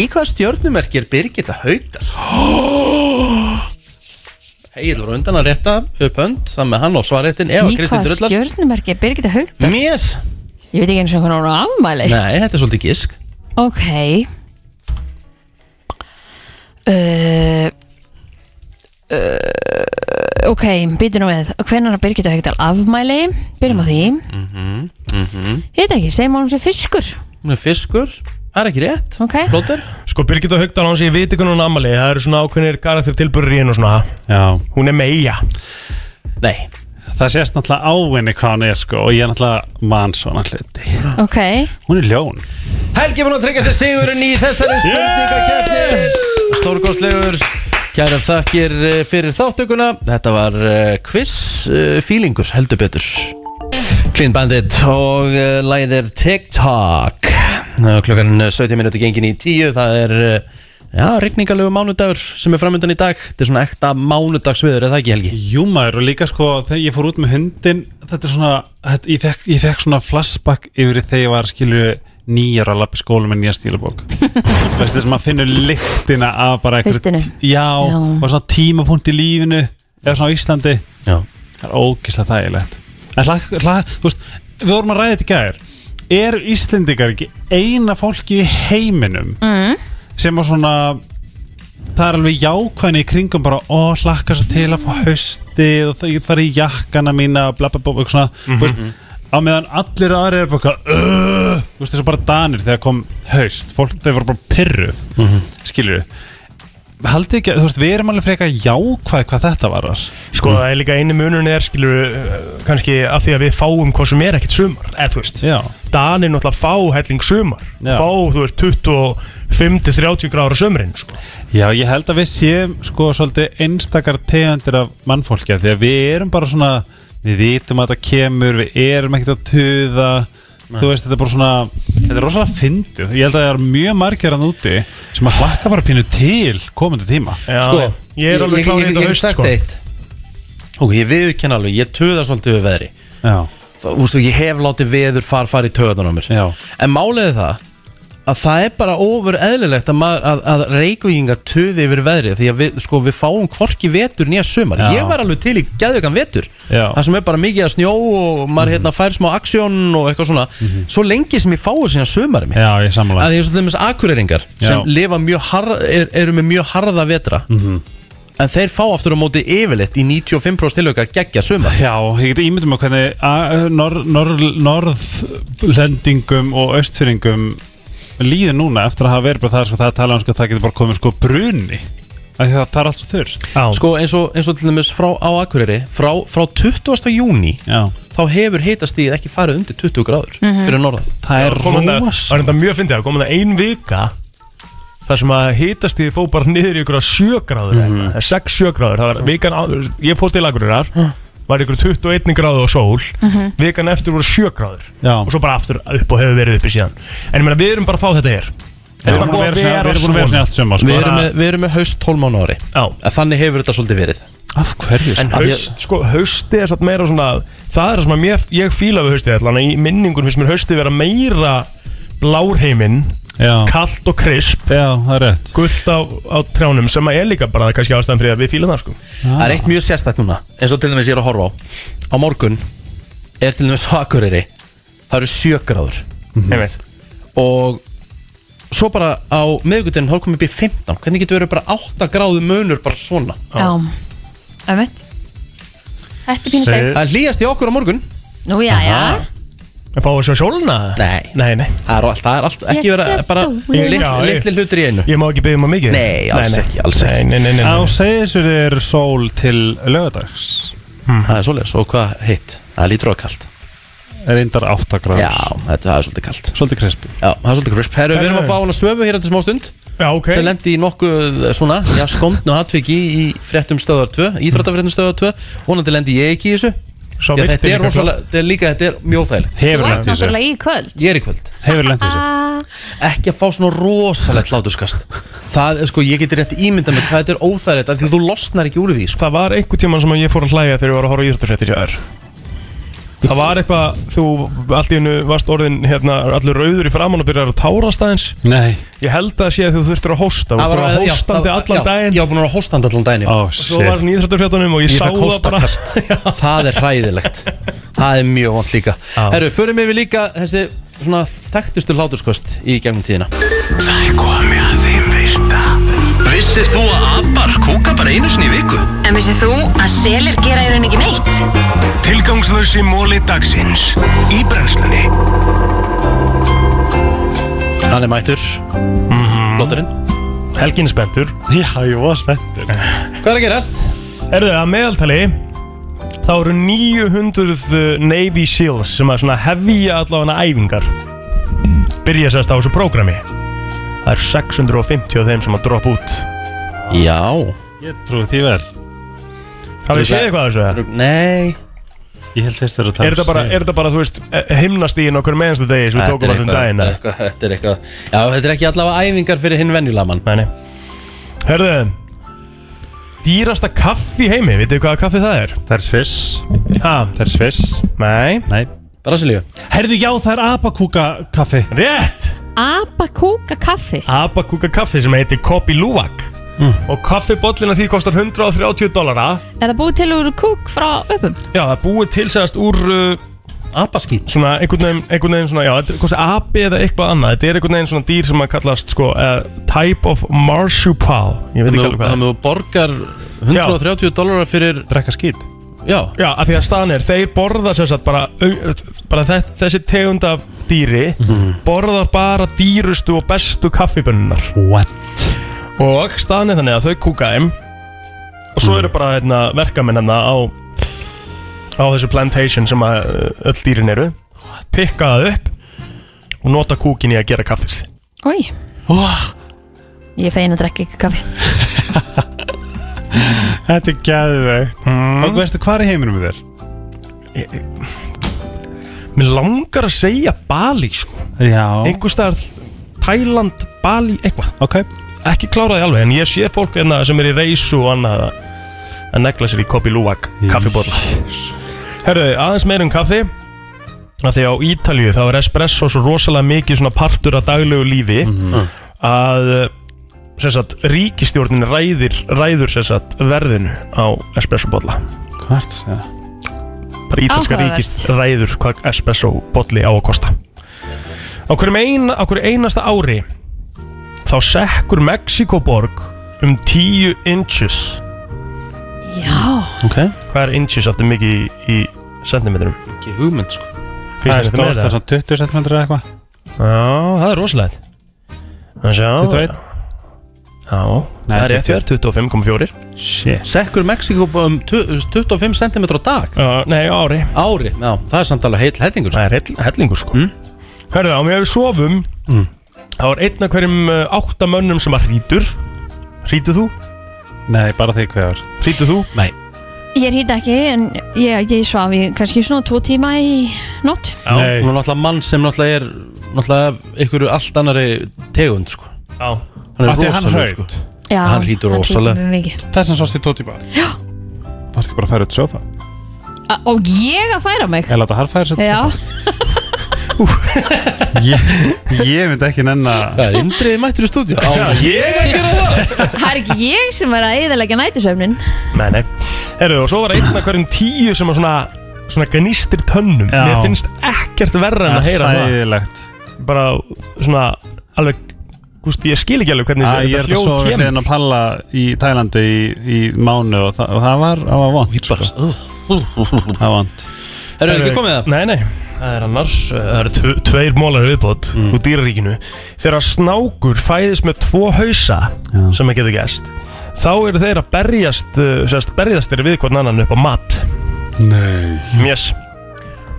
S1: Í hvaða stjörnumerki er Birgitta Haugdal? Egil var á undan að rétta upp hönd Saman með hann og svarréttin Eva
S2: Í
S1: Kristín
S2: hvað
S1: Drullar
S2: stjörnumerki er Birgitta Haug
S1: Mjöss
S2: Ég veit ekki eins og hvernig hún á afmæli
S1: Nei, þetta er svolítið gísk
S2: Ok uh, uh, Ok, býtum nú við Hvernig er Birgitta Haugdal afmæli? Byrjum á því
S1: Mhm,
S2: Ég veit ekki, segjum að hún sé fiskur
S1: Hún er fiskur Það er ekki rétt
S2: Ok,
S1: Plóter
S3: sko Birgit og Haugdal hans ég veit ekki hún ammali það eru svona ákveðnir karakter tilbúrur í henn og svona
S11: Já,
S3: hún er meia
S1: Nei
S11: það sést náttúrulega á henni hvað hann er sko og ég er náttúrulega mann svona hluti
S2: ok
S11: Hún er ljón
S1: Helgi fann að tryggja sér sigurinn í þessari spurningakefni Stórgóðslegur Kæra þakkir eh, fyrir þáttökuna Þetta var eh, quiz eh, feelingur heldur betur Clean Bandit og uh, læðir TikTok Eh, Klukkan eh, 17 minúti gengin í 10 Það er uh, já, rigningalegu mánudagur sem er framöndan í dag Þetta er svona ekta mánudagsviður, er það ekki Helgi?
S11: Jú maður og líka sko þegar ég fór út með hundin þetta er svona, þetta, ég, fekk, ég fekk svona flashback yfir þegar ég var skilur nýjar að lappa í skólum með nýja stílabók Veistu þess að maður finnur lyktina af bara einhverju-
S2: Haustinu.
S11: Já,
S2: Já.
S11: og svona tímapunkt í lífinu eða svona á Íslandi
S1: Já.
S11: Það er ógislega þægilegt En hla, hla, þú veist, við vorum að ræða þetta í gær Er Íslendingar ekki eina fólki í heiminum
S2: Mm.
S11: sem er svona það er alveg jákvæðin í kringum bara ó, hlakka svo til að fá haustið og það ég get farið í jakkana mína og bla bla bla, eitthvað svona
S3: Mhm.
S11: mm -hmm. á meðan allir aðri er bara eitthvað, "Ugh", þú veist þessu bara danir þegar kom haust, fólk þau voru bara pyrruð mm
S1: Mhm.
S11: -hmm. skilur haldið ekki, að- þú veist, við erum alveg frekar jákvæð hvað þetta var
S1: Mhm.
S3: Sko það er líka einu munurinn er skilur uh, kannski af því að við fáum hvað sem er ekkert sumar eða þú veist
S11: Já.
S3: Danir náttúrulega fá helling sumar
S11: Já.
S3: fá þú veist 25-30 gráður á sumrin sko.
S11: Já, ég held að við séum sko svolítið einstakar tegundir af mannfólkja því að við erum bara svona við vitum að það kemur, við erum ekkert að tuða þú veist, þetta er bara svona þetta er rosalega fyndið, ég held að það er mjög margir að núti sem að hlakka bara pínu til komandi tíma
S1: Sko, ég- ég- Ég hef sagt eitt Ok, ég viðurkenna alveg, ég töða svolítið við veðri
S11: Já
S1: Þú veist, og ég hef látið veður far fara í töðan á mér
S11: Já
S1: En máliði það að það er bara ofur eðlilegt að, maður, að, að reykvíkingar töði yfir veðri því að við, sko, við fáum hvorki vetur nýja sumar
S11: Já.
S1: Ég var alveg til í geðugan vetur
S11: Já.
S1: Það sem er bara mikið að snjó og
S11: Mhm.
S1: maður hérna, fær smá aksjón og eitthvað svona Svo lengi sem ég fái síðan sumari mitt
S11: Já, ég sammála
S1: að því eins og þeim þess akureyringar
S11: Já.
S1: sem lifa mjög harða, er, eru með mjög harða vetra
S11: Mhm.
S1: en þeir fá aftur á móti yfirleitt í 95% tilöka geggja sumar
S11: Já, ég get ímyndum að hvernig að- nor- nor- norðlendingum og östfyringum líður núna eftir að hafa verið bara það sko, það tala um sko, það getur bara komið sko bruni af því að það er allt svo þurr
S1: sko eins og, eins og til dæmis frá á akureyri frá, frá 20. júni
S11: Já.
S1: þá hefur hitastíð ekki farið undir 20 gráður
S3: Mhm.
S1: fyrir norðan
S11: Það er
S3: kom þetta- Það er þetta mjög fyndið Það kom þetta ein vika þar sem að hitast því fó bara niður í ykkur að sjögráður mm
S11: Mhm.
S3: -hmm. eða sex sjögráður það var vikan á, ég fór til Akureyrar var ykkur 21 gráðu á sól
S11: Mhm.
S3: vikan eftir voru sjögráður
S11: Já.
S3: og svo bara aftur upp og hefur verið uppi síðan en ég meina við erum bara að fá þetta hér
S11: Já, við erum búin að vera svona- við erum búin að vera svona allt sumar, sko.
S1: við erum, með, við erum með haust 12 mánu ári
S3: Já.
S1: að þannig hefur þetta svolítið verið
S11: af hverju
S3: En haust, sko, hausti er satt meira svona Það er það sem að mér, ég fíla við haustið allan að Í minningun finnst mér hausti vera meira Blárheiminn
S11: Já.
S3: Kallt og krisp
S11: Já, það er rétt
S3: Gullt á, á trjánum sem að er líka bara kannski ástæðan fyrir að við fíla það sko
S1: Það er eitt mjög sérstætt núna eins og til dæmis ég er að horfa á á morgun er til dæmis á Akureyri það eru sjögráður
S3: Mhm. Einmitt.
S1: og svo bara á miðvikudaginn þá er komið upp í 15 hvernig getur verið bara 8 gráðu munur bara svona
S2: Já, ömmit Þetta er pínu
S1: það
S2: steg
S1: er hlýjast í okkur á morgun
S2: Nú, já, já
S3: En fáum við svo sóluna?
S1: Nei,
S3: nei, nei.
S1: Það er allt, það er allt ekki
S2: Ég
S1: vera
S2: sé
S1: bara
S2: sólina.
S1: litli, litli hlutur í einu
S3: Ég má ekki byggja maður mikið
S1: Nei, alls ekki, alls ekki
S3: Nei, nei, nei,
S11: Á segisverði er sól til lögadags Hmm.
S1: Það er svolítið, svo hvað hitt Það lítur á að kalt
S11: er eindar 8 gráður
S1: Já, þetta það er svolítið kalt
S11: Svolítið krispi
S1: Já, það er svolítið krisp Herru, við erum að fá hana svöfu hér eftir smá stund
S3: Já, ok
S1: Sem lendi í nokkuð eh, svona, já, skondn og atviki í fréttum stöðar 2 Íþróttafréttum stöðar 2 Vonandi lendi ég ekki í þessu
S3: Sá
S1: Já,
S3: vildi
S1: þetta er
S3: líka
S1: rosalega, þetta er líka, þetta er mjög þægilegt
S2: Þú varst náttúrulega í kvöld
S1: Ég er í kvöld
S11: Hefur lent í
S1: Ekki að fá svona rosalegt hláturskast Það, sko, ég geti rétt ímynda með hvað þetta er óþægilegt af Því þú losnar ekki úr því, sko
S3: Það var einhver tíman sem að ég fór að hlæja þegar ég var að horfa á íþróttafréttir hjá þér Það var eitthvað, þú allt í hennu varst orðin hérna, allur rauður í framann og byrjar að tárast aðeins
S11: Nei
S3: Ég held að það sé að þú þurftir að hósta Þú
S1: Það
S3: þurftir
S1: var-
S3: að
S1: já,
S3: hóstandi
S1: það- já,
S3: allan daginn
S1: Já, búin að vera hóstandi allan daginn já.
S11: Ó,
S3: Svo var hann í Íþróttafréttunum og ég,
S1: Ég
S3: sá
S1: fekk
S3: það bara
S1: hóstakast Það er hræðilegt Það er mjög vond líka Herru, förum yfir líka þessi svona þekktustu hláturskost í gegnum tíðina
S4: Það er komið að þeim virta Vissir þú að abar kúka bara einu sinni í viku?
S5: En vissið þú að selir gera í raun ekki neitt?
S4: Tilgangslösi móli dagsins Í brennslunni
S1: Hann er mættur Blótturinn
S3: Mhm. Helgin er spenntur
S11: Já, ég var spenntur
S1: Hvað er að gerast?
S3: Erðu að meðaltali þá eru 900 Navy Seals sem að svona hefja allavega æfingar byrja sérst á þessu prógrami Það er 650 af þeim sem að droppa út
S1: Já
S11: Ég trúi því vel
S3: Hafið þið séð eitthvað af þessu? eða?
S1: Nei
S11: Ég held fyrst að það
S3: Er þetta bara, er þetta bara, þú veist, eh, himnastíðin okkur meðanstu degi sem við
S1: Þetta
S3: tókum
S1: er
S3: allir um
S1: eitthvað
S3: daginn
S1: þetta er
S3: eða?
S1: eitthvað- Þetta er eitthvað Já, þetta er ekki allavega æfingar fyrir hinn venjulega mann
S3: Nei, nei Herðu Dýrasta kaffi í heimi, vitið þið hvaða kaffi það er?
S11: Það er sviss
S3: Ha?
S11: Það er sviss
S3: Nei
S11: Nei
S1: Brasilíu
S11: Herðu, já, það er apakúka kaffi
S3: Rétt
S2: Abakúka kaffi
S3: Abakúka kaffi sem heitir Kopi Luwak
S1: Hmm.
S3: og kaffibollin af því kostar 130 dollara
S2: Er það búið til úr kúk frá öpum?
S3: Já, það er búið tilsæðast úr uh,
S1: Apaskýt
S3: Svona einhvern veginn, einhvern veginn svona, já, þetta er kosti api eða eitthvað annað Þetta er einhvern veginn svona dýr sem að kallast sko uh, Type of marsupial Ég veit ekki alveg hvað
S1: Þannig að þú borgar 130 dólarar fyrir
S11: Drekka skýt
S1: Já
S3: Já, af því að staðan er, þeir borða sem sagt bara, au- bara þess, þessi tegund af dýri
S11: Mhm.
S1: Mhm.
S3: borða bara dýrustu og bestu kaffibönnunar
S11: What?
S3: Og staðan er þannig að þau kúka þeim og svo eru bara hérna, verkamennana á, á þessu plantation sem að uh, öll dýrin eru pikka það upp og nota kúkin í að gera kaffið
S2: Ói Ég fein að drekka ekki kaffi
S11: Þetta er gæðvegt
S3: Mhm.
S11: mm. Og veistu hvað er í heiminum við þér?
S3: Mér langar að segja Bali sko
S11: Já
S3: einhver staðar Tæland, Bali, eitthvað
S11: Ok
S3: Ekki kláraði alveg en ég sé fólk hérna sem er í reysu og annað að- að negla sér í Kopi Luwak kaffibóla Herðu, aðeins meir um kaffi að því á Ítalju þá er espresso svo rosalega mikið svona partur af daglegu lífi að sem sagt, ríkistjórnin ræðir, ræður sem sagt, verðinu á espressobóla
S11: Hvart? Ja.
S3: bara ítalska
S11: Áhugavert.
S3: ríkist ræður hvað espresso bolli á að kosta á hverjum ein, á hverju einasta ári þá sekkur Mexikoborg um 10 inches
S2: Já
S1: okay.
S3: hvað er inches aftur mikið í, í sentimetrum?
S1: ekki hugmynd sko
S11: Það er stórt, það er svona 20 cm eða eitthvað
S3: já, það er rosalegt Það sjá
S11: 21?
S3: já,
S11: Nei,
S3: það er rétt
S11: 22.
S3: hér, 25,4
S11: Shit
S1: Sekkur Mexiko um tu- 25 cm á dag
S3: uh, Nei, ári
S1: Ári, já, það er samt alveg heill hellingur
S3: Það er heill, hellingur sko mm? Hörðu, á mér við sofum
S1: Mm.
S3: þá er einn af hverjum uh, átta mönnum sem að hrítur Hrítur þú?
S11: Nei, bara þig hver
S3: Hrítur þú?
S1: Nei
S2: Ég hýta ekki en ég, ég svaf í kannski svona tvo tíma í nótt
S1: Já,
S11: Nei.
S1: hún er náttúrulega mann sem náttúrulega er náttúrulega af einhverju allt annari tegund sko.
S3: Já
S1: Hann er
S11: Af því að hann
S1: rosalegur
S11: hraut.
S1: sko.
S2: Já,
S1: Hann hlýtur
S2: hann hlýtur
S1: rosalega
S2: mjög mikið.
S11: Það er sem sást í tótípa Já Það er bara að færa út sofa
S2: A- Og ég að færa mig
S11: Ég láta hann færa sér
S2: Já,
S11: ég, ég myndi ekki nenn að
S1: Það er indriði mættur í stúdíu Á
S3: ég að gera það?
S2: það er ekki ég sem er að eðalega nætisöfnin
S3: Nei, nei Herru, og svo var einn af hverjum tíu sem var svona svona gnistir tönnum
S11: Já.
S3: Mér finnst ekkert verra en að heyra það
S11: Æðilegt
S3: Bara svona alveg Gúst, ég skil ekki alveg hvernig
S11: Æ, Ég er þetta svo við hliðin að palla í Tælandi í, í mánu og, það, og það var, það var vond sko. Það var vond
S1: Herru, er ekki komið það?
S3: Nei, nei, það er annars uh, Það eru tve- tveir mólar viðbót
S1: Mm.
S3: úr dýraríkinu Þegar snákur fæðist með tvo hausa sem að getur gæst þá eru þeir að berjast uh, sérst, berjast þeir við hvern annan upp á mat
S11: Nei
S3: Yes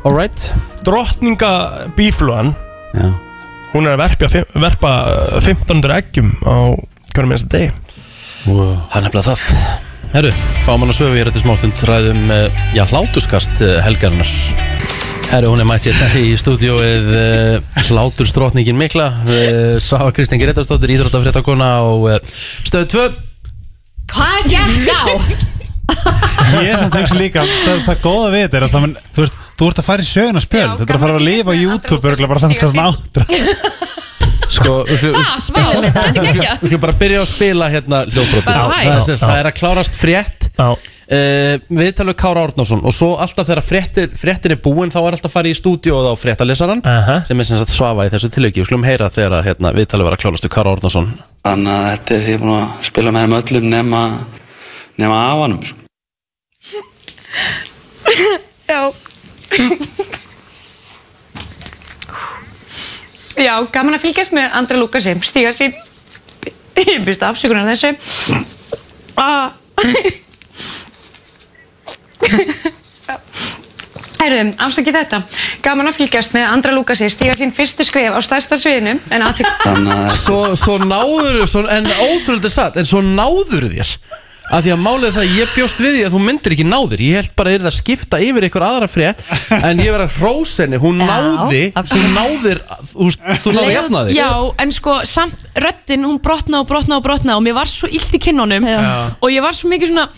S1: Alright
S3: Drottninga bíflugan
S11: Já.
S3: Hún er að verpja, fim- verpa uh, 1500 eggjum á hverjum minnsta degi
S1: Það
S11: wow.
S1: sko. er nefnilega það Herru, fáum hann að söfu, ég er eftir smáttund ræðum, eh, já, hlátuskast eh, helgarinnar Herru, hún er mætt hérna í stúdíóið uh, hláturstrotningin mikla uh, Sá Kristinn Gretarsdóttir, íþróttafréttakona og uh, stöð 2
S2: Hvað gekk á?
S11: Ég sem tegst líka, það, það góða við þetta er að það mun, þú veist, þú ert að fara í söguna spjöld Þetta er að fara að lifa á YouTube örgulega bara þannig að það átra
S1: Sko, við skulum-
S12: Ah, smá, þetta er
S1: við
S12: gekkja
S1: skulum- við skulum bara byrja að spila hérna hljóðbrotin
S12: Bara hæ.
S1: það, er sem sagt-
S3: Já.
S1: það er að klárast frétt
S3: uh,
S1: Við talum við Kára Árnason Og svo alltaf þegar fréttir, fréttin er búin Þá er alltaf að fara í stúdíu og þá fréttalesaran
S3: Aha.
S1: Sem er sem sagt svafa í þessu tilöki Við skulum heyra þegar að, hérna, við talum við að klárast við Kára Árnason
S13: Þannig að þetta er ég er búinn að spila með þeim öllum nema, nema afanum sko.
S12: Já Já, gaman að fylgjast með Andra Lúkasi stíga sín ég byrst afsökunar þessu Ah. Herðum, afsakið þetta gaman að fylgjast með Andra Lúkasi stíga sín fyrstu skref á stærsta sviðinu en aðtýr
S1: Svo, svo náður svo, En ótrúlega satt En svo náður þér Af því að málið er það að ég bjóst við því að þú myndir ekki náður Ég held bara að það að skipta yfir ykkur aðra frétt En ég verð að hrósa henni Hún
S14: Já,
S1: náði, þú náðir Þú, þú náði jafna þig
S14: Já, en sko, samt, röddinn, hún brotna og brotna og brotna og mér var svo illt í kinnunum
S3: Já.
S14: og ég var svo mikið svona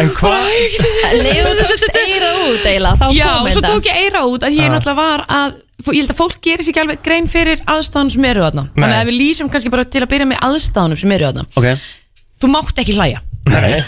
S3: En hvað?
S2: Leifur tókst eira út eiginlega, þá
S14: Já,
S2: kom
S14: svo
S2: þetta.
S14: tók ég eira út að ég
S3: Já.
S14: náttúrulega var að fó- ég held að fólk gerir sér ekki alveg grein fyrir aðstæðanum sem eru þarna
S1: Nei.
S14: þannig að ef við lýsum kannski bara til að byrja með aðstæðanum sem eru þarna
S1: Ok
S14: þú mátt ekki hlæja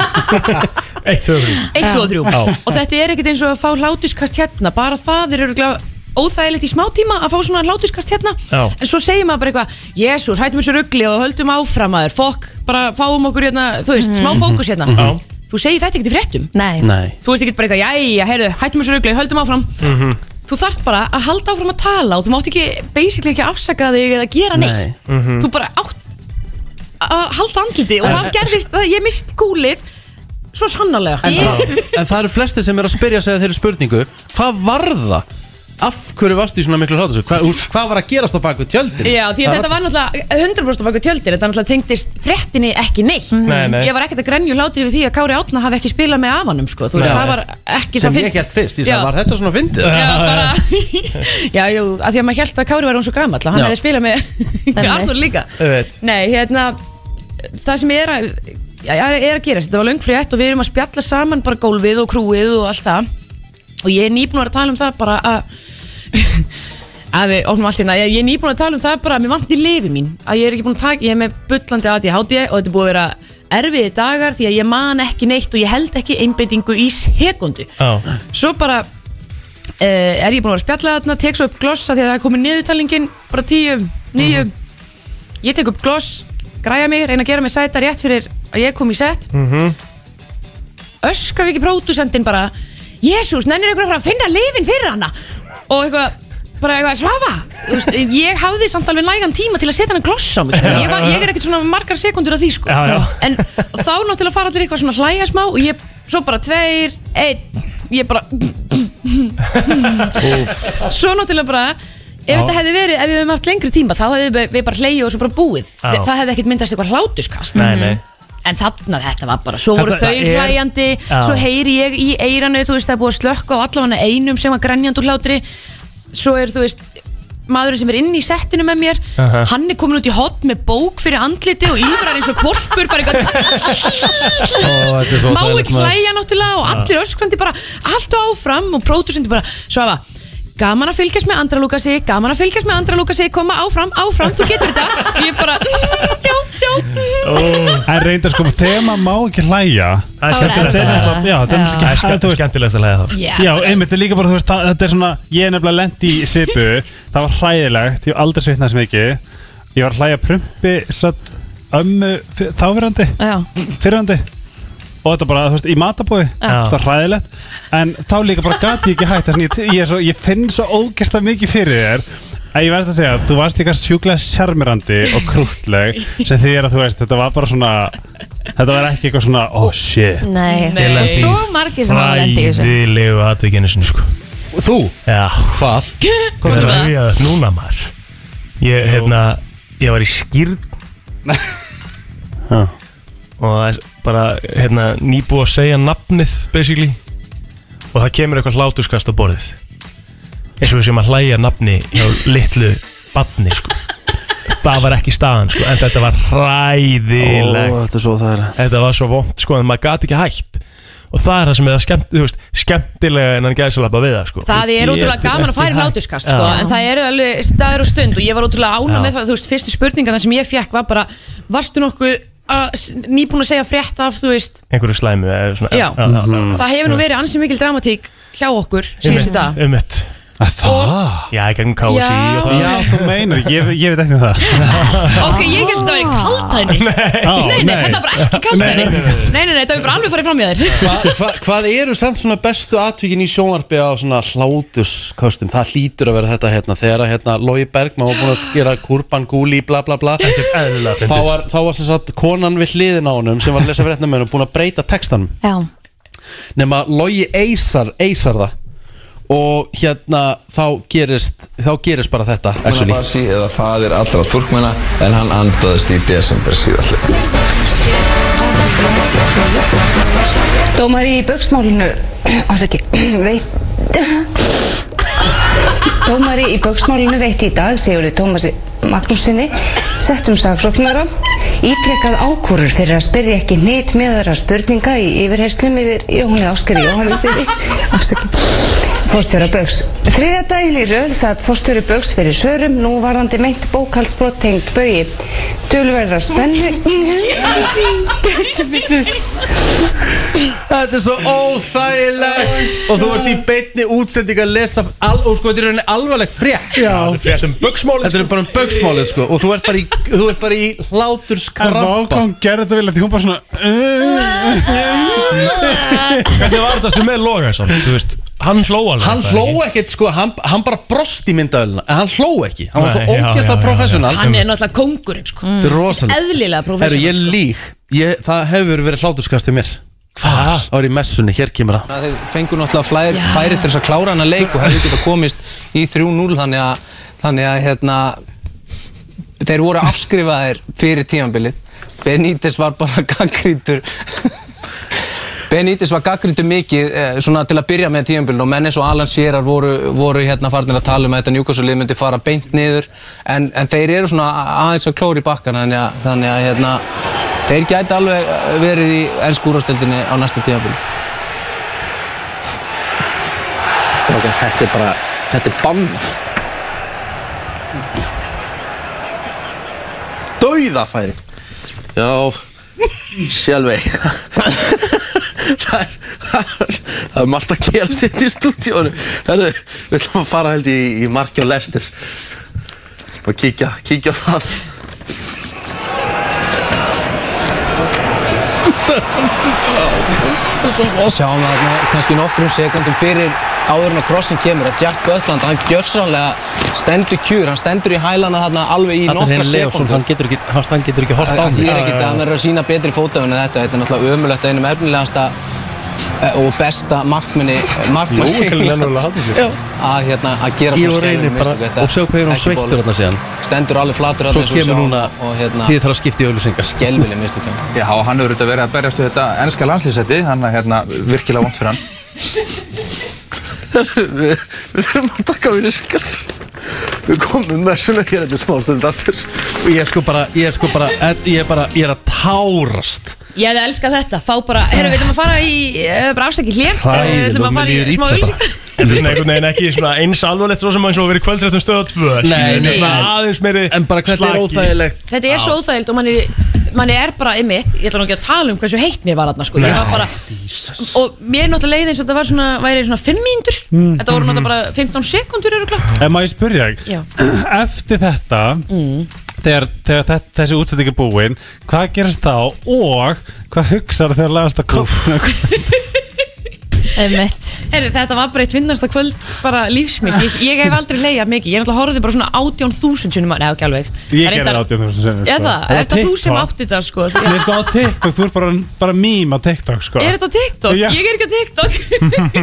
S3: Eitt, tvö, þrjú
S14: 1 og 3
S3: Já.
S14: og þetta er ekkert eins og að fá hlátuskast hérna bara það er örgulega óþægilegt í smá tíma að fá svona hlátuskast hérna
S3: Já.
S14: en svo segir maður bara eitthvað Jésús, hættum þessu ruggli og höldum áfram aður fokk, bara fáum okkur hérna þú veist,
S2: Mhm.
S14: smá fókus hérna
S2: Mhm.
S14: þú segir þetta ekkert í fréttum
S2: Nei.
S1: Nei.
S14: þú ert ekkert bara eitthvað, jæja, heyrðu, hættum þessu ruggli höldum áfram
S1: Mhm.
S14: þú þarft bara að halda áfram að tala og þú mátt ekki, basically ekki afsaka þig eða gera neitt
S1: Mm.
S3: Mhm.
S14: þú bara átt að halda andliti og það gerðist að ég misti gúlið svo sannarlega
S1: En, það, en það eru flestir sem eru að spyrja sig að þeirri spurningu Hvað var það? Af hverju varstu í svona miklu hlátur? Hva, úst, hvað var að gerast á baku tjöldin?
S14: Já, því að þetta var náttúrulega 100% baku tjöldir Þetta náttúrulega tengdist fréttinni ekki neitt
S1: Nei, nei.
S14: Ég var ekkert að grenju hlátur yfir því að Kári Átna hafi ekki spilað með afanum sko. Þú veist,
S1: Nei.
S14: það var ekki
S1: Sem
S14: svo
S1: ég held fyrst, ég
S14: Já.
S1: sagði, var þetta svona fyndið?
S14: Já, bara Já, jú, að því að maður held að Kári var hún svo gamall að Hann
S1: Já.
S14: hefði spilað með Arnur líka
S3: Öðveit
S14: Nei, hérna, það sem er að, já, er er að gerast, þetta var löngfrétt og við erum að spjalla saman bara gólfið og krúið og allt það og ég er nýbúin að vera að tala um það bara að að við opnum allt hérna, ég ég er nýbúin að tala um það bara að mér vantir lifi mín, að ég er ekki búin að taka, ég er með bullandi ADHD og þetta er búið að vera erfiði dagar því að ég man ekki neitt og ég held ekki einbeitingu í sekundu
S3: Já
S14: svo bara uh, er ég búin að vera að spjalla þarna tek svo upp glossa því að það er komið niðurtalningin bara tíu, nýju
S3: Mhm.
S14: ég tek upp gloss, græja mig, reyna að gera mig sæta rétt fyrir að ég kom í sett
S1: Mhm.
S14: öskrar ekki pródusendin bara Jésús, nennir ykkur að fara að finna lifin fyrir hana og eitthvað bara eitthvað svafa Þú veist, ég hafði samt alveg nægan tíma til að setja hann að glossa á mig sko.
S3: Já,
S14: ég, var,
S3: já, já.
S14: ég er ekkert svona með margar sekundur af því sko.
S3: Já, já.
S14: en þá náttúrulega fara allir eitthvað svona að hlæja smá og ég svo bara tveir, einn ég bara svo náttúrulega bara ef
S3: Já.
S14: þetta hefði verið, ef við hefum haft lengri tíma þá hefði við- við bara hleyju og svo bara búið
S3: Já.
S14: það hefði ekkert myndast eitthvað hlátuskast
S2: Mhm.
S3: Nei, nei.
S14: en þarna þetta var bara, svo voru
S3: Þetta-
S14: þau
S3: það er-
S14: hlæjandi
S3: Já.
S14: svo heyri ég í eiranu, þú veist, það er búið að slökka á allavega einum sem var grænjand úr hlátri svo er, þú veist, maðurinn sem er inn í settinu með mér,
S3: Aha.
S14: hann er komin út í hot með bók fyrir andliti og yfrar eins og kvorpur, bara eitthvað má ekki hlæja
S1: Ah.
S14: náttúrulega og
S3: Já.
S14: allir öskrandi bara allt og áfram og pródusendur bara svafa gaman að fylgjast með Andra Lúkasi gaman að fylgjast með Andra Lúkasi koma áfram, áfram, þú getur þetta og ég bara, já, já
S11: En reyndar sko, þegar maður má ekki hlæja
S3: Það er skemmtilegast
S11: Þetta er náttúrulega- Já, þetta er
S3: Það er
S11: náttúrulega
S3: skemmt- skemmtilegast að læða þá
S11: Já, einmitt, þetta er líka bara, þú veist, það- þetta er svona Ég er nefnilega lent í sipu Það var hræðilegt, ég hef aldrei svitnað sem ekki Ég var að hlæja prumpi Satt ömmu, fyr- þáverandi Fyrrandi Og þetta bara, þú veist, í matabóði
S3: Já.
S11: Þetta var hræðilegt En þá líka bara gati ég ekki hægt þess vegna ég, ég, er svo, ég finn svo ógesta mikið fyrir þér að ég verðist að segja, þú varst eitthvað sjúklega sjarmirandi og krútleg sem því er að þú veist, þetta var bara svona þetta var ekki eitthvað svona, oh shit
S2: Nei. Nei. Svo margir sem hafa lent í þessu.
S3: Ræðilegu atvikinu sinni sko
S1: Þú?
S3: Já
S1: Hvað?
S3: Hvað er það? Núna maður Ég, hérna, ég var í skýrn Og það er bara, hérna, nýbúið að segja nafnið, basically Og það kemur eitthvað hlátuskast á borðið Eins og við séum að hlæja nafni hjá litlu badni, sko Það var ekki staðan, sko, en þetta var hræðilegt
S1: Ó, þetta er svo þægilegt.
S3: Þetta var svo vond, sko, en maður gati ekki hægt Og það er það sem er það skemmt, þú veist, skemmtilega en hann gæði sér við það, sko
S14: Það er
S3: Ég
S14: ótrúlega
S3: get
S14: gaman að færa
S3: ekki
S14: hlátuskast
S3: hægt.
S14: sko,
S3: Já.
S14: en það er alveg staður og stund og ég var ótrúlega ána
S3: Já.
S14: með það, þú veist, fyrstu spurningarna sem ég fekk var bara, varstu nokkuð að s- nýbúin að segja frétt af, þú veist
S3: einhverju slæmu eða svona,
S14: Já. það hefur nú verið ansi mikil dramatík hjá okkur síðustu dag
S3: Ummitt
S14: Ah.
S3: Það? Já, í gegnum KSI
S14: Já.
S3: og það
S11: Já, þú meinar, ég, ég veit ekki um það
S14: Ok, ég held að það væri kaltæni Nei, nei, þetta er bara ekki kaltæni
S1: Nei, nei,
S14: Nei,
S1: nei, nei.
S14: nei, nei, þetta er bara alveg farið fram í þér
S1: hva, hva, Hvað eru samt svona bestu atvikin í sjónvarpi á svona hlátuskostum? Það hlýtur að vera þetta hérna Þegar að hérna Lói Bergman var búin að gera kurban gúli bla bla bla
S3: eðlilega
S1: Þá var, þá var sem sagt konan við hliðin á honum sem var að lesa fréttina með honum búin að breyta textanum
S2: Já.
S1: nema Lói eisar, eisar það og hérna þá gerist þá gerist bara þetta actually.
S15: Basi eða faðir allra turkmenna en hann andaðist í desember síðallega.
S16: Dómari í bauksmálinu Ásaki, veit Dómari í bauksmálinu veit í dag Sigurði Tómasi Magnúsinni Settum saksóknara Ítrekkað ákúrur fyrir að spyrja ekki neitt meðara spurninga í yfirherslum yfir Jóni Áskari Jóhannesinni Ásaki fórstjóra Böggs. Þriðja daginn í röð satt fórstjóri Böggs fyrir svörum, nú varðandi meint bókaldsbrot tengt bögi. Dölverðar spennu...
S1: Þetta er svo óþægilegt Og þú ert í beinni útsending að lesa al, Og sko, þetta er rauninni alvarleg frétt Þetta er um bugsmálið Þetta er bara um bugsmálið, sko Og þú ert bara í, þú ert bara í
S11: En
S1: hláturskrampa
S11: vákvæm gerði þetta vel Því hún bara svona
S3: Hvernig var þetta stu með loga samt, þú veist Hann hló alveg
S1: Hann
S3: þetta,
S1: hló ekkert, sko, hann, hann bara brosti í myndavelina En hann hló ekki, hann var svo
S3: Nei, já, já,
S1: ógeðslega
S3: já, já.
S1: professional
S14: Hann er náttúrulega kóngurinn sko
S1: Þetta er rosalega
S14: Eðlilega
S1: Herru,
S14: professional
S1: ég lík ég, Það hefur verið hláturskast í mér Hvað? Það var í messunni, hér kemur það
S17: Þeir fengur náttúrulega flær, færi til þess að klára hana leik og hefðu getað komist í 3-0 þannig að, þannig að hérna, þeir voru afskrifaðir fyrir tímanbilið. Benítez var bara gaggrítur. Benítez var gaggrítur mikið eh, svona til að byrja með tímanbilinu og menn eins og Alan Shearer voru, voru hérna farnir að tala um að þetta njúkassulið myndi fara beint niður en, en þeir eru svona aðeins að klóra í bakkan þannig að, þannig að hérna, þeir gæti alveg eh, verið í ennskúrastöldinni á næsta tímanbilinu.
S18: Strákar, þetta er bara, þetta er bannað Dauðafæri Já, sjálfi það, er, það er margt að gera þetta í stúdíónu Herru, við ætlum að fara held í, í marki og lestir og kíkja, kíkja á það
S17: Sjáum við þarna kannski nokkrum sekundum fyrir áður en að krossin kemur að Jack Butland, hann gjörsanlega stendur kjur, hann stendur í hælana þarna alveg í
S1: Þetta er
S17: nokkra
S1: henni Leofsson,
S17: sekundum
S1: hann getur ekki, hann- hann getur ekki hort á
S17: Það
S1: mig
S17: er ekkert að verður að sína betri fótöfun en þetta, þetta er náttúrulega ömulegt einum efnilegasta eh, og besta eh, markminni
S1: Lói kann
S17: markminni
S1: alveg að halda sér. Já.
S17: að hérna að gera
S1: Ég og
S17: svona
S1: reynir
S17: skælum
S1: bara og sjá hvað er hann sveittur þarna síðan
S17: stendur alveg flatur þarna eins og
S1: Svo
S17: við
S1: kemur
S17: sjáum
S1: núna,
S17: og hérna
S1: þið þarf að skipta í auðlýsingar
S17: skelvileg mistök
S18: Já, og hann hefur auðvitað verið að berjast við þetta ennska landslýsæti þannig að hérna, virkilega vant fyrir hann
S17: Við
S18: þurfum að taka við riskar Við komum með svona hér eftir smástund aftur
S1: Og ég er sko bara, ég er sko bara, ég er bara, ég er að tárast
S14: Ég hefði elskað þetta, fá bara, herru, við ætlum að fara í, uh, bara afsækið hlér,
S3: Hræðileg,
S14: við ætlum Eh,
S3: mér
S14: að fara
S3: líður
S14: í smá
S3: illa bara.
S14: ölsing.
S3: En svona einhvern veginn ekki svona eins alvarlegt svo sem eins og verið kvöldrættum stöða tvö skilur,
S1: nei,
S3: svona
S1: nei.
S3: aðeins meiri En bara
S1: hvernig er óþægilegt?
S14: Þetta er svo óþægild og manni, manni er bara einmitt, ég ætla nú ekki að tala um hversu heitt mér var þarna sko, ég var bara, og mér náttúrulega leið eins og þetta var svona, væri svona 5 mínútur,
S11: Mm.
S14: þetta voru
S11: Mhm.
S14: náttúrulega bara 15 sekundur eru klart.
S11: En maður spyrja ekki
S14: Já. Mm.
S11: Eftir þetta Þegar, þegar þe- þessi útsending er búin Hvað gerast þá og Hvað hugsar þegar lagast að koma
S14: Einmitt. Herri, þetta var bara eitt vinnasta kvöld, bara lífsmis, ég, ég hef aldrei leiðað mikið, ég náttúrulega horfði bara svona 18.000 sinum, á- neða ekki alveg.
S11: Ég gerði
S14: Reyndar-
S11: sko. það 18.000 sem
S14: Já það, er þetta þú sem átti þetta sko? því að-
S11: Ég er sko á TikTok, þú ert bara, bara mím á TikTok sko
S14: Er þetta á TikTok?
S11: Já.
S14: Ég er ekki á TikTok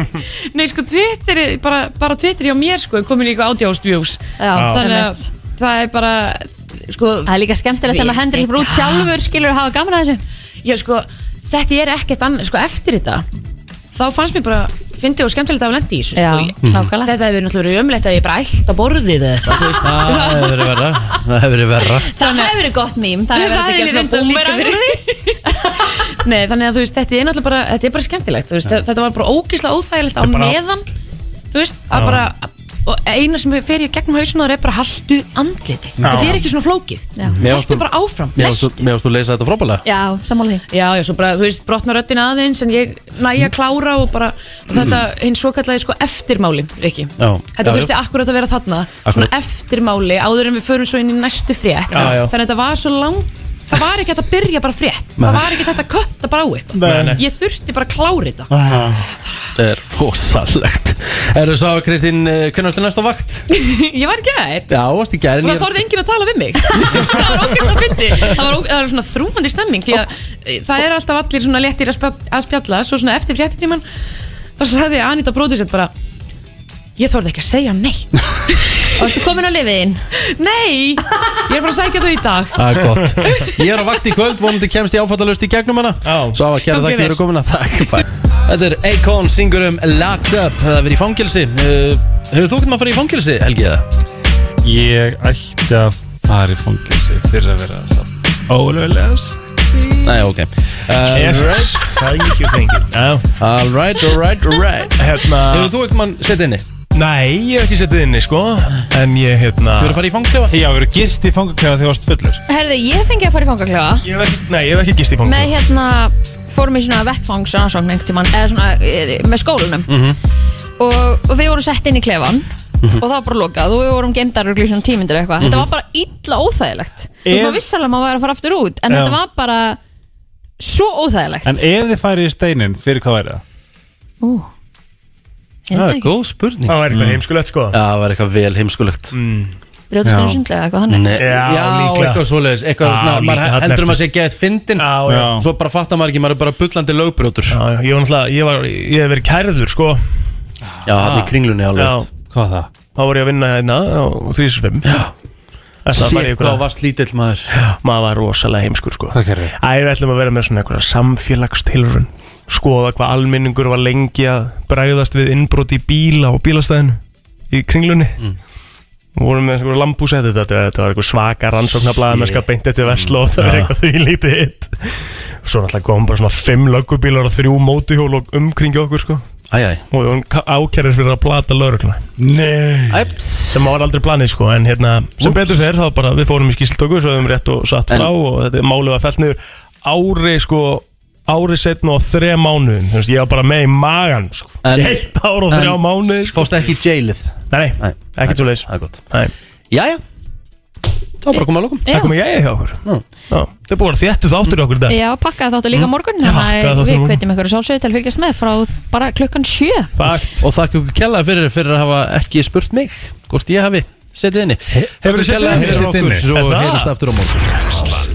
S14: Nei sko Twitter er, bara, bara Twitter hjá mér sko er komin í eitthvað ádjáðsvjús
S2: Já.
S14: Þannig að það er bara sko, Það er líka
S2: skemmtilegt þegar maður hendir þessu bara út sjálfur,
S14: skilur að hafa gaman að þessu Já sko þetta er ekkert annað sko eftir þetta þá fannst mér bara fyndið og skemmtilegt að hafa lendi í þessu
S2: Já,
S14: sko. nákvæmlega Þetta hefur náttúrulega verið ömulegt að ég bara ælt á borðið eða eitthvað þú veist.
S1: Það
S11: Ah.
S1: hefur verið verra, það hefur verið verra
S2: Það hefur verið gott mím, það hefur verið að gera svona
S14: reyndar líka
S2: boomerang
S14: verið. Nei, þannig að þú veist, þetta er náttúrulega bara, þetta er bara skemmtilegt, þú veist, þetta var bara ógeðslega óþægilegt á
S2: Þetta er bara-
S14: meðan, þú veist, að
S2: Já.
S14: bara, og eina sem fer ég gegnum hausinu er bara haltu andliti,
S1: Já.
S14: þetta er ekki svona flókið,
S1: Mér varst
S14: haltu
S1: þú-
S14: bara áfram,
S1: Mér varst þú- mér varst þú að leysa þetta frábælega
S14: Já, sammála því Já, já, svo bara, þú veist, brotna röddin aðeins en ég næja klára og bara og þetta hins svo kallaði sko eftirmáli, Rikki
S1: Já.
S14: Þetta
S1: Já,
S14: þurfti
S1: já.
S14: akkurat að vera þarna
S1: Akkúrat.
S14: svona eftirmáli áður en við förum svo inn í næstu frétt
S1: Já, já.
S14: þannig að þetta var svo langt það var ekki hægt að byrja bara frétt
S1: Nei.
S14: það var ekki hægt að kötta bara á
S1: Nei, nei.
S14: eitthvað ég þurfti bara að klára þetta
S1: Ah. Það er rosalegt Erðu sá Kristín, eh, hvenær ertu næst á vakt?
S14: ég var ekki aðeir
S1: Já, varst í
S14: og
S1: gærin
S14: það þorði enginn að tala við mig það var ógæst að fyndi það var, ó- það var svona þrúmandi stemming því að e, það er alltaf allir svona léttir að, spjall, að spjalla svo svona eftir fréttitíman þá sagði Anita Brodusett bara ég þorði ekki að segja neitt og ertu komin á lifiðin? nei, ég er frá að sækja þau í dag
S1: Það er gott Ég er á vakt í kvöld, vonandi kemst ég áfattalust í gegnum hana Svo að gera það
S14: Gangi
S1: ekki
S14: vel.
S1: verið komin að takk bæ. Þetta er Akon, syngur um Locked Up Það er verið í fangelsi uh, Hefur þú getum að fara í fangelsi, Helgi, eða?
S11: Ég ætti að fara í fangilsi fyrir að vera það ólega
S1: Nei, ok
S3: Yes. Thank you, thank you
S1: Alright, alright, alright
S3: Hérna
S1: Hefur þú eitthvað mann setið inni?
S3: Nei, ég hef ekki setið inni sko En ég hérna
S1: Þú eru að fara í fangklefa?
S3: Já, við erum gist í fangklefa þegar þú varst fullur
S2: Herðu, ég fengi að fara í fangaklefa
S3: Ég hef ekki, nei, ég hef ekki gist í fangklefa
S2: með hérna fórum í svona vettfangsrannsókn einhvern tímann, eða svona eh, með skólanum
S1: Mhm.
S2: og, og við vorum sett inn í klefan
S3: Mhm.
S2: og það var bara lokað og við vorum geimdar og glísum tímindir eitthvað þetta var bara illa óþægilegt þú veist
S11: Ef-
S2: maður vissalega maður væri að fara aftur út en
S11: Já.
S2: þetta var bara svo óþægilegt
S11: En ef þið færi í steinin, fyrir hvað væri það?
S2: Ú, ég veit ekki.
S1: spurning
S3: Það var eitthvað heimskulegt sko
S1: Já, það var eitthvað vel heimskulegt
S3: mm.
S2: Brjóta
S1: Já.
S2: sér sundlega eitthvað þannig
S1: Nei, já,
S3: líklega.
S1: eitthvað svoleiðis eitthvað
S3: Já,
S1: svona,
S3: líklega,
S1: maður
S3: Ah, þarna
S1: heldur um
S3: ertu.
S1: að sé gett fyndin
S3: já.
S1: svo bara fattar maður ekki, maður er bara bullandi lögbrjótur
S3: Já, já, ég var náttúrulega, ég var, ég hef verið kærður sko
S1: Já, þarna í Kringlunni alveg rétt.
S3: Hvað var það? Þá var ég að vinna hérna á 365 Já
S1: Sér hvað varst lítill maður
S3: Maður var rosalega heimskur sko
S11: Hvað gerði?
S3: Æ, við ætlum að vera með svona einhverja samfélagstilrun Skoða hvað almenningur var lengi að bræðast við innbrot í bíla og bílastæðinu Í kringlunni mm. Vorum með einhverja lambúsæti þetta, þetta var einhver svaka rannsóknablaðamennska
S11: Shit.
S3: beint eftir Vestló Það var
S11: Já.
S3: eitthvað því lítið hitt Svo náttúrulega komum bara svona fimm löggubílar og þrjú mótuhjól og umkringi okkur sko
S1: Æjæj
S3: Og við vorum ákærir fyrir að plata lögregluna
S11: Nei
S3: sem var aldrei planið sko en hérna sem betur fer þá bara við fórum í skýrslutöku svo höfum rétt og satt frá og þetta málið var fælt niður ári sko ári setna og þrjá mánuðin þú veist ég var bara með í magan sko en, eitt ár og þrjá
S1: en
S3: mánuði sko.
S1: fórstu ekki í jailið
S3: nei, nei, ekkert svo leis
S1: það er gott
S3: jæja
S1: þá bara komum við að lokum
S3: það komið jæja hjá okkur Já, það er búin að þéttu þáttur í okkur í dag
S2: Já, pakkaði þáttu líka morgun
S3: Pakkaði
S2: þannig að
S3: þáttur
S2: við
S3: morgun.
S2: hvetjum ykkur að sjálfsögðu til að fylgjast með frá bara klukkan sjö
S3: Fakt.
S1: Og þakka ykkur kjallaði fyrir, fyrir að hafa ekki spurt mig hvort ég hafi setið inni Þakka
S3: hefurðu
S1: ykkur
S3: setið
S1: kjallaði
S3: inni?
S1: fyrir
S3: Setið inni?
S1: okkur
S3: Er
S1: og
S3: það?
S1: heyrjumst aftur á morgun
S4: Brennslan